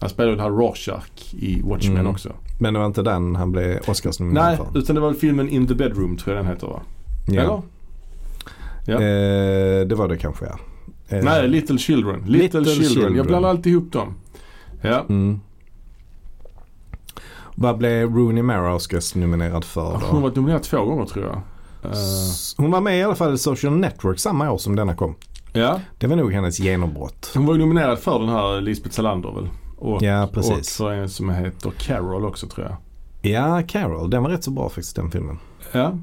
Speaker 1: Han spelade ju den här Rorschach i Watchmen
Speaker 2: Mm.
Speaker 1: också.
Speaker 2: Men det var inte den han blev Oscars-nominerad
Speaker 1: Nej,
Speaker 2: för.
Speaker 1: utan det var filmen In the Bedroom tror jag den heter va?
Speaker 2: Ja.
Speaker 1: Eller? Ja.
Speaker 2: Eh, det var det kanske, ja. Eh,
Speaker 1: Nej, Little Children. Little,
Speaker 2: Little
Speaker 1: Children. Jag
Speaker 2: Children.
Speaker 1: blandar alltid ihop dem. Ja.
Speaker 2: Mm. Vad blev Rooney Mara Oscars-nominerad för då?
Speaker 1: Hon har varit nominerad två gånger tror jag. Eh,
Speaker 2: S- Hon var med i alla fall i Social Network samma år som denna kom.
Speaker 1: ja.
Speaker 2: Det var nog hennes genombrott.
Speaker 1: Hon var ju nominerad för den här Lisbeth Salander väl? Och,
Speaker 2: Ja,
Speaker 1: och
Speaker 2: precis.
Speaker 1: för en som heter Carol också tror jag.
Speaker 2: Ja, Carol. Den var rätt så bra faktiskt den filmen.
Speaker 1: Ja,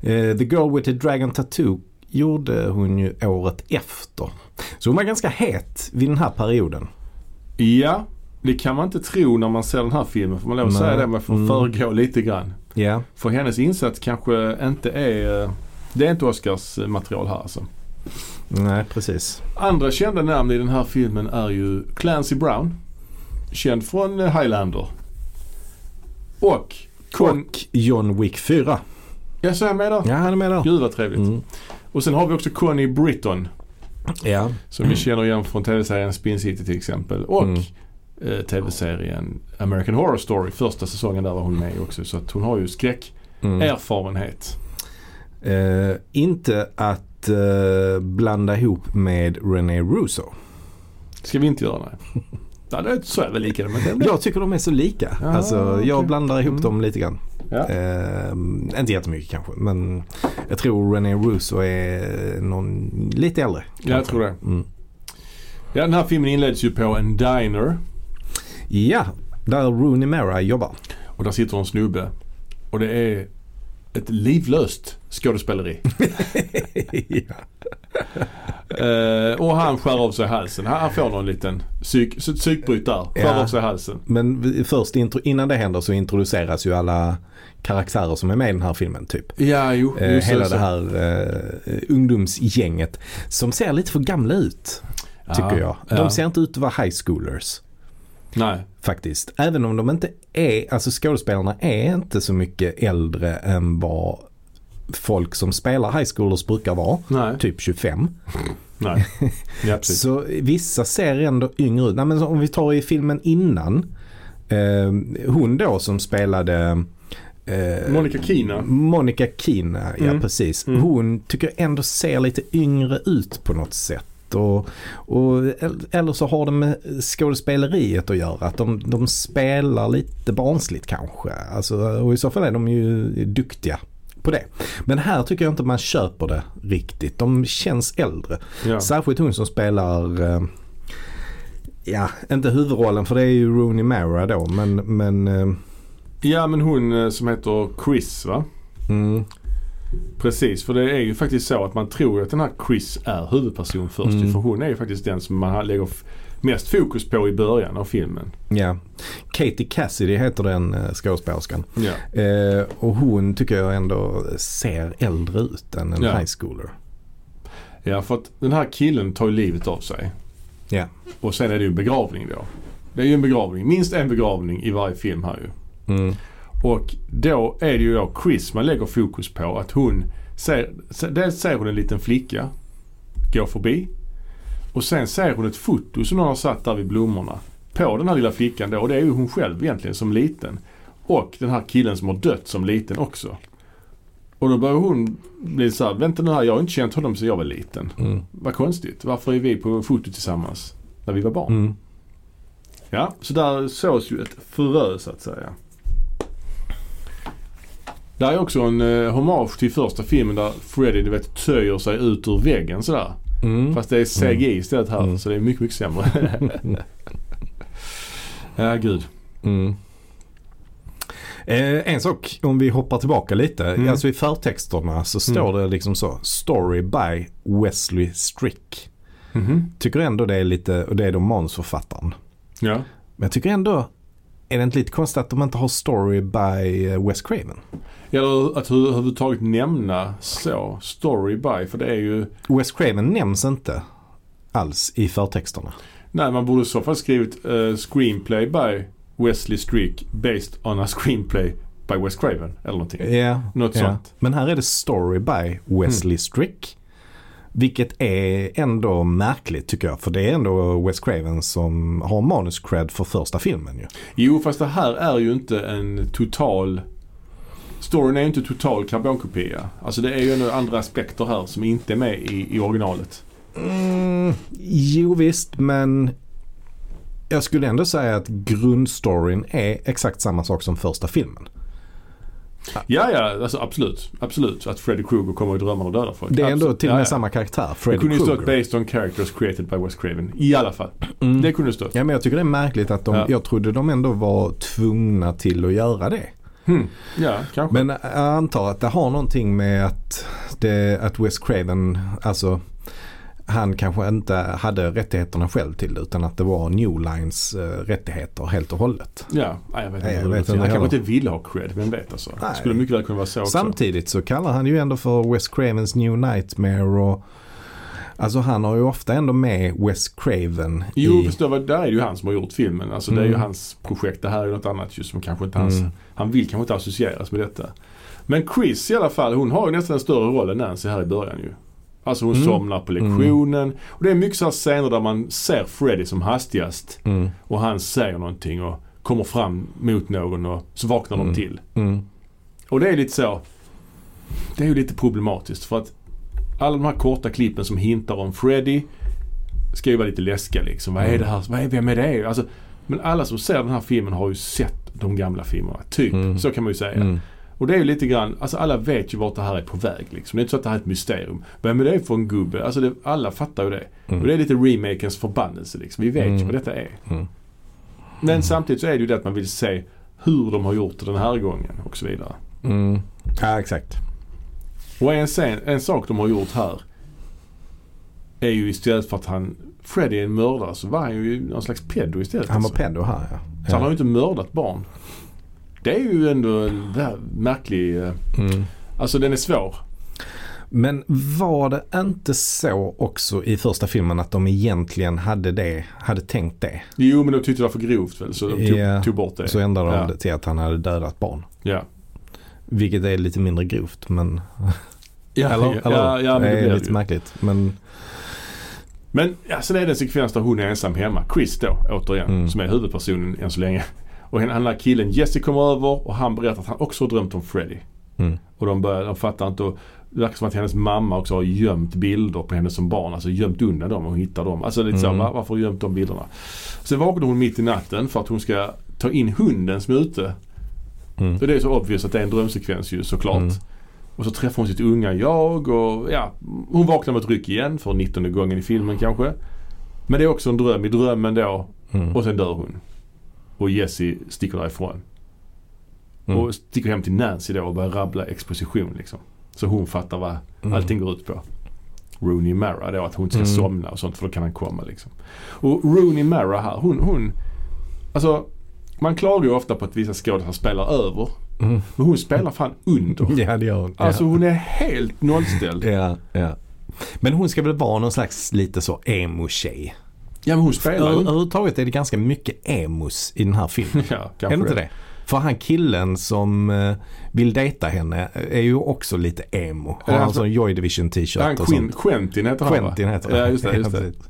Speaker 2: Eh, The Girl with the Dragon Tattoo gjorde hon ju året efter. Så hon var ganska het vid den här perioden.
Speaker 1: Ja, det kan man inte tro när man ser den här filmen. Får man lov att
Speaker 2: Nej.
Speaker 1: säga det? Man får
Speaker 2: Mm.
Speaker 1: föregå lite grann.
Speaker 2: Ja.
Speaker 1: För hennes insats kanske inte är... eh, Det är inte Oscars eh, material här alltså.
Speaker 2: Nej, precis.
Speaker 1: Andra kända namn i den här filmen är ju Clancy Brown. Känd från eh, Highlander. Och... Con-
Speaker 2: Och John Wick 4.
Speaker 1: jag säger med där.
Speaker 2: Ja, han är med där.
Speaker 1: Gud vad trevligt.
Speaker 2: Mm.
Speaker 1: Och sen har vi också Connie Britton.
Speaker 2: Ja.
Speaker 1: Som vi känner igen från tv-serien Spin City till exempel. Och
Speaker 2: Mm.
Speaker 1: eh, tv-serien American Horror Story. Första säsongen där var hon med också. Så att hon har ju
Speaker 2: Mm.
Speaker 1: skräckerfarenhet.
Speaker 2: Eh, inte att eh, blanda ihop med René Russo.
Speaker 1: Ska vi inte göra nej. Ja, det är så är väl lika det. Men det blir...
Speaker 2: Jag tycker de är så lika.
Speaker 1: Ah,
Speaker 2: alltså, jag
Speaker 1: okej.
Speaker 2: blandar ihop
Speaker 1: Mm.
Speaker 2: dem lite grann.
Speaker 1: ja.
Speaker 2: Eh, inte jättemycket kanske men jag tror René Russo är någon lite äldre.
Speaker 1: ja, jag tror det.
Speaker 2: Mm.
Speaker 1: Ja, den här filmen inleds ju på en diner.
Speaker 2: Ja, där Rooney Mara jobbar.
Speaker 1: Och där sitter en snubbe. Och det är ett livlöst skådespeleri.
Speaker 2: ja.
Speaker 1: eh, och han skär av sig halsen. Han, han får någon liten psyk, psy- psykbryt där. Skär
Speaker 2: Ja.
Speaker 1: av sig halsen.
Speaker 2: Men vi- först intro, innan det händer så introduceras ju alla karaktärer som är med i den här filmen typ.
Speaker 1: Ja, jo.
Speaker 2: Eh,
Speaker 1: just
Speaker 2: hela
Speaker 1: så.
Speaker 2: det här eh, ungdomsgänget som ser lite för gamla ut tycker
Speaker 1: Ja,
Speaker 2: jag. De
Speaker 1: ja.
Speaker 2: ser inte ut att vara high schoolers.
Speaker 1: Nej.
Speaker 2: faktiskt. Även om de inte är, alltså skådespelarna är inte så mycket äldre än vad folk som spelar high schoolers brukar vara.
Speaker 1: Nej.
Speaker 2: Typ 25.
Speaker 1: Nej. Ja, precis.
Speaker 2: Så vissa ser ändå yngre ut. Nej, men om vi tar i filmen innan. Eh, hon då som spelade eh,
Speaker 1: Monica Kina.
Speaker 2: Monica Kina, ja
Speaker 1: Mm.
Speaker 2: precis.
Speaker 1: Mm.
Speaker 2: Hon tycker jag ändå ser lite yngre ut på något sätt. Och, och, eller så har det med skådespeleriet att göra. Att de, de spelar lite barnsligt kanske. Alltså, och i så fall är de ju duktiga på det. Men här tycker jag inte man köper det riktigt. De känns äldre.
Speaker 1: Ja.
Speaker 2: Särskilt hon som spelar eh, Ja, inte huvudrollen för det är ju Rooney Mara då men, men eh,
Speaker 1: ja, men hon eh, som heter Chris va?
Speaker 2: mm,
Speaker 1: Precis, för det är ju faktiskt så att man tror ju att den här Chris är huvudperson först. ju,
Speaker 2: Mm.
Speaker 1: För hon är ju faktiskt den som man lägger f- mest fokus på i början av filmen.
Speaker 2: Ja. Katie Cassidy heter den eh, skådespelerskan.
Speaker 1: Ja.
Speaker 2: Eh, och hon tycker jag ändå ser äldre ut än en
Speaker 1: Ja.
Speaker 2: high schooler.
Speaker 1: ja, för att den här killen tar ju livet av sig.
Speaker 2: Ja.
Speaker 1: Och sen är det ju en begravning då. Det är ju en begravning. Minst en begravning i varje film här ju.
Speaker 2: Mm.
Speaker 1: Och då är det ju då Chris man lägger fokus på. Att hon ser, se- dels ser hon en liten flicka gå förbi. Och sen ser hon ett foto som någon har satt där vid blommorna. På den här lilla flickan då. Och det är ju hon själv egentligen som liten. Och den här killen som har dött som liten också. Och då börjar hon bli så här, vänta nu här, jag har inte känt honom sedan jag var liten.
Speaker 2: Mm.
Speaker 1: Vad konstigt, varför är vi på foto tillsammans när vi var barn?
Speaker 2: Mm.
Speaker 1: Ja, så där sås ju ett frö så att säga. Där är också en eh, hommage till första filmen där Freddy du vet töjer sig ut ur väggen sådär.
Speaker 2: Mm.
Speaker 1: Fast det är CGI istället här
Speaker 2: Mm.
Speaker 1: så det är mycket, mycket sämre. ja, gud.
Speaker 2: Mm. Eh, en sak om vi hoppar tillbaka lite.
Speaker 1: Mm.
Speaker 2: Alltså i förtexterna så står det liksom så. Story by Wesley Strick.
Speaker 1: Mhm.
Speaker 2: Tycker ändå det är lite, och det är då manusförfattaren.
Speaker 1: Ja.
Speaker 2: Men jag tycker ändå, är det inte lite konstigt att de inte har story by eh, Wes Craven?
Speaker 1: Eller att hu- överhuvudtaget nämna så, story by, för det är ju...
Speaker 2: Wes Craven nämns inte alls i förtexterna.
Speaker 1: Nej, man borde i så fall skrivit eh, screenplay by Wesley Strick based on a screenplay by Wes Craven eller någonting.
Speaker 2: Eh.
Speaker 1: Eh, Något
Speaker 2: ja.
Speaker 1: sånt. Mm.
Speaker 2: Men här är det Story by Wesley Strick. Vilket är ändå märkligt tycker jag. För det är ändå Wes Craven som har manuscred för första filmen ju.
Speaker 1: Jo, fast det här är ju inte en total... Storyn är ju inte total karbonkopia. Alltså det är ju ändå andra aspekter här som inte är med i, i originalet.
Speaker 2: Mm, jo visst, men jag skulle ändå säga att grundstoryn är exakt samma sak som första filmen.
Speaker 1: Ja, ja, alltså absolut. Absolut. Att Freddy Krueger kommer i drömmarna och dödar folk.
Speaker 2: Det är ändå
Speaker 1: Absolut.
Speaker 2: till och med
Speaker 1: Ja, ja.
Speaker 2: samma karaktär,
Speaker 1: Det kunde
Speaker 2: Freddy
Speaker 1: ju stått
Speaker 2: Krueger.
Speaker 1: “Based on characters created by Wes Craven”. I alla fall.
Speaker 2: Mm.
Speaker 1: Det kunde stått.
Speaker 2: Ja, men jag tycker det är märkligt att de,
Speaker 1: Ja.
Speaker 2: jag trodde de ändå var tvungna till att göra det.
Speaker 1: Hmm. Ja, kanske.
Speaker 2: Men jag antar att det har någonting med att, det, att Wes Craven, alltså han kanske inte hade rättigheterna själv till det utan att det var New Lines eh, rättigheter helt och hållet.
Speaker 1: Ja, nej, jag vet
Speaker 2: Nej,
Speaker 1: inte.
Speaker 2: jag
Speaker 1: hur det
Speaker 2: vet
Speaker 1: låter.
Speaker 2: inte
Speaker 1: Han
Speaker 2: heller.
Speaker 1: kanske inte ville ha cred, vem vet alltså.
Speaker 2: Nej.
Speaker 1: Skulle mycket väl kunna vara så också.
Speaker 2: Samtidigt så kallar han ju ändå för Wes Cravens New Nightmare och alltså han har ju ofta ändå med Wes Craven
Speaker 1: Jo,
Speaker 2: i...
Speaker 1: förstår vad, där är det ju han som har gjort filmen. Alltså det är ju
Speaker 2: Mm.
Speaker 1: hans projekt. Det här är något annat ju som kanske inte hans...
Speaker 2: Mm.
Speaker 1: Han vill kanske inte associeras med detta. Men Chris i alla fall, hon har ju nästan en större roll än Nancy här i början ju. Alltså hon
Speaker 2: Mm.
Speaker 1: somnar på lektionen. Och det är mycket så här scener där man ser Freddy som hastigast.
Speaker 2: Mm,
Speaker 1: Och han säger någonting och kommer fram mot någon och så vaknar de
Speaker 2: Mm.
Speaker 1: till.
Speaker 2: mm,
Speaker 1: Och det är lite så. Det är ju lite problematiskt för att alla de här korta klippen som hintar om Freddy ska ju vara lite läskiga liksom.
Speaker 2: Mm.
Speaker 1: Vad är det här? Vad är, vem är det? Alltså, men alla som ser den här filmen har ju sett de gamla filmerna. Typ.
Speaker 2: Mm.
Speaker 1: Så kan man ju säga.
Speaker 2: mm.
Speaker 1: Och det är ju lite grann, alltså alla vet ju vart det här är på väg liksom. Det är inte så att det här är ett mysterium. Vem är det för en gubbe? Alltså det, alla fattar ju det.
Speaker 2: Mm.
Speaker 1: Och det är lite remakens förbannelse liksom. Vi vet ju
Speaker 2: Mm.
Speaker 1: vad detta är.
Speaker 2: Mm.
Speaker 1: Men samtidigt så är det ju det att man vill se hur de har gjort det den här gången och så vidare.
Speaker 2: Mm. Ja, exakt.
Speaker 1: Och en, scen, en sak de har gjort här är ju istället för att han Freddy är en mördare så var han ju någon slags pedo istället.
Speaker 2: Han var
Speaker 1: alltså.
Speaker 2: pedo här ja.
Speaker 1: Så han har
Speaker 2: ja.
Speaker 1: ju inte mördat barn. Det är ju ändå en vä- märklig... eh,
Speaker 2: Mm.
Speaker 1: Alltså den är svår.
Speaker 2: Men var det inte så också i första filmen att de egentligen hade det, hade tänkt det?
Speaker 1: Jo men de tyckte det var för grovt väl så de tog,
Speaker 2: Ja.
Speaker 1: tog bort det.
Speaker 2: Så ändrade de
Speaker 1: Ja.
Speaker 2: det till att han hade dödat barn.
Speaker 1: Ja.
Speaker 2: Vilket är lite mindre grovt men...
Speaker 1: Ja,
Speaker 2: Eller?
Speaker 1: ja, ja, ja, men det,
Speaker 2: det
Speaker 1: blir
Speaker 2: är
Speaker 1: det
Speaker 2: lite
Speaker 1: ju.
Speaker 2: märkligt. Men,
Speaker 1: Men alltså det är den sekvens där hon är ensam hemma. Chris då, återigen,
Speaker 2: Mm.
Speaker 1: som är huvudpersonen än så länge. Och den andra killen Jesse kommer över och han berättar att han också har drömt om Freddy.
Speaker 2: mm,
Speaker 1: Och de, börjar, de fattar inte. Och det verkar som att hennes mamma också har gömt bilder på henne som barn. Alltså gömt undan dem och hittar dem. Alltså lite så,
Speaker 2: Mm.
Speaker 1: va- varför har du gömt de bilderna? Sen vaknar hon mitt i natten för att hon ska ta in hunden som är ute.
Speaker 2: mm,
Speaker 1: Och det är så obvious att det är en drömsekvens ju såklart.
Speaker 2: Mm.
Speaker 1: Och så träffar hon sitt unga jag och ja, hon vaknar med ett ryck igen för nittonde gången i filmen kanske. Men det är också en dröm i drömmen då
Speaker 2: mm,
Speaker 1: och sen dör hon. Och Jesse sticker därifrån.
Speaker 2: Mm.
Speaker 1: Och sticker hem till Nancy då och börjar rabbla exposition liksom. Så hon fattar vad
Speaker 2: Mm.
Speaker 1: allting går ut på. Rooney Mara då, att hon inte ska
Speaker 2: Mm.
Speaker 1: somna och sånt för då kan han komma liksom. Och Rooney Mara här, hon, hon, alltså man klagar ju ofta på att vissa skådespelare spelar över.
Speaker 2: mm.
Speaker 1: Men hon spelar fan under.
Speaker 2: Ja, det gör hon.
Speaker 1: Alltså
Speaker 2: ja.
Speaker 1: hon är helt nollställd.
Speaker 2: Ja, ja. Men hon ska väl vara någon slags lite så emo-tjej.
Speaker 1: Ja men hon spelar
Speaker 2: Över-
Speaker 1: ju.
Speaker 2: Överhuvudtaget är det ganska mycket emos i den här filmen.
Speaker 1: Ja,
Speaker 2: är det
Speaker 1: kanske
Speaker 2: inte det? För han killen som eh, vill dejta henne är ju också lite emo. Har
Speaker 1: Ja,
Speaker 2: han
Speaker 1: alltså-
Speaker 2: sån Joy
Speaker 1: Han
Speaker 2: Division-t-shirt och
Speaker 1: Quin-
Speaker 2: sånt.
Speaker 1: Quentin heter han va?
Speaker 2: Quentin heter han.
Speaker 1: Ja just det. Just det.
Speaker 2: precis.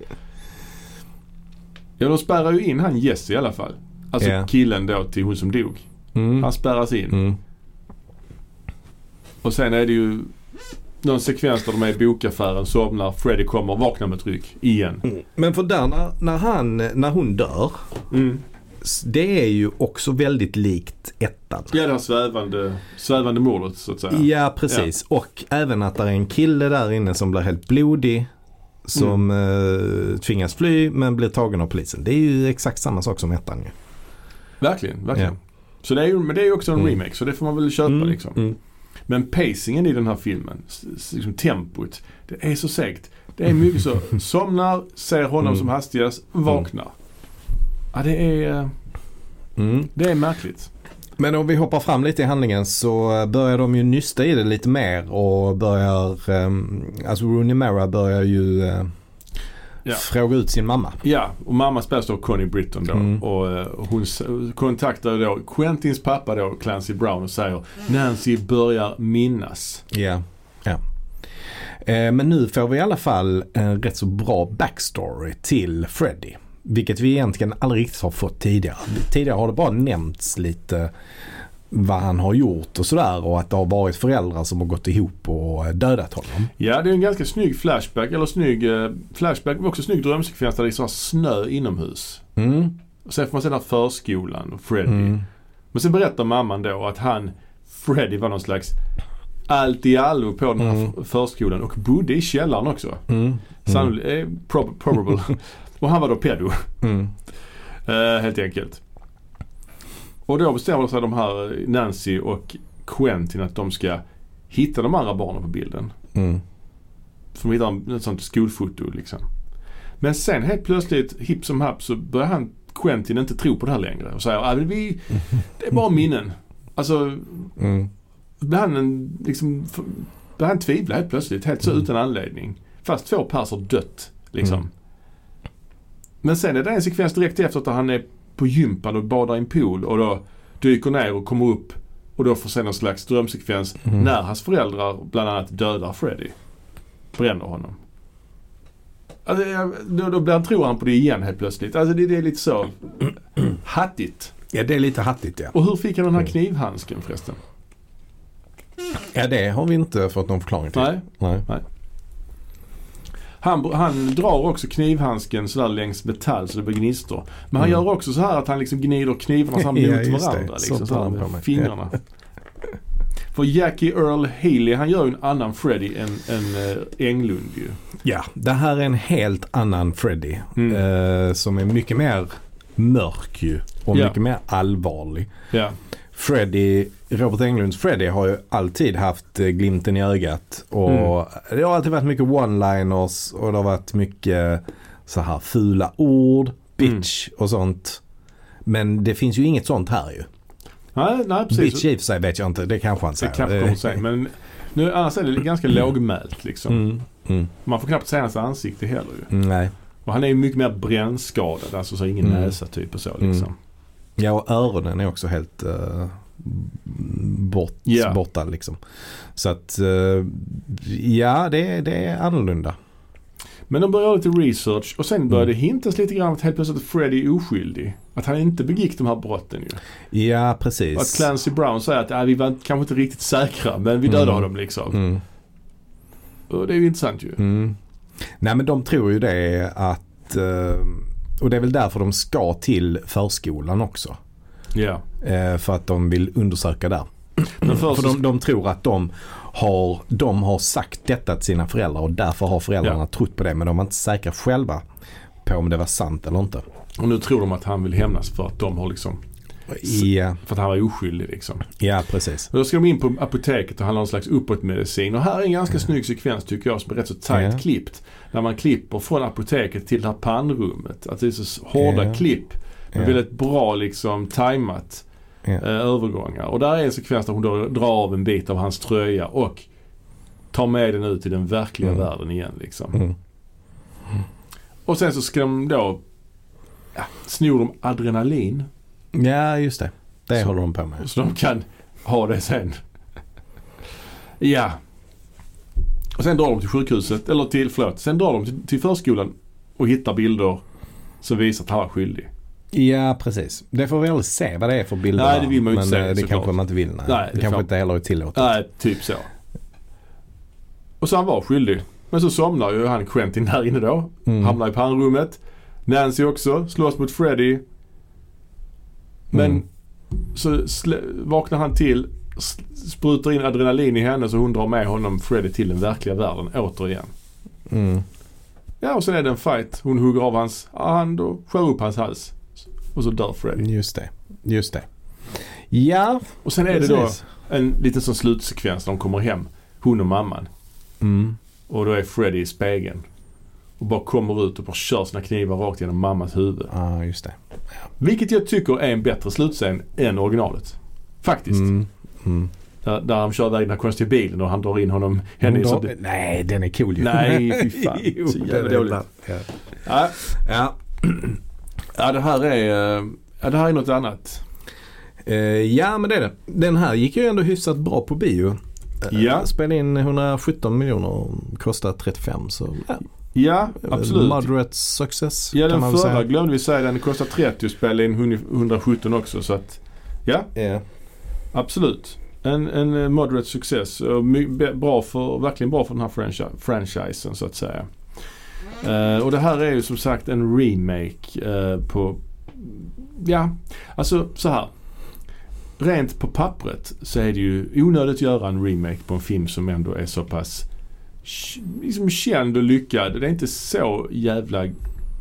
Speaker 1: Ja, de spärrar ju in han Jesse i alla fall. Alltså
Speaker 2: Ja.
Speaker 1: killen då till hon som dog.
Speaker 2: Mm.
Speaker 1: Han spärras in.
Speaker 2: Mm.
Speaker 1: Och sen är det ju någon sekvens där de är i bokaffären, somnar, Freddy kommer, vaknar med ett ryck. Igen.
Speaker 2: Men för där när, när, han, när hon dör,
Speaker 1: Mm.
Speaker 2: s- det är ju också väldigt likt ettan.
Speaker 1: Ja, det här svävande, svävande mordet så att säga.
Speaker 2: Ja precis och även att det är en kille där inne som blir helt blodig. Som
Speaker 1: Mm.
Speaker 2: eh, tvingas fly men blir tagen av polisen. Det är ju exakt samma sak som ettan ju.
Speaker 1: Verkligen, verkligen.
Speaker 2: Ja.
Speaker 1: Så det är ju, men det är ju också en
Speaker 2: Mm.
Speaker 1: remake så det får man väl köpa
Speaker 2: Mm,
Speaker 1: liksom.
Speaker 2: mm.
Speaker 1: Men pacingen i den här filmen, s- s- liksom tempot, det är så segt. Det är mycket så, somnar, ser honom
Speaker 2: Mm.
Speaker 1: som hastigast, vaknar. Ja, det är,
Speaker 2: Mm.
Speaker 1: det är märkligt.
Speaker 2: Men om vi hoppar fram lite i handlingen så börjar de ju nysta i det lite mer och börjar, ehm, alltså Rooney Mara börjar ju eh,
Speaker 1: Ja.
Speaker 2: fråga ut sin mamma.
Speaker 1: Ja, och mamma spelas av Connie Britton då.
Speaker 2: Mm.
Speaker 1: Och eh, hon s- kontaktar då Quentins pappa då, Clancy Brown, och säger Nancy börjar minnas.
Speaker 2: Ja. ja. Eh, Men nu får vi i alla fall en rätt så bra backstory till Freddy. Vilket vi egentligen aldrig riktigt har fått tidigare. Tidigare har det bara nämnts lite vad han har gjort och sådär och att det har varit föräldrar som har gått ihop och dödat honom.
Speaker 1: Ja, det är en ganska snygg flashback, eller snygg eh, flashback, men också snygg drömsekvens där det är så här snö inomhus.
Speaker 2: Mm.
Speaker 1: Och sen får man se den här förskolan och Freddy.
Speaker 2: Mm.
Speaker 1: Men sen berättar mamman då att han, Freddy var någon slags allt i allo på den här
Speaker 2: Mm.
Speaker 1: f- förskolan och bodde i källaren också.
Speaker 2: Mm. Mm.
Speaker 1: Sannolikt, eh, prob- probable. och han var då pedo.
Speaker 2: Mm.
Speaker 1: Eh, helt enkelt. Och då bestämmer sig de här eh, Nancy och Quentin att de ska hitta de andra barnen på bilden.
Speaker 2: Mm.
Speaker 1: För de hittar en- ett sånt skolfoto liksom. Men sen helt plötsligt, hipp som happ, så börjar han Quentin inte tro på det här längre och säger att vi, det är bara minnen. Alltså,
Speaker 2: Mm.
Speaker 1: blir han en, liksom, f- blir han tvivla helt plötsligt, helt så utan anledning. Fast två pers har dött liksom.
Speaker 2: Mm.
Speaker 1: Men sen är det en sekvens direkt efter att han är på gympan och badar i en pool och då dyker ner och kommer upp och då får se någon slags drömsekvens
Speaker 2: Mm.
Speaker 1: när hans föräldrar bland annat dödar Freddy. Bränner honom. Alltså, jag- då, då blir han, tror han på det igen helt plötsligt. Alltså det, det är lite så hattigt.
Speaker 2: Ja, det är lite hattigt ja.
Speaker 1: Och hur fick han den
Speaker 2: Mm.
Speaker 1: här knivhandsken förresten?
Speaker 2: Ja, det har vi inte fått någon förklaring till.
Speaker 1: Nej.
Speaker 2: Nej.
Speaker 1: Han, han drar också knivhandsken sådär längs metall så det blir gnistor. Men han
Speaker 2: Mm.
Speaker 1: gör också så här att han liksom gnider knivarna så här
Speaker 2: Ja,
Speaker 1: mot
Speaker 2: just det.
Speaker 1: varandra.
Speaker 2: Så
Speaker 1: Liksom,
Speaker 2: tar
Speaker 1: så här
Speaker 2: han på mig.
Speaker 1: med fingrarna. För Jackie Earl Haley han gör ju en annan Freddy än, än äh, Englund ju.
Speaker 2: Ja, det här är en helt annan Freddy.
Speaker 1: Mm.
Speaker 2: Eh, som är mycket mer mörk ju. Och
Speaker 1: Ja.
Speaker 2: mycket mer allvarlig.
Speaker 1: Ja.
Speaker 2: Freddy, Robert Englunds Freddy har ju alltid haft eh, glimten i ögat. Och
Speaker 1: Mm.
Speaker 2: Det har alltid varit mycket one-liners och det har varit mycket så här fula ord, bitch
Speaker 1: Mm.
Speaker 2: och sånt. Men det finns ju inget sånt här ju.
Speaker 1: Nej, nej
Speaker 2: Bitch
Speaker 1: precis.
Speaker 2: i och för sig vet jag inte, det kanske han
Speaker 1: Det
Speaker 2: säger.
Speaker 1: kanske kommer sen. Men nu, annars är det ganska lågmält liksom.
Speaker 2: Mm. Mm.
Speaker 1: Man får knappt se hans ansikte heller ju.
Speaker 2: Mm, Nej.
Speaker 1: Och han är ju mycket mer brännskadad. Alltså så ingen
Speaker 2: Mm.
Speaker 1: näsa typ och så
Speaker 2: Mm.
Speaker 1: liksom.
Speaker 2: Ja, och öronen är också helt eh, bort,
Speaker 1: Ja.
Speaker 2: borta liksom. Så att, eh, ja det, det är annorlunda.
Speaker 1: Men de började göra lite research och sen
Speaker 2: Mm.
Speaker 1: började det hintas lite grann att helt plötsligt att Freddy är oskyldig. Att han inte begick de här brotten ju.
Speaker 2: Ja,
Speaker 1: Och Att
Speaker 2: precis.
Speaker 1: Clancy Brown säger att "Ah, vi var kanske inte riktigt säkra men vi dödade
Speaker 2: Mm.
Speaker 1: honom liksom.
Speaker 2: Mm.
Speaker 1: Och det är ju intressant ju.
Speaker 2: Mm. Nej men de tror ju det att, eh, och det är väl därför de ska till förskolan också.
Speaker 1: Ja.
Speaker 2: Eh, för att de vill undersöka där.
Speaker 1: Men först
Speaker 2: Mm. För de, de tror att de har, de har sagt detta till sina föräldrar och därför har föräldrarna
Speaker 1: Ja.
Speaker 2: trott på det. Men de var inte säkra själva på om det var sant eller inte.
Speaker 1: och nu tror de att han vill hämnas för att de har liksom,
Speaker 2: Ja,
Speaker 1: för att han var oskyldig liksom.
Speaker 2: ja precis.
Speaker 1: Och då ska de in på apoteket och handla någon slags uppåtmedicin. Och här är en ganska snygg sekvens tycker jag som är rätt så tajt
Speaker 2: Mm. Ja.
Speaker 1: klippt. När man klipper från apoteket till det här pannrummet. Att det är så hårda
Speaker 2: Ja.
Speaker 1: klipp. Men
Speaker 2: Ja.
Speaker 1: väldigt bra liksom tajmat.
Speaker 2: Ja.
Speaker 1: eh, övergångar. Och där är en sekvens där hon då drar av en bit av hans tröja och tar med den ut i den verkliga
Speaker 2: Mm.
Speaker 1: världen igen. Liksom.
Speaker 2: Mm.
Speaker 1: Och sen så ska de då ja, snor de adrenalin
Speaker 2: Ja, just det. Det
Speaker 1: Så-
Speaker 2: håller de på med.
Speaker 1: så de kan ha det sen. ja. Och sen drar de till sjukhuset, eller till, förlåt, sen drar de till, till förskolan och hittar bilder som visar att han var skyldig.
Speaker 2: Ja, precis. Det får vi aldrig se vad det är för bilder.
Speaker 1: Nej, det vill man ju
Speaker 2: men
Speaker 1: inte se,
Speaker 2: eh, det
Speaker 1: såklart.
Speaker 2: kanske man inte vill. Nej.
Speaker 1: Nej, det är
Speaker 2: det kanske
Speaker 1: klart.
Speaker 2: inte heller är tillåtet.
Speaker 1: Nej, typ så. Och så han var skyldig. Men så somnar ju han Quentin där inne då.
Speaker 2: Mm.
Speaker 1: Hamnar i pannrummet. Nancy också. Slåss mot Freddy. Men
Speaker 2: Mm.
Speaker 1: så slä- vaknar han till. s- Sprutar in adrenalin i henne så hon drar med honom Freddy till den verkliga världen återigen.
Speaker 2: Mm.
Speaker 1: Ja och sen är det en fight. Hon hugger av hans hand och skär upp hans hals. Och så dör Freddy.
Speaker 2: Just det. Just det. Ja,
Speaker 1: Och sen är det då
Speaker 2: precis.
Speaker 1: en liten sån slutsekvens när de kommer hem. Hon och mamman.
Speaker 2: Mm.
Speaker 1: Och då är Freddy i spegeln. Och bara kommer ut och bara kör sina knivar rakt genom mammas huvud.
Speaker 2: Ja, just det.
Speaker 1: Vilket jag tycker är en bättre slutscen än originalet. Faktiskt.
Speaker 2: Mm. Mm.
Speaker 1: Där, där han kör iväg den här konstiga bilen och han drar in honom. Henne i
Speaker 2: Hon
Speaker 1: sånt...
Speaker 2: drar- Nej, den är cool ju.
Speaker 1: Nej, fy fan.
Speaker 2: Jo,
Speaker 1: Så jävla
Speaker 2: den är
Speaker 1: dåligt.
Speaker 2: bra. Ja.
Speaker 1: Ja,
Speaker 2: Ja.
Speaker 1: ja, det här är... eh, Ja, det här är något annat.
Speaker 2: Eh, ja, men det är det. Den här gick ju ändå hyfsat bra på bio. Eh,
Speaker 1: Ja.
Speaker 2: Spelade in 117 miljoner och kostade 35 så ja.
Speaker 1: Ja, absolut.
Speaker 2: Moderate success
Speaker 1: Ja,
Speaker 2: kan
Speaker 1: den
Speaker 2: man väl
Speaker 1: förra
Speaker 2: säga.
Speaker 1: glömde vi säga. Den kostar 30 och spelade in 117 också. Så att, ja,
Speaker 2: Ja.
Speaker 1: absolut. En, en eh, moderate success. Och my, be- bra för, verkligen bra för den här franchi- franchisen så att säga. Eh, och det här är ju som sagt en remake eh, på... Ja, alltså så här. Rent på pappret så är det ju onödigt att göra en remake på en film som ändå är så pass k- liksom känd och lyckad. Det är inte så jävla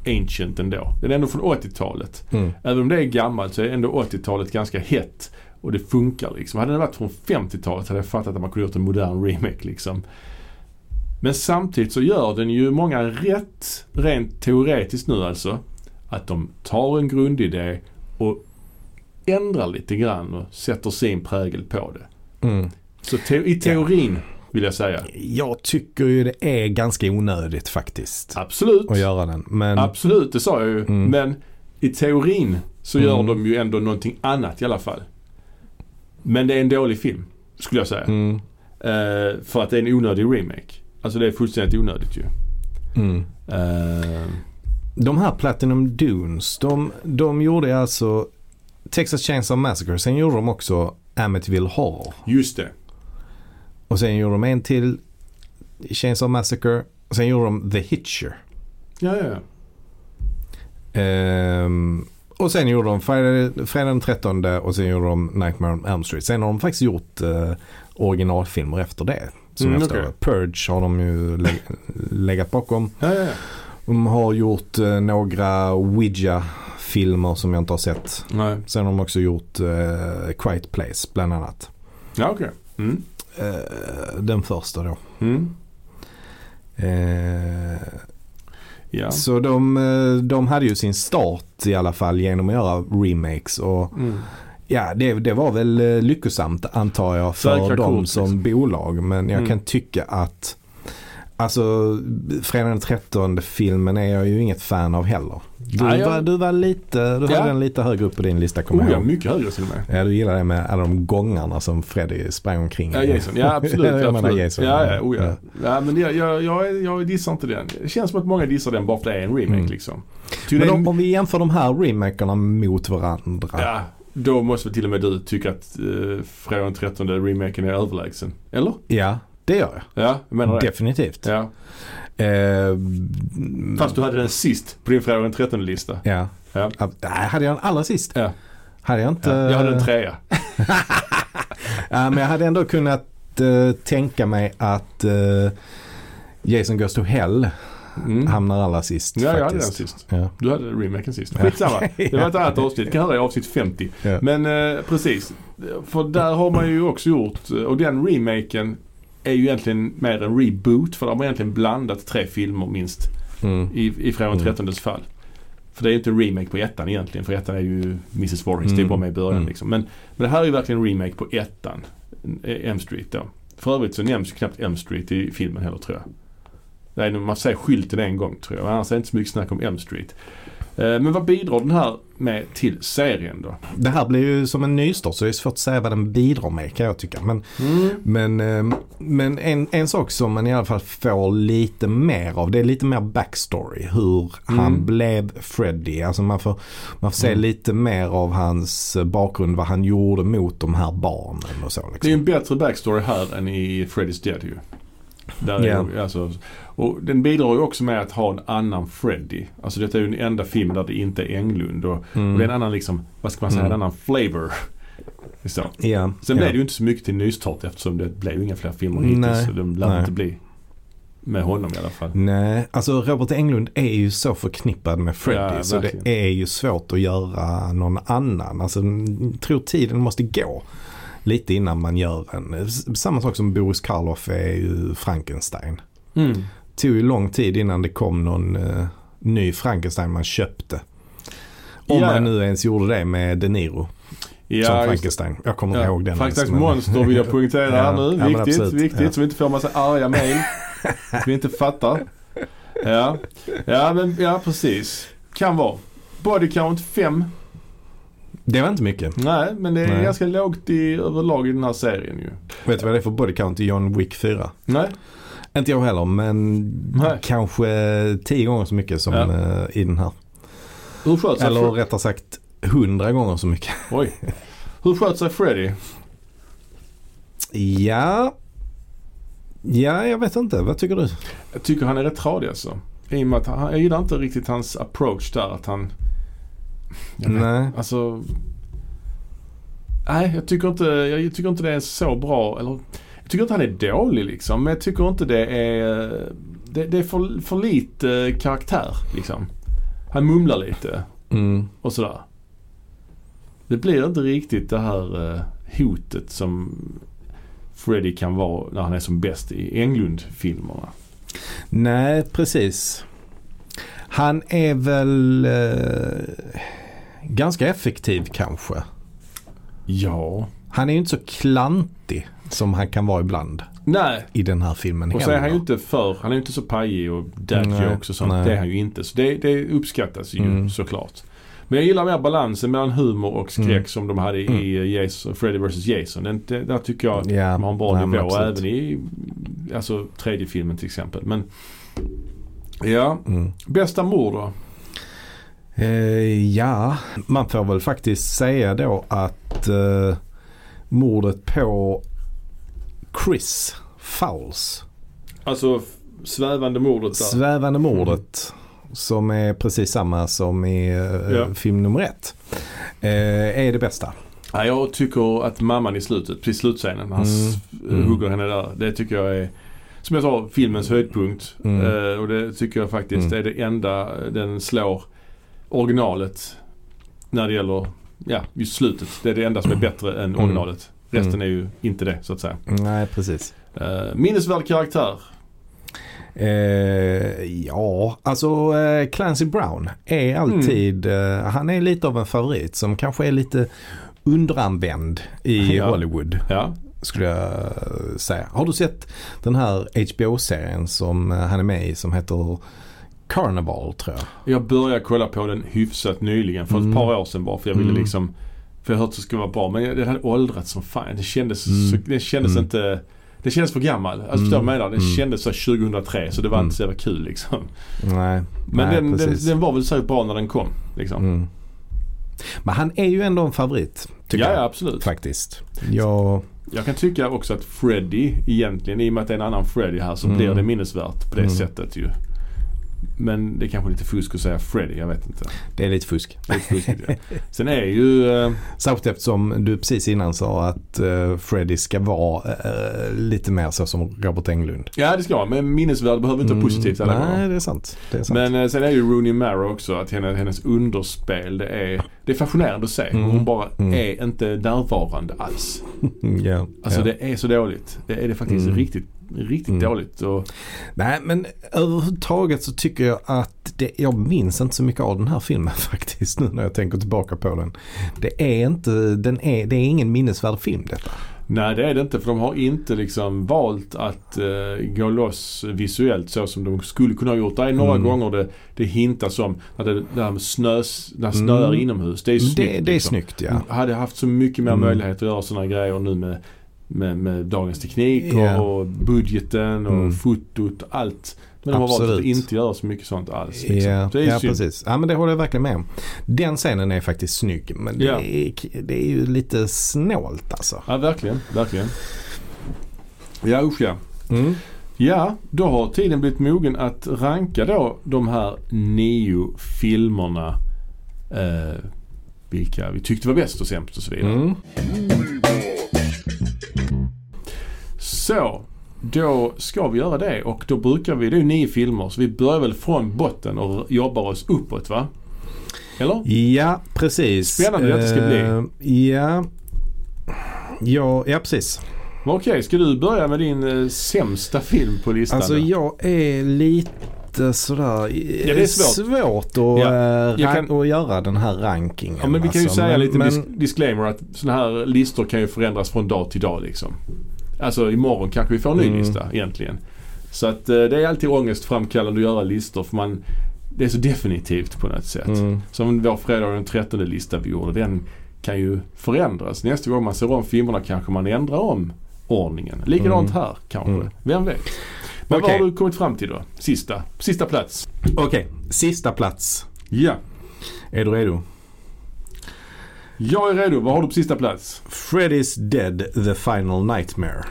Speaker 1: ancient ändå. Den är ändå från 80-talet.
Speaker 2: Mm.
Speaker 1: Även om det är gammalt så är ändå 80-talet ganska hett. Och det funkar liksom. Hade den varit från 50-talet hade jag fattat att man kunde gjort en modern remake liksom. Men samtidigt så gör den ju många rätt, rent teoretiskt nu alltså. Att de tar en grundidé och ändrar lite grann och sätter sin prägel på det.
Speaker 2: Mm.
Speaker 1: Så te- i teorin vill jag säga.
Speaker 2: Jag tycker ju det är ganska onödigt faktiskt.
Speaker 1: Absolut.
Speaker 2: Att göra den. Men
Speaker 1: Absolut, det sa jag ju.
Speaker 2: Mm.
Speaker 1: Men i teorin så gör
Speaker 2: Mm.
Speaker 1: de ju ändå någonting annat i alla fall. Men det är en dålig film, skulle jag säga.
Speaker 2: Mm,
Speaker 1: Eh, för att det är en onödig remake. Alltså det är fullständigt onödigt ju.
Speaker 2: mm.
Speaker 1: Eh,
Speaker 2: De här Platinum Dunes, de, de gjorde alltså Texas Chainsaw Massacre. Sen gjorde de också Amityville Horror.
Speaker 1: just det.
Speaker 2: Och sen gjorde de en till Chainsaw Massacre. Och sen gjorde de The Hitcher.
Speaker 1: Ja, ja, ja.
Speaker 2: Ehm, och sen gjorde de Friday, Fredag den 13 och sen gjorde de Nightmare on Elm Street. Sen har de faktiskt gjort eh, originalfilmer efter det. Som
Speaker 1: Mm,
Speaker 2: jag förstår
Speaker 1: okej.
Speaker 2: det. Purge har de ju lä- legat bakom.
Speaker 1: ja, ja, ja.
Speaker 2: De har gjort eh, några Ouija-filmer som jag inte har sett.
Speaker 1: Nej.
Speaker 2: Sen har de också gjort eh, Quiet Place bland annat.
Speaker 1: Ja, okej. Mm.
Speaker 2: Eh, den första då.
Speaker 1: Mm.
Speaker 2: Eh,
Speaker 1: Ja.
Speaker 2: Så de, eh, de hade ju sin start i alla fall genom att göra remakes. Och
Speaker 1: Mm.
Speaker 2: ja, det, det var väl eh, lyckosamt antar jag för
Speaker 1: Verkar
Speaker 2: dem
Speaker 1: coolt,
Speaker 2: som
Speaker 1: liksom.
Speaker 2: bolag. Men jag
Speaker 1: Mm.
Speaker 2: kan tycka att Alltså Fredag den 13 filmen är jag ju inget fan av heller. Du,
Speaker 1: Nej, jag-
Speaker 2: var, du var lite, du
Speaker 1: Ja.
Speaker 2: hade den lite högre upp på din lista kommer
Speaker 1: Oh,
Speaker 2: jag
Speaker 1: ja,
Speaker 2: ihåg.
Speaker 1: mycket högre till och med.
Speaker 2: Ja, du gillar det med alla de gångarna som Freddy sprang omkring
Speaker 1: Ja,
Speaker 2: i.
Speaker 1: Jason. Ja, absolut.
Speaker 2: jag menar
Speaker 1: absolut.
Speaker 2: Jason.
Speaker 1: Ja, ja, oh, ja. ja men jag, jag, jag, jag dissar inte den. Det känns som att många dissar den bara för att det är en remake
Speaker 2: Mm.
Speaker 1: liksom. Ty
Speaker 2: Men
Speaker 1: det är
Speaker 2: om, om vi jämför de här remakerna mot varandra.
Speaker 1: Ja, då måste väl till och med du tycka att eh, Fredag den 13 remaken är överlägsen. Eller?
Speaker 2: Ja, det gör
Speaker 1: Ja, jag menar
Speaker 2: jag.
Speaker 1: det.
Speaker 2: Definitivt.
Speaker 1: Ja.
Speaker 2: Eh,
Speaker 1: Fast du hade den sist på din Fredag den 13-lista.
Speaker 2: ja.
Speaker 1: Ja.
Speaker 2: Ab- Nej, hade jag den allra sist?
Speaker 1: Ja.
Speaker 2: Hade jag inte...
Speaker 1: Ja, jag hade en trea.
Speaker 2: Ja, men jag hade ändå kunnat eh, tänka mig att eh, Jason Goes to Hell
Speaker 1: Mm. Ja,
Speaker 2: hamnar allra sist.
Speaker 1: jag hade den
Speaker 2: faktiskt.
Speaker 1: sist.
Speaker 2: Ja.
Speaker 1: Du hade remaken sist.
Speaker 2: Ja.
Speaker 1: Skitsamma. Det var ett annat avsnitt. kan höra i avsnitt 50.
Speaker 2: Ja.
Speaker 1: Men eh, precis. För där har man ju också gjort, eh, och den remaken är ju egentligen mer en reboot. För där har man egentligen blandat tre filmer minst.
Speaker 2: Mm.
Speaker 1: i, i Fredag den
Speaker 2: Mm.
Speaker 1: 13 fall. För det är ju inte en remake på ettan egentligen för ettan är ju Mrs Warrens, det är
Speaker 2: Mm.
Speaker 1: bara med i början
Speaker 2: Mm.
Speaker 1: liksom. Men, men det här är ju verkligen en remake på ettan, eh, M Street då. För övrigt så nämns ju knappt M Street i filmen heller tror jag. Nej, man säger skylten en gång tror jag, annars är det inte så mycket snack om M Street. Eh, Men vad bidrar den här med till serien då?
Speaker 2: Det här blir ju som en nystart så det är svårt att säga vad den bidrar med kan jag tycka. Men, men, eh, men en, en sak som man i alla fall får lite mer av det är lite mer backstory. Hur
Speaker 1: Mm.
Speaker 2: han blev Freddy. Alltså man får, man får se lite mer av hans eh, bakgrund, vad han gjorde mot de här barnen och så. Liksom.
Speaker 1: Det är ju en bättre backstory här än i Freddy's Dead ju. Där är
Speaker 2: Ja.
Speaker 1: ju, alltså, och den bidrar ju också med att ha en annan Freddy. Alltså detta är ju den enda film där det inte är Englund. Och, och det är en annan liksom, vad ska man säga,
Speaker 2: Mm.
Speaker 1: en annan flavor. Så.
Speaker 2: Ja,
Speaker 1: Sen
Speaker 2: ja.
Speaker 1: blev det ju inte så mycket till nystart eftersom det blev ju inga fler filmer
Speaker 2: Nej.
Speaker 1: hittills. Så de lär
Speaker 2: Nej.
Speaker 1: inte bli med honom i alla fall.
Speaker 2: Nej, alltså Robert Englund är ju så förknippad med Freddy
Speaker 1: Ja,
Speaker 2: så
Speaker 1: verkligen.
Speaker 2: det är ju svårt att göra någon annan. Alltså, jag tror tiden måste gå lite innan man gör en. S- Samma sak som Boris Karloff är ju Frankenstein. Tog ju lång tid innan det kom någon eh, ny Frankenstein man köpte. Om
Speaker 1: Ja.
Speaker 2: man nu ens gjorde det med De Niro
Speaker 1: Ja,
Speaker 2: som
Speaker 1: just det.
Speaker 2: Frankenstein. Jag kommer inte ihåg den.
Speaker 1: Frankensteins
Speaker 2: ens, men-
Speaker 1: monster vill jag poängtera
Speaker 2: Ja,
Speaker 1: här nu.
Speaker 2: ja, men
Speaker 1: viktigt,
Speaker 2: absolut.
Speaker 1: viktigt.
Speaker 2: Ja.
Speaker 1: Så vi inte får massa arga mejl. så vi inte fattar. Ja, ja, men, ja precis. Kan vara. Body count 5.
Speaker 2: Det var inte mycket.
Speaker 1: Nej, men det är
Speaker 2: Nej.
Speaker 1: ganska lågt i, överlag i den här serien ju.
Speaker 2: Vet du vad det är för body count i John Wick 4?
Speaker 1: Nej,
Speaker 2: Inte jag heller men
Speaker 1: Nej.
Speaker 2: kanske tio gånger så mycket som
Speaker 1: Ja.
Speaker 2: eh, i den här.
Speaker 1: hur sköt sig
Speaker 2: Eller
Speaker 1: Fre-
Speaker 2: rättare sagt hundra gånger så mycket.
Speaker 1: Oj. Hur sköt sig Freddy?
Speaker 2: Ja. Ja, jag vet inte. Vad tycker du?
Speaker 1: Jag tycker han är rätt tradig alltså. I och med att han, jag gillar inte riktigt hans approach där att han... Jag vet
Speaker 2: Nej.
Speaker 1: Alltså... Nej, jag tycker inte, jag tycker inte det är så bra. Eller, jag tycker inte han är dålig liksom. Men jag tycker inte det är... Det, det är för, för lite karaktär eh, liksom. Han mumlar lite
Speaker 2: Mm.
Speaker 1: och sådär. Det blir inte riktigt det här eh, hotet som Freddy kan vara när han är som bäst i Englund-filmerna.
Speaker 2: Nej, precis. Han är väl eh, ganska effektiv kanske.
Speaker 1: Ja.
Speaker 2: Han är ju inte så klantig som han kan vara ibland
Speaker 1: Nej.
Speaker 2: i den här filmen
Speaker 1: Och så är han ju
Speaker 2: heller.
Speaker 1: inte för, han är ju inte så pajig och dad
Speaker 2: Nej,
Speaker 1: jokes och sånt.
Speaker 2: nej.
Speaker 1: Det är han ju inte. Så det, det uppskattas ju
Speaker 2: Mm.
Speaker 1: såklart. Men jag gillar mer balansen mellan humor och skräck
Speaker 2: Mm.
Speaker 1: som de hade i, i Jason, Freddy vs Jason. Den, det- där tycker jag
Speaker 2: Ja,
Speaker 1: de har en bra
Speaker 2: nej, men
Speaker 1: nivå.
Speaker 2: absolut.
Speaker 1: Även i alltså, tredje filmen till exempel. Men ja,
Speaker 2: Mm.
Speaker 1: bästa mord då?
Speaker 2: Eh, ja, man får väl faktiskt säga då att eh, mordet på Chris Fowles,
Speaker 1: Alltså f- svävande mordet där.
Speaker 2: svävande mordet som är precis samma som i eh,
Speaker 1: Ja.
Speaker 2: film nummer ett, eh, är det bästa.
Speaker 1: ja, jag tycker att mamman i slutet, precis slutscenen när han s-
Speaker 2: Mm.
Speaker 1: hugger henne där. Det tycker jag är, som jag sa, filmens höjdpunkt.
Speaker 2: Mm.
Speaker 1: Eh, och det tycker jag faktiskt
Speaker 2: Mm.
Speaker 1: är det enda den slår originalet när det gäller ja, just slutet. Det är det enda som är bättre än originalet.
Speaker 2: Mm.
Speaker 1: Resten är ju inte det så att säga.
Speaker 2: Nej, precis.
Speaker 1: Eh, minnesvärd karaktär.
Speaker 2: Eh, ja, alltså eh, Clancy Brown är alltid,
Speaker 1: Mm.
Speaker 2: eh, han är lite av en favorit som kanske är lite underanvänd i
Speaker 1: Ja.
Speaker 2: Hollywood
Speaker 1: Ja.
Speaker 2: skulle jag säga. Har du sett den här HBO-serien som eh, han är med i som heter Carnival tror jag?
Speaker 1: Jag började kolla på den hyfsat nyligen. För
Speaker 2: Mm.
Speaker 1: ett par år sedan bara. För jag ville
Speaker 2: Mm.
Speaker 1: liksom... För jag hört att det skulle vara bra. Men jag- den hade åldrats som fan. Det kändes,
Speaker 2: Mm.
Speaker 1: så, det kändes
Speaker 2: Mm.
Speaker 1: inte... Det kändes för gammal. Alltså förstår du vad jag menar? Det
Speaker 2: Mm.
Speaker 1: kändes så 2003 så det var
Speaker 2: Mm.
Speaker 1: inte så jävla kul liksom.
Speaker 2: Nej,
Speaker 1: Men
Speaker 2: nej
Speaker 1: den, den,
Speaker 2: precis.
Speaker 1: den var väl säkert bra när den kom. Liksom.
Speaker 2: Mm. Men han är ju ändå en favorit tycker
Speaker 1: Ja, ja,
Speaker 2: jag
Speaker 1: absolut.
Speaker 2: faktiskt. Ja,
Speaker 1: Jag kan tycka också att Freddy egentligen, i och med att det är en annan Freddy här, så
Speaker 2: Mm.
Speaker 1: blir det minnesvärt på det
Speaker 2: Mm.
Speaker 1: sättet ju. Men det är kanske är lite fusk att säga Freddy, jag vet inte.
Speaker 2: det är lite fusk.
Speaker 1: Det är lite fuskigt, ja. Sen är ju... eh,
Speaker 2: Särskilt eftersom du precis innan sa att eh, Freddy ska vara eh, lite mer så som Robert Englund.
Speaker 1: Ja det ska vara, men minnesvärd behöver inte vara positivt alla
Speaker 2: Mm,
Speaker 1: gånger.
Speaker 2: Nej, det är sant. Det är sant.
Speaker 1: Men eh, sen är ju Rooney Mara också, att hennes, hennes underspel det är, det är fascinerande att se. hur Hon bara
Speaker 2: Mm.
Speaker 1: är inte närvarande alls.
Speaker 2: Mm, ja,
Speaker 1: Alltså
Speaker 2: ja.
Speaker 1: det är så dåligt. Det är det faktiskt
Speaker 2: Mm.
Speaker 1: riktigt, riktigt
Speaker 2: Mm.
Speaker 1: dåligt. Och,
Speaker 2: Nej, men överhuvudtaget så tycker jag att det, jag minns inte så mycket av den här filmen faktiskt nu när jag tänker tillbaka på den. Det är inte, den är, det är ingen minnesvärd film detta.
Speaker 1: nej det är det inte för de har inte liksom valt att eh, gå loss visuellt så som de skulle kunna ha gjort. Det är några
Speaker 2: Mm.
Speaker 1: gånger det, det hintas om när det, det här med snös, när det snöar
Speaker 2: Mm.
Speaker 1: inomhus. Det är ju snyggt.
Speaker 2: det, det är
Speaker 1: liksom.
Speaker 2: snyggt ja.
Speaker 1: hade haft så mycket mer
Speaker 2: Mm.
Speaker 1: möjlighet att göra sådana grejer nu med, med, med dagens teknik och,
Speaker 2: Ja.
Speaker 1: och budgeten och
Speaker 2: Mm.
Speaker 1: fotot och allt. Men de har valt att
Speaker 2: Absolut.
Speaker 1: inte göra så mycket sånt alls. Liksom.
Speaker 2: Ja,
Speaker 1: det är ju
Speaker 2: ja
Speaker 1: synd.
Speaker 2: precis. Ja, men det håller jag verkligen med om. Den scenen är faktiskt snygg men det,
Speaker 1: Ja.
Speaker 2: är, det är ju lite snålt alltså.
Speaker 1: Ja, verkligen. Verkligen. Ja, usch ja.
Speaker 2: Mm.
Speaker 1: Ja, då har tiden blivit mogen att ranka då de här nio filmerna. Eh, vilka vi tyckte var bäst och sämst och så vidare.
Speaker 2: Mm.
Speaker 1: Så, då ska vi göra det och då brukar vi, det är ju nio filmer, så vi börjar väl från botten och jobbar oss uppåt va? Eller?
Speaker 2: Ja, precis.
Speaker 1: Spännande det ska
Speaker 2: bli. Ja. Ja, ja, precis.
Speaker 1: Men Okej, ska du börja med din eh, sämsta film på listan?
Speaker 2: Alltså
Speaker 1: då?
Speaker 2: jag är lite sådär...
Speaker 1: Ja, det är svårt.
Speaker 2: att,
Speaker 1: Ja,
Speaker 2: eh,
Speaker 1: jag
Speaker 2: ran-
Speaker 1: kan-
Speaker 2: att göra den här rankingen.
Speaker 1: ja, men vi kan ju
Speaker 2: alltså.
Speaker 1: säga
Speaker 2: Men-
Speaker 1: lite
Speaker 2: men-
Speaker 1: dis- disclaimer att sådana här listor kan ju förändras från dag till dag liksom. Alltså imorgon kanske vi får en ny
Speaker 2: Mm.
Speaker 1: lista egentligen. Så att eh, det är alltid ångestframkallande att göra listor för man, det är så definitivt på något sätt.
Speaker 2: Mm.
Speaker 1: Som vår fredag den 13 lista vi gjorde. Den kan ju förändras. Nästa gång man ser om filmerna kanske man ändrar om ordningen. Likadant här kanske.
Speaker 2: Mm.
Speaker 1: Vem vet? Men
Speaker 2: Okej.
Speaker 1: vad har du kommit fram till då? Sista, sista plats.
Speaker 2: Okej, sista plats.
Speaker 1: Ja.
Speaker 2: Är du redo?
Speaker 1: Jag är redo. Vad har du på sista plats?
Speaker 2: Freddy's Dead, The Final Nightmare.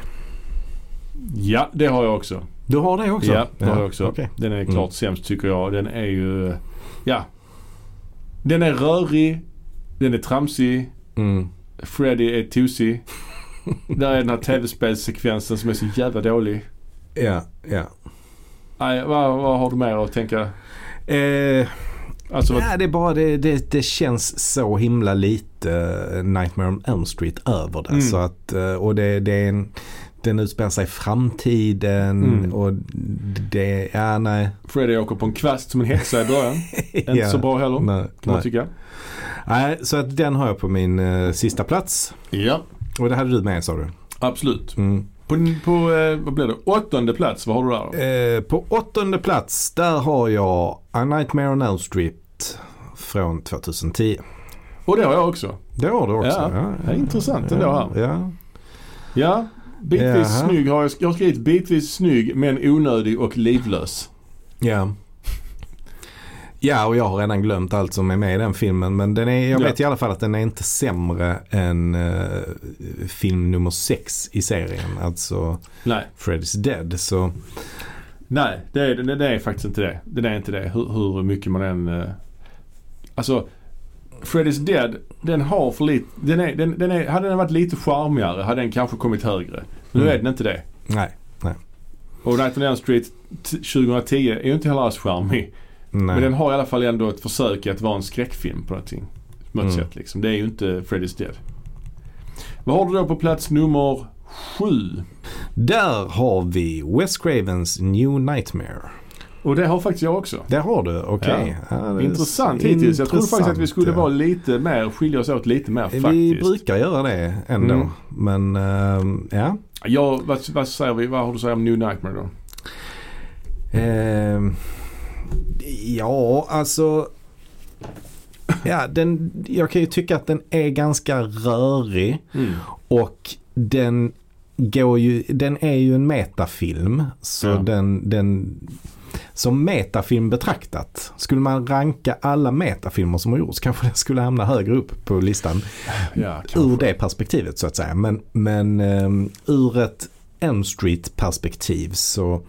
Speaker 1: Ja, det har jag också.
Speaker 2: Du har det också?
Speaker 1: Ja, det har jag också.
Speaker 2: okej.
Speaker 1: Den är klart
Speaker 2: Mm.
Speaker 1: sämst tycker jag. Den är ju... Ja. Den är rörig. Den är tramsig.
Speaker 2: Mm.
Speaker 1: Freddy är tosig. Där är den här tv-spelssekvensen som är så jävla dålig.
Speaker 2: Ja, ja.
Speaker 1: Nej, vad, vad har du mer att tänka?
Speaker 2: Eh,
Speaker 1: Alltså,
Speaker 2: Nej, det är bara det, det, det känns så himla lite eh, Nightmare on Elm Street över det.
Speaker 1: Mm.
Speaker 2: Så att, eh, och det, det är en, den utspelar sig i framtiden
Speaker 1: Mm.
Speaker 2: och det, ja nej.
Speaker 1: Freddy åker på en kvast som en häxa i början. Inte
Speaker 2: Ja.
Speaker 1: så bra heller, kan
Speaker 2: Nej,
Speaker 1: man
Speaker 2: nej.
Speaker 1: tycka.
Speaker 2: nej, så att den har jag på min eh, sista plats.
Speaker 1: Ja,
Speaker 2: Och det hade du med sa du?
Speaker 1: absolut.
Speaker 2: Mm.
Speaker 1: På, på eh, vad blir det, åttonde plats, vad har du där då?
Speaker 2: Eh, på åttonde plats, där har jag A Nightmare on Elm Street från 2010.
Speaker 1: Och det har jag också.
Speaker 2: Det har du också?
Speaker 1: Ja, det är intressant ändå här.
Speaker 2: Ja.
Speaker 1: Ja, bitvis
Speaker 2: Jaha.
Speaker 1: snygg har jag, jag har skrivit bitvis snygg men onödig och livlös.
Speaker 2: Ja. Ja, och jag har redan glömt allt som är med i den filmen. Men den är, jag
Speaker 1: Ja.
Speaker 2: vet i alla fall att den är inte sämre än eh, film nummer sex i serien. Alltså
Speaker 1: Nej,
Speaker 2: Freddy's Dead. Så
Speaker 1: nej det är, det, det är faktiskt inte det. Det är inte det hur, hur mycket man än... Eh, alltså, Freddy's Dead, den har för lite... Den är, den, den är, hade den varit lite charmigare hade den kanske kommit högre. Men nu
Speaker 2: Mm.
Speaker 1: är den inte det.
Speaker 2: nej, nej.
Speaker 1: Och Night on Elm Street t- 2010 är ju inte heller alls charmig.
Speaker 2: nej.
Speaker 1: Men den har i alla fall ändå ett försök i att vara en skräckfilm på någonting. På något
Speaker 2: Mm.
Speaker 1: sätt liksom. Det är ju inte Freddy's Dead. Vad har du då på plats nummer sju?
Speaker 2: Där har vi Wes Cravens New Nightmare.
Speaker 1: Och det har faktiskt jag också.
Speaker 2: Det har du, okej. Ja. det är
Speaker 1: Intressant
Speaker 2: så-
Speaker 1: hittills. Jag trodde faktiskt att vi
Speaker 2: intressant,
Speaker 1: skulle
Speaker 2: ja.
Speaker 1: vara lite mer, skilja oss åt lite mer
Speaker 2: Vi
Speaker 1: faktiskt.
Speaker 2: brukar göra det ändå.
Speaker 1: Mm.
Speaker 2: Men ehm, ja.
Speaker 1: Ja, vad, vad säger vi? Vad har du att säga om New Nightmare då?
Speaker 2: Ehm, ja, alltså. Ja, den, jag kan ju tycka att den är ganska rörig. Och den går ju, den är ju en metafilm. Så
Speaker 1: Ja.
Speaker 2: den, den, som metafilm betraktat. Skulle man ranka alla metafilmer som har gjorts kanske den skulle hamna högre upp på listan.
Speaker 1: Ja,
Speaker 2: Ur
Speaker 1: kanske.
Speaker 2: det perspektivet så att säga. Men, men um, ur ett Elm Street perspektiv så,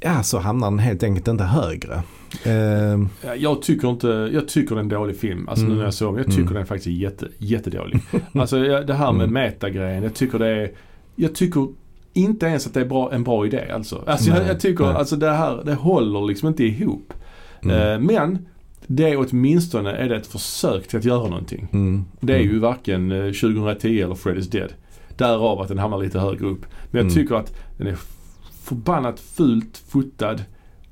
Speaker 2: ja, så hamnar den helt enkelt inte högre. Ehm,
Speaker 1: Ja, Jag tycker inte, jag tycker det är en dålig film. Alltså nu
Speaker 2: Mm.
Speaker 1: när jag såg den. Jag tycker den faktiskt är jätte, jättedålig. Alltså jag- det här med
Speaker 2: Mm.
Speaker 1: metagrejen. Jag tycker det är, jag tycker inte ens att det är bra, en bra idé alltså. Alltså jag,
Speaker 2: Nej,
Speaker 1: jag tycker,
Speaker 2: nej. Mm.
Speaker 1: alltså det här, det håller liksom inte ihop. Eh, men det är åtminstone är det ett försök till att göra någonting.
Speaker 2: mm,
Speaker 1: Det är ju varken eh, 2010 eller Freddy's Dead. Därav att den hamnar lite högre upp. Men jag
Speaker 2: Mm.
Speaker 1: tycker att den är förbannat fult fotad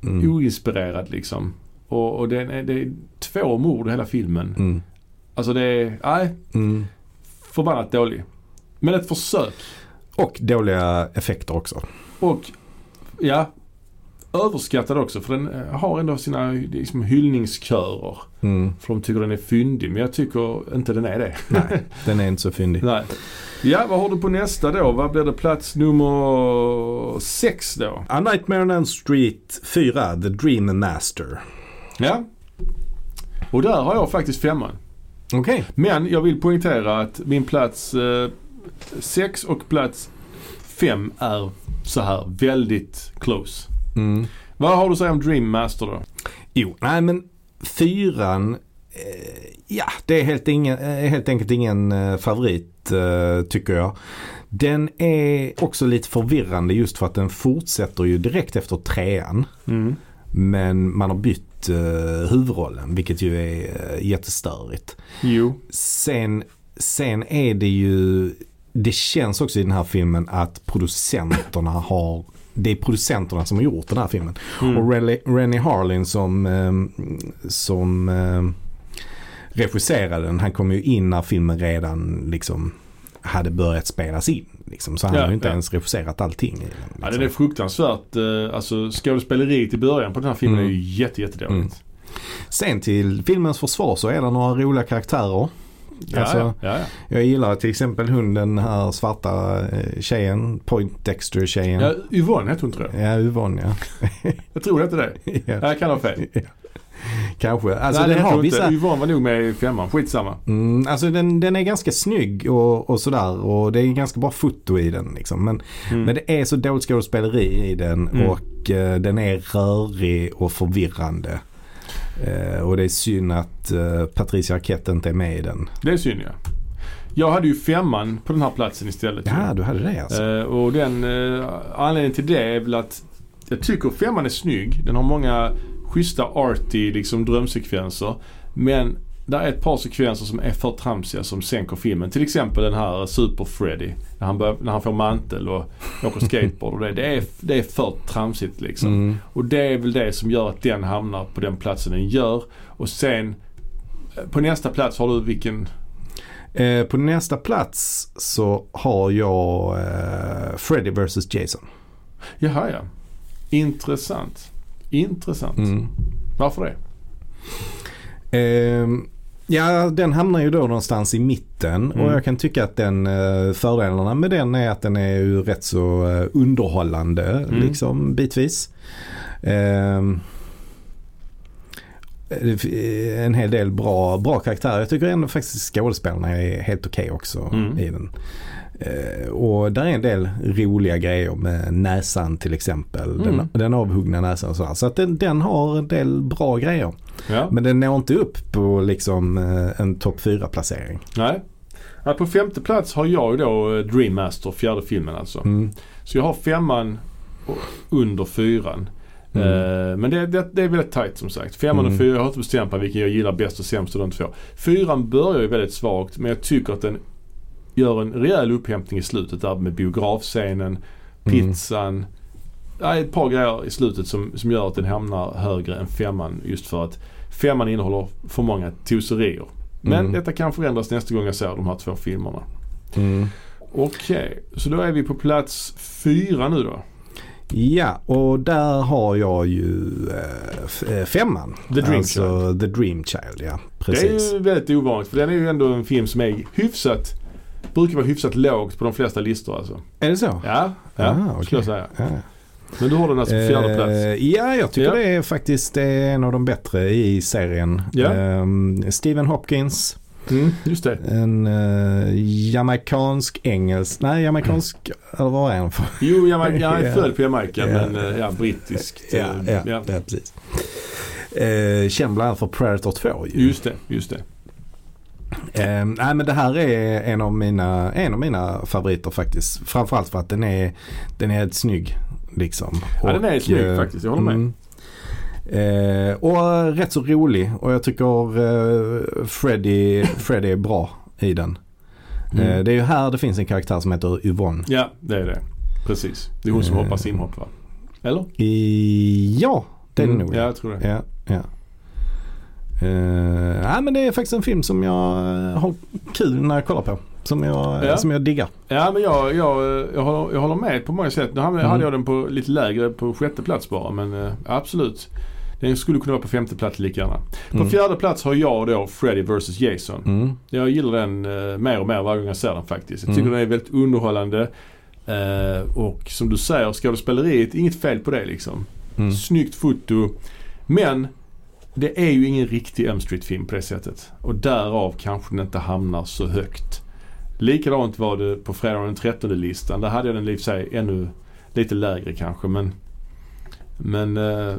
Speaker 2: mm,
Speaker 1: oinspirerad liksom. Och, och det, är, det är två mord i hela filmen.
Speaker 2: mm,
Speaker 1: Alltså det är, nej,
Speaker 2: mm.
Speaker 1: förbannat dålig. Men ett försök.
Speaker 2: Och dåliga effekter också.
Speaker 1: Och, ja, överskattad också för den eh, har ändå sina liksom, hyllningskörer.
Speaker 2: Mm,
Speaker 1: För de tycker den är fyndig, men jag tycker inte den är det.
Speaker 2: nej, den är inte så fyndig.
Speaker 1: Nej. Ja, vad har du på nästa då? Vad blir det plats nummer sex då?
Speaker 2: A Nightmare on Elm Street 4, The Dream Master.
Speaker 1: Ja. Och där har jag faktiskt femman.
Speaker 2: Okej.
Speaker 1: Men jag vill poängtera att min plats 6 och plats 5 är så här väldigt close.
Speaker 2: Mm.
Speaker 1: Vad har du att säga om Dream Master då?
Speaker 2: Jo, nej men fyran, eh, ja det är helt, ingen, eh, helt enkelt ingen eh, favorit eh, tycker jag. Den är också lite förvirrande just för att den fortsätter ju direkt efter trean. Men man har bytt eh, huvudrollen vilket ju är eh, jättestörigt.
Speaker 1: Jo.
Speaker 2: Sen, sen är det ju, det känns också i den här filmen att producenterna har, det är producenterna som har gjort den här filmen.
Speaker 1: Mm.
Speaker 2: Och Renly, Rennie Harlin som, eh, som eh, regisserade den, han kom ju in när filmen redan liksom hade börjat spelas in. Liksom. Så han
Speaker 1: Ja,
Speaker 2: har ju inte
Speaker 1: ja.
Speaker 2: ens regisserat allting i den. Liksom.
Speaker 1: Ja, den är fruktansvärt. eh, Alltså skådespeleriet i början på den här filmen
Speaker 2: Mm.
Speaker 1: är ju jätte, jättedåligt.
Speaker 2: Sen till filmens försvar så är det några roliga karaktärer.
Speaker 1: Ja,
Speaker 2: Alltså-
Speaker 1: ja, ja, ja.
Speaker 2: Jag gillar till exempel hon den här svarta eh, tjejen, Point Dexter-tjejen.
Speaker 1: ja, Yvonne hette hon tror jag.
Speaker 2: Ja, Yvonne ja.
Speaker 1: Jag tror det hette det.
Speaker 2: ja.
Speaker 1: Nej, jag kan ha fel.
Speaker 2: Kanske. Alltså,
Speaker 1: Nej, det
Speaker 2: den
Speaker 1: hette
Speaker 2: har
Speaker 1: hon inte.
Speaker 2: vissa,
Speaker 1: Yvonne var nog med i femman. Skitsamma.
Speaker 2: mm, alltså den, den är ganska snygg och, och sådär och det är ganska bra foto i den. Liksom. Men,
Speaker 1: Mm.
Speaker 2: men det är så dåligt skådespeleri i den
Speaker 1: Mm.
Speaker 2: och eh, den är rörig och förvirrande. Eh, och det är synd att eh, Patricia Arquette inte är med i den.
Speaker 1: Det är synd ja. Jag hade ju femman på den här platsen istället.
Speaker 2: Ja, du hade det alltså.
Speaker 1: Eh, och den eh, anledningen till det är väl att jag tycker femman är snygg. Den har många schyssta arty liksom drömsekvenser. Men där är ett par sekvenser som är för tramsiga som sänker filmen. Till exempel den här Super Freddy. När han, bör, när han får mantel och åker skateboard. Och det, det, är, det är för tramsigt liksom.
Speaker 2: Mm.
Speaker 1: Och det är väl det som gör att den hamnar på den platsen den gör. Och sen eh, på nästa plats har du vilken?
Speaker 2: Eh, på nästa plats så har jag eh, Freddy vs Jason.
Speaker 1: Jaha ja. Intressant. Intressant.
Speaker 2: Mm.
Speaker 1: Varför det?
Speaker 2: Eh, ja, den hamnar ju då någonstans i mitten
Speaker 1: Mm.
Speaker 2: och jag kan tycka att den eh, fördelarna med den är att den är ju rätt så eh, underhållande
Speaker 1: Mm.
Speaker 2: liksom bitvis. Eh, det f- eh, en hel del bra, bra karaktärer. Jag tycker ändå faktiskt skådespelarna är helt okej också
Speaker 1: Mm.
Speaker 2: i den. Eh, och där är en del roliga grejer med näsan till exempel. Den,
Speaker 1: Mm.
Speaker 2: den avhuggna näsan och sådär. Så att den, den har en del bra grejer.
Speaker 1: Ja.
Speaker 2: Men den når inte upp på liksom eh, en topp 4 placering.
Speaker 1: Nej. Ja, på femte plats har jag ju då eh, Dream Master, fjärde filmen alltså.
Speaker 2: Mm.
Speaker 1: Så jag har femman och under fyran.
Speaker 2: Mm.
Speaker 1: Eh, men det, det, det är väldigt tajt som sagt. Femman
Speaker 2: Mm.
Speaker 1: och fyran, jag har inte bestämt mig vilken jag gillar bäst och sämst av de två. Fyran börjar ju väldigt svagt men jag tycker att den gör en rejäl upphämtning i slutet där med
Speaker 2: Mm.
Speaker 1: biografscenen, pizzan. Nej, ett par grejer i slutet som, som gör att den hamnar högre än femman just för att femman innehåller för många toserier. Men
Speaker 2: Mm.
Speaker 1: detta kan förändras nästa gång jag ser de här två filmerna.
Speaker 2: Mm.
Speaker 1: Okej, så då är vi på plats fyra nu då.
Speaker 2: Ja, och där har jag ju eh, f- eh, femman.
Speaker 1: The Dream
Speaker 2: alltså, The Dream Child. Ja, precis.
Speaker 1: Det är ju väldigt ovanligt för den är ju ändå en film som är hyfsat, brukar vara hyfsat lågt på de flesta listor alltså.
Speaker 2: Är det så?
Speaker 1: Ja, ja
Speaker 2: Ah, okej.
Speaker 1: skulle jag säga.
Speaker 2: Ja.
Speaker 1: Men du har den alltså på fjärde
Speaker 2: Eh,
Speaker 1: plats.
Speaker 2: ja, jag tycker
Speaker 1: Ja.
Speaker 2: det är faktiskt det är en av de bättre i serien.
Speaker 1: Ja.
Speaker 2: Ehm, Stephen Hopkins,
Speaker 1: Mm, just det.
Speaker 2: en eh, jamaicansk engelsk, nej jamaicansk,
Speaker 1: Mm.
Speaker 2: eller vad är han för?
Speaker 1: Jo, Jamaica, jag är
Speaker 2: Ja.
Speaker 1: född på Jamaica
Speaker 2: Ja.
Speaker 1: men eh, ja, brittiskt. eh,
Speaker 2: ja, ja, ja, precis. Eh, känd bland annat för Predator 2 ju.
Speaker 1: Just det, just det.
Speaker 2: Eh, nej men det här är en av mina, en av mina favoriter faktiskt. Framförallt för att den är, den är helt snygg. Liksom.
Speaker 1: Ja, den är snygg faktiskt, jag håller med.
Speaker 2: mm. Eh, och rätt så rolig och jag tycker eh, Freddy, Freddy är bra i den.
Speaker 1: Mm.
Speaker 2: Eh, det är ju här det finns en karaktär som heter Yvonne.
Speaker 1: Ja, det är det. Precis. Det är hon som
Speaker 2: Eh.
Speaker 1: hoppar simhopp va? Eller? Mm,
Speaker 2: I, ja, det är det nog.
Speaker 1: Ja, jag tror det.
Speaker 2: Ja, ja. Eh, nej, men det är faktiskt en film som jag eh, har kul när jag kollar på. Som jag,
Speaker 1: Ja.
Speaker 2: som jag diggar.
Speaker 1: Ja, men jag, jag, eh, jag, håller, jag håller med på många sätt. Nu hade
Speaker 2: Mm.
Speaker 1: hade jag den på lite lägre, på sjätte plats bara. Men eh, absolut. Den skulle kunna vara på femte plats lika gärna. På
Speaker 2: Mm.
Speaker 1: fjärde plats har jag då Freddy vs Jason.
Speaker 2: Mm.
Speaker 1: Jag gillar den eh, mer och mer varje gång jag ser den faktiskt. Jag tycker
Speaker 2: Mm.
Speaker 1: den är väldigt underhållande. Eh, och som du säger, skådespeleriet, inget fel på det liksom.
Speaker 2: Mm.
Speaker 1: Snyggt foto. Men det är ju ingen riktig M Street-film på det sättet. Och därav kanske den inte hamnar så högt. Likadant var det på fredagen den 13 listan. Där hade jag den i och för sig ännu lite lägre kanske. Men, men eh,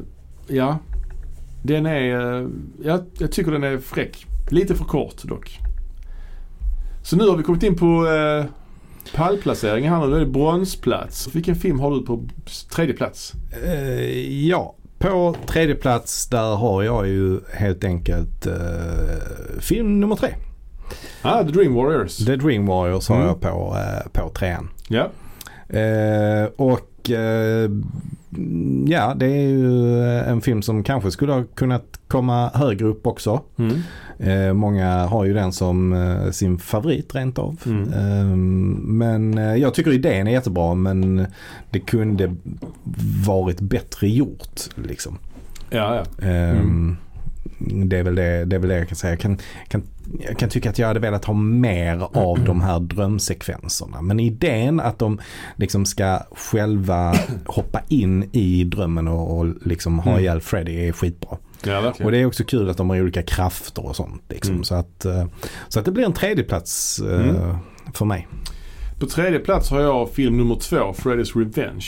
Speaker 1: ja. Den är, eh, jag, jag tycker den är fräck. Lite för kort dock. Så nu har vi kommit in på eh, pallplaceringen här nu. Nu är det bronsplats. Vilken film har du på tredje plats?
Speaker 2: Eh, ja, på tredje plats där har jag ju helt enkelt eh, film nummer tre.
Speaker 1: Ah, The Dream Warriors.
Speaker 2: The Dream Warriors har
Speaker 1: Mm.
Speaker 2: jag på, eh, på trean.
Speaker 1: Ja.
Speaker 2: Eh, och eh, ja, det är ju eh, en film som kanske skulle ha kunnat komma högre upp också.
Speaker 1: Mm.
Speaker 2: Eh, många har ju den som eh, sin favorit rent av.
Speaker 1: Mm.
Speaker 2: Eh, men eh, jag tycker idén är jättebra men det kunde varit bättre gjort. Liksom.
Speaker 1: Ja, ja.
Speaker 2: Eh,
Speaker 1: Mm.
Speaker 2: det, är väl det, det är väl det jag kan säga. Jag kan, kan, jag kan tycka att jag hade velat ha mer av de här drömsekvenserna. Men idén att de liksom ska själva hoppa in i drömmen och, och liksom ha
Speaker 1: Mm.
Speaker 2: ihjäl Freddy är skitbra.
Speaker 1: Ja,
Speaker 2: Och
Speaker 1: verkligen.
Speaker 2: det är också kul att de har olika krafter och sånt. Liksom.
Speaker 1: Mm.
Speaker 2: Så, att, eh, så att det blir en tredjeplats eh,
Speaker 1: Mm.
Speaker 2: för mig.
Speaker 1: På tredje plats har jag film nummer två, Freddy's Revenge.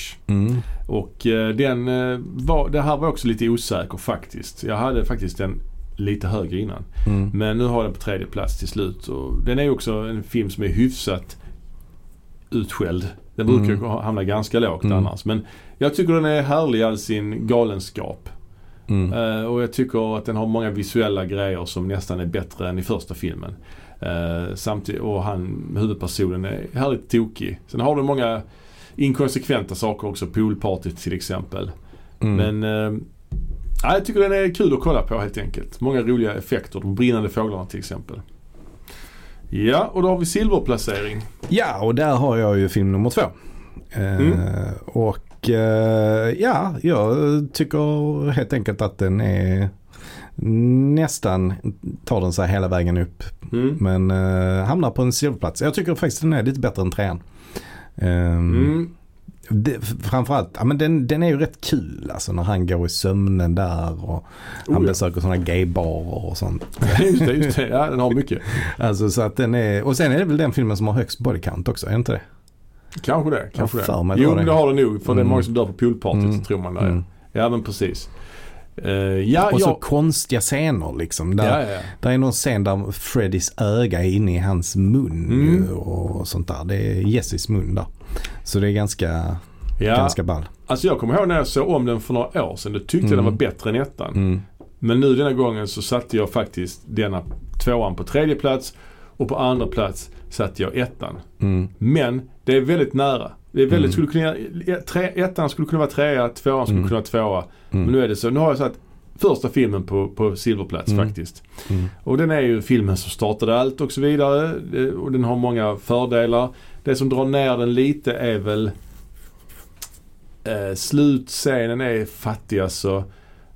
Speaker 1: Och eh, den eh, var, det här var också lite osäker faktiskt. Jag hade faktiskt den lite högre innan.
Speaker 2: Mm.
Speaker 1: Men nu har jag den på tredje plats till slut. Och den är ju också en film som är hyfsat utskälld. Den brukar ju
Speaker 2: Mm.
Speaker 1: hamna ganska lågt
Speaker 2: Mm.
Speaker 1: annars. Men jag tycker den är härlig i all sin galenskap.
Speaker 2: Mm.
Speaker 1: Eh, och jag tycker att den har många visuella grejer som nästan är bättre än i första filmen. Eh, samtidigt, och han, huvudpersonen är härligt tokig. Sen har du många inkonsekventa saker också. Poolpartyt till exempel.
Speaker 2: Mm.
Speaker 1: Men eh, ja, jag tycker den är kul att kolla på helt enkelt. Många roliga effekter. De brinnande fåglarna till exempel. Ja, och då har vi silverplacering.
Speaker 2: Ja, och där har jag ju film nummer två. Eh,
Speaker 1: Mm.
Speaker 2: Och eh, ja, jag tycker helt enkelt att den är nästan tar den sig hela vägen upp.
Speaker 1: Mm.
Speaker 2: Men eh, hamnar på en silverplats. Jag tycker faktiskt den är lite bättre än trean. Ehm,
Speaker 1: Mm.
Speaker 2: det, framförallt, ja, men den, den är ju rätt kul alltså när han går i sömnen där och han
Speaker 1: Oh, ja.
Speaker 2: besöker sådana gaybarer och sånt.
Speaker 1: just det, just det. Ja, den har mycket.
Speaker 2: Alltså, så att den är, och sen är det väl den filmen som har högst body count också, är det inte det?
Speaker 1: Kanske det. Kanske
Speaker 2: Jag
Speaker 1: det.
Speaker 2: har för mig det
Speaker 1: Jo,
Speaker 2: var
Speaker 1: men det
Speaker 2: det.
Speaker 1: har det nog. För det är
Speaker 2: Mm.
Speaker 1: många som dör på poolpartyt
Speaker 2: Mm.
Speaker 1: tror man det.
Speaker 2: Mm.
Speaker 1: Ja, men precis. Eh, ja,
Speaker 2: Och så
Speaker 1: ja.
Speaker 2: konstiga scener liksom. Där,
Speaker 1: ja, ja, ja.
Speaker 2: där är någon scen där Freddys öga är inne i hans mun ju
Speaker 1: Mm.
Speaker 2: och sånt där. Det är Jessis mun där. Så det är ganska,
Speaker 1: Ja,
Speaker 2: ganska ball.
Speaker 1: alltså jag kommer ihåg när jag såg om den för några år sedan. Då tyckte jag den var
Speaker 2: Mm.
Speaker 1: bättre än ettan.
Speaker 2: Mm.
Speaker 1: Men nu denna gången så satte jag faktiskt denna tvåan på tredje plats och på andra plats satte jag ettan.
Speaker 2: Mm.
Speaker 1: Men det är väldigt nära. Det är väldigt, skulle
Speaker 2: Mm.
Speaker 1: kunna, ett- tre, ettan skulle kunna vara trea, tvåan skulle
Speaker 2: Mm.
Speaker 1: kunna vara tvåa.
Speaker 2: Mm.
Speaker 1: Men nu är det så. Nu har jag satt första filmen på, på silverplats
Speaker 2: Mm.
Speaker 1: faktiskt.
Speaker 2: Mm.
Speaker 1: Och den är ju filmen som startade allt och så vidare. Eh, Och den har många fördelar. Det som drar ner den lite är väl eh, slutscenen är fattig alltså.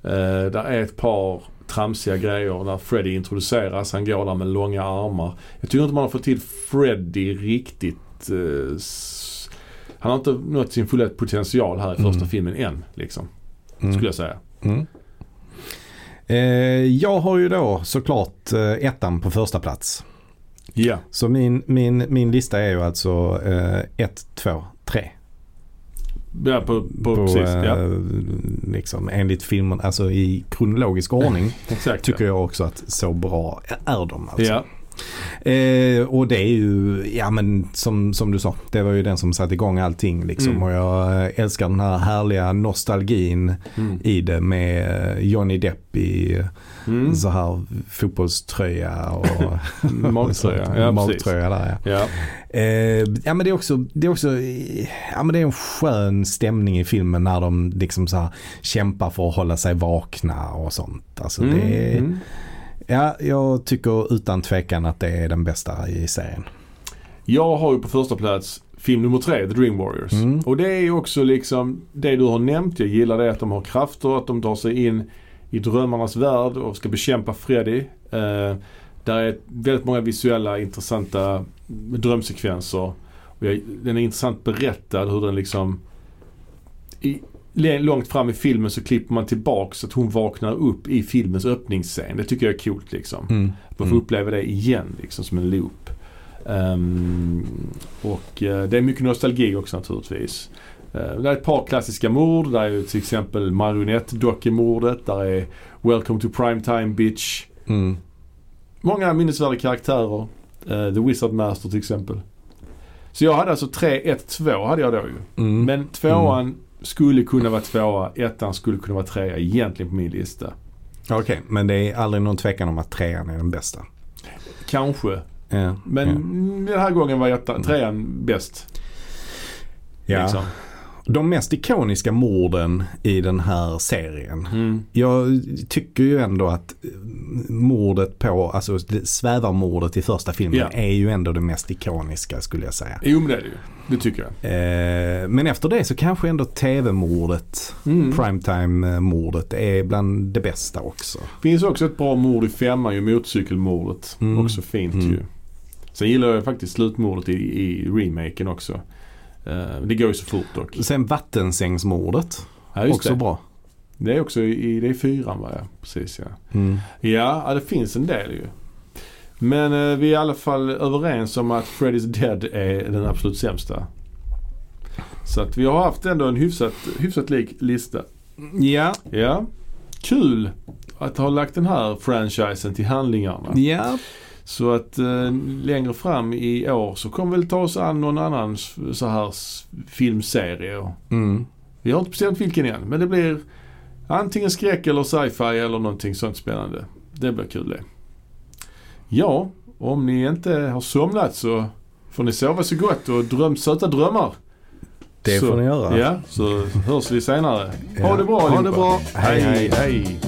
Speaker 1: Eh, där är ett par tramsiga grejer när Freddy introduceras. Han går där med långa armar. Jag tycker inte man har fått till Freddy riktigt. Eh, s- han har inte nått sin fulla potential här i första
Speaker 2: Mm.
Speaker 1: filmen än. Liksom,
Speaker 2: Mm.
Speaker 1: Skulle jag säga.
Speaker 2: Mm. Eh, jag har ju då såklart eh, ettan på första plats.
Speaker 1: Ja.
Speaker 2: Så min, min, min lista är ju alltså 1, 2, 3.
Speaker 1: Ja, på, på, precis.
Speaker 2: eh,
Speaker 1: Ja,
Speaker 2: liksom, enligt filmen, alltså i kronologisk ordning.
Speaker 1: exakt.
Speaker 2: Tycker
Speaker 1: ja.
Speaker 2: jag också att så bra är de alltså.
Speaker 1: Ja.
Speaker 2: Eh, och det är ju, ja men som, som du sa, det var ju den som satte igång allting liksom.
Speaker 1: Mm.
Speaker 2: Och jag eh, älskar den här härliga nostalgin
Speaker 1: Mm.
Speaker 2: i det med eh, Johnny Depp i eh,
Speaker 1: Mm.
Speaker 2: så här fotbollströja och
Speaker 1: Magtröja. Ja, precis.
Speaker 2: magtröja där ja.
Speaker 1: Ja.
Speaker 2: Eh, ja men det är också, det är också, eh, ja men det är en skön stämning i filmen när de liksom så här kämpar för att hålla sig vakna och sånt. Alltså
Speaker 1: Mm.
Speaker 2: det är,
Speaker 1: Mm.
Speaker 2: ja jag tycker utan tvekan att det är den bästa i serien.
Speaker 1: Jag har ju på första plats film nummer tre, The Dream Warriors.
Speaker 2: Mm.
Speaker 1: Och det är ju också liksom det du har nämnt. Jag gillar det att de har krafter, att de tar sig in i drömmarnas värld och ska bekämpa Freddy. Eh, där är väldigt många visuella intressanta drömsekvenser. Och jag, den är intressant berättad hur den liksom i, le- Långt fram i filmen så klipper man tillbaka så att hon vaknar upp i filmens öppningsscen. Det tycker jag är coolt liksom. Man får
Speaker 2: Mm.
Speaker 1: uppleva det igen liksom som en loop. Ehm, och eh, det är mycket nostalgi också naturligtvis. Eh, det är ett par klassiska mord. Där är ju till exempel marionettdockemordet. Där är Welcome to Primetime Bitch.
Speaker 2: Mm.
Speaker 1: Många minnesvärda karaktärer. Eh, The Wizard Master till exempel. Så jag hade alltså 3, 1, 2 hade jag då ju.
Speaker 2: Mm.
Speaker 1: Men tvåan skulle kunna vara tvåa. Ettan skulle kunna vara trea egentligen på min lista.
Speaker 2: Okej, men det är aldrig någon tvekan om att trean är den bästa.
Speaker 1: Kanske.
Speaker 2: Ja, Mm.
Speaker 1: Men den här gången var ettan, trean bäst.
Speaker 2: ja.
Speaker 1: Liksom.
Speaker 2: De mest ikoniska morden i den här serien
Speaker 1: Mm.
Speaker 2: Jag tycker ju ändå att eh, mordet på, alltså det- svävarmordet i första filmen
Speaker 1: Ja.
Speaker 2: är ju ändå det mest ikoniska skulle jag säga.
Speaker 1: Jo men det är det ju. Det tycker jag.
Speaker 2: Eh, men efter det så kanske ändå tv-mordet,
Speaker 1: Mm.
Speaker 2: primetime-mordet är bland det bästa också.
Speaker 1: Finns också ett bra mord i femman ju, motorcykelmordet.
Speaker 2: Mm.
Speaker 1: Också fint
Speaker 2: Mm.
Speaker 1: ju. Sen gillar jag faktiskt slutmordet i, i remaken också. Eh, det går ju så fort dock.
Speaker 2: Sen vattensängsmordet,
Speaker 1: Ja, just
Speaker 2: också
Speaker 1: det.
Speaker 2: bra.
Speaker 1: det är också i, det är fyran va? Ja, precis ja.
Speaker 2: Mm.
Speaker 1: Ja, ja, det finns en del ju. Men eh, vi är i alla fall överens om att Freddy's Dead är den absolut sämsta. Så att vi har haft ändå en hyfsat, hyfsat lik lista.
Speaker 2: Ja,
Speaker 1: Ja, kul att ha lagt den här franchisen till handlingarna.
Speaker 2: ja.
Speaker 1: Så att eh, längre fram i år så kommer vi ta oss an någon annan s- så här s- filmserie.
Speaker 2: Mm.
Speaker 1: Vi har inte bestämt vilken än men det blir Antingen skräck eller sci-fi eller någonting sånt spännande. Det blir kul det. Ja, om ni inte har somnat så får ni sova så gott och dröm söta drömmar.
Speaker 2: Det
Speaker 1: så,
Speaker 2: får ni göra.
Speaker 1: Ja, så hörs vi senare.
Speaker 2: Ja.
Speaker 1: Ha det bra
Speaker 2: Ha det
Speaker 1: allihopa.
Speaker 2: bra.
Speaker 1: hej. hej. hej.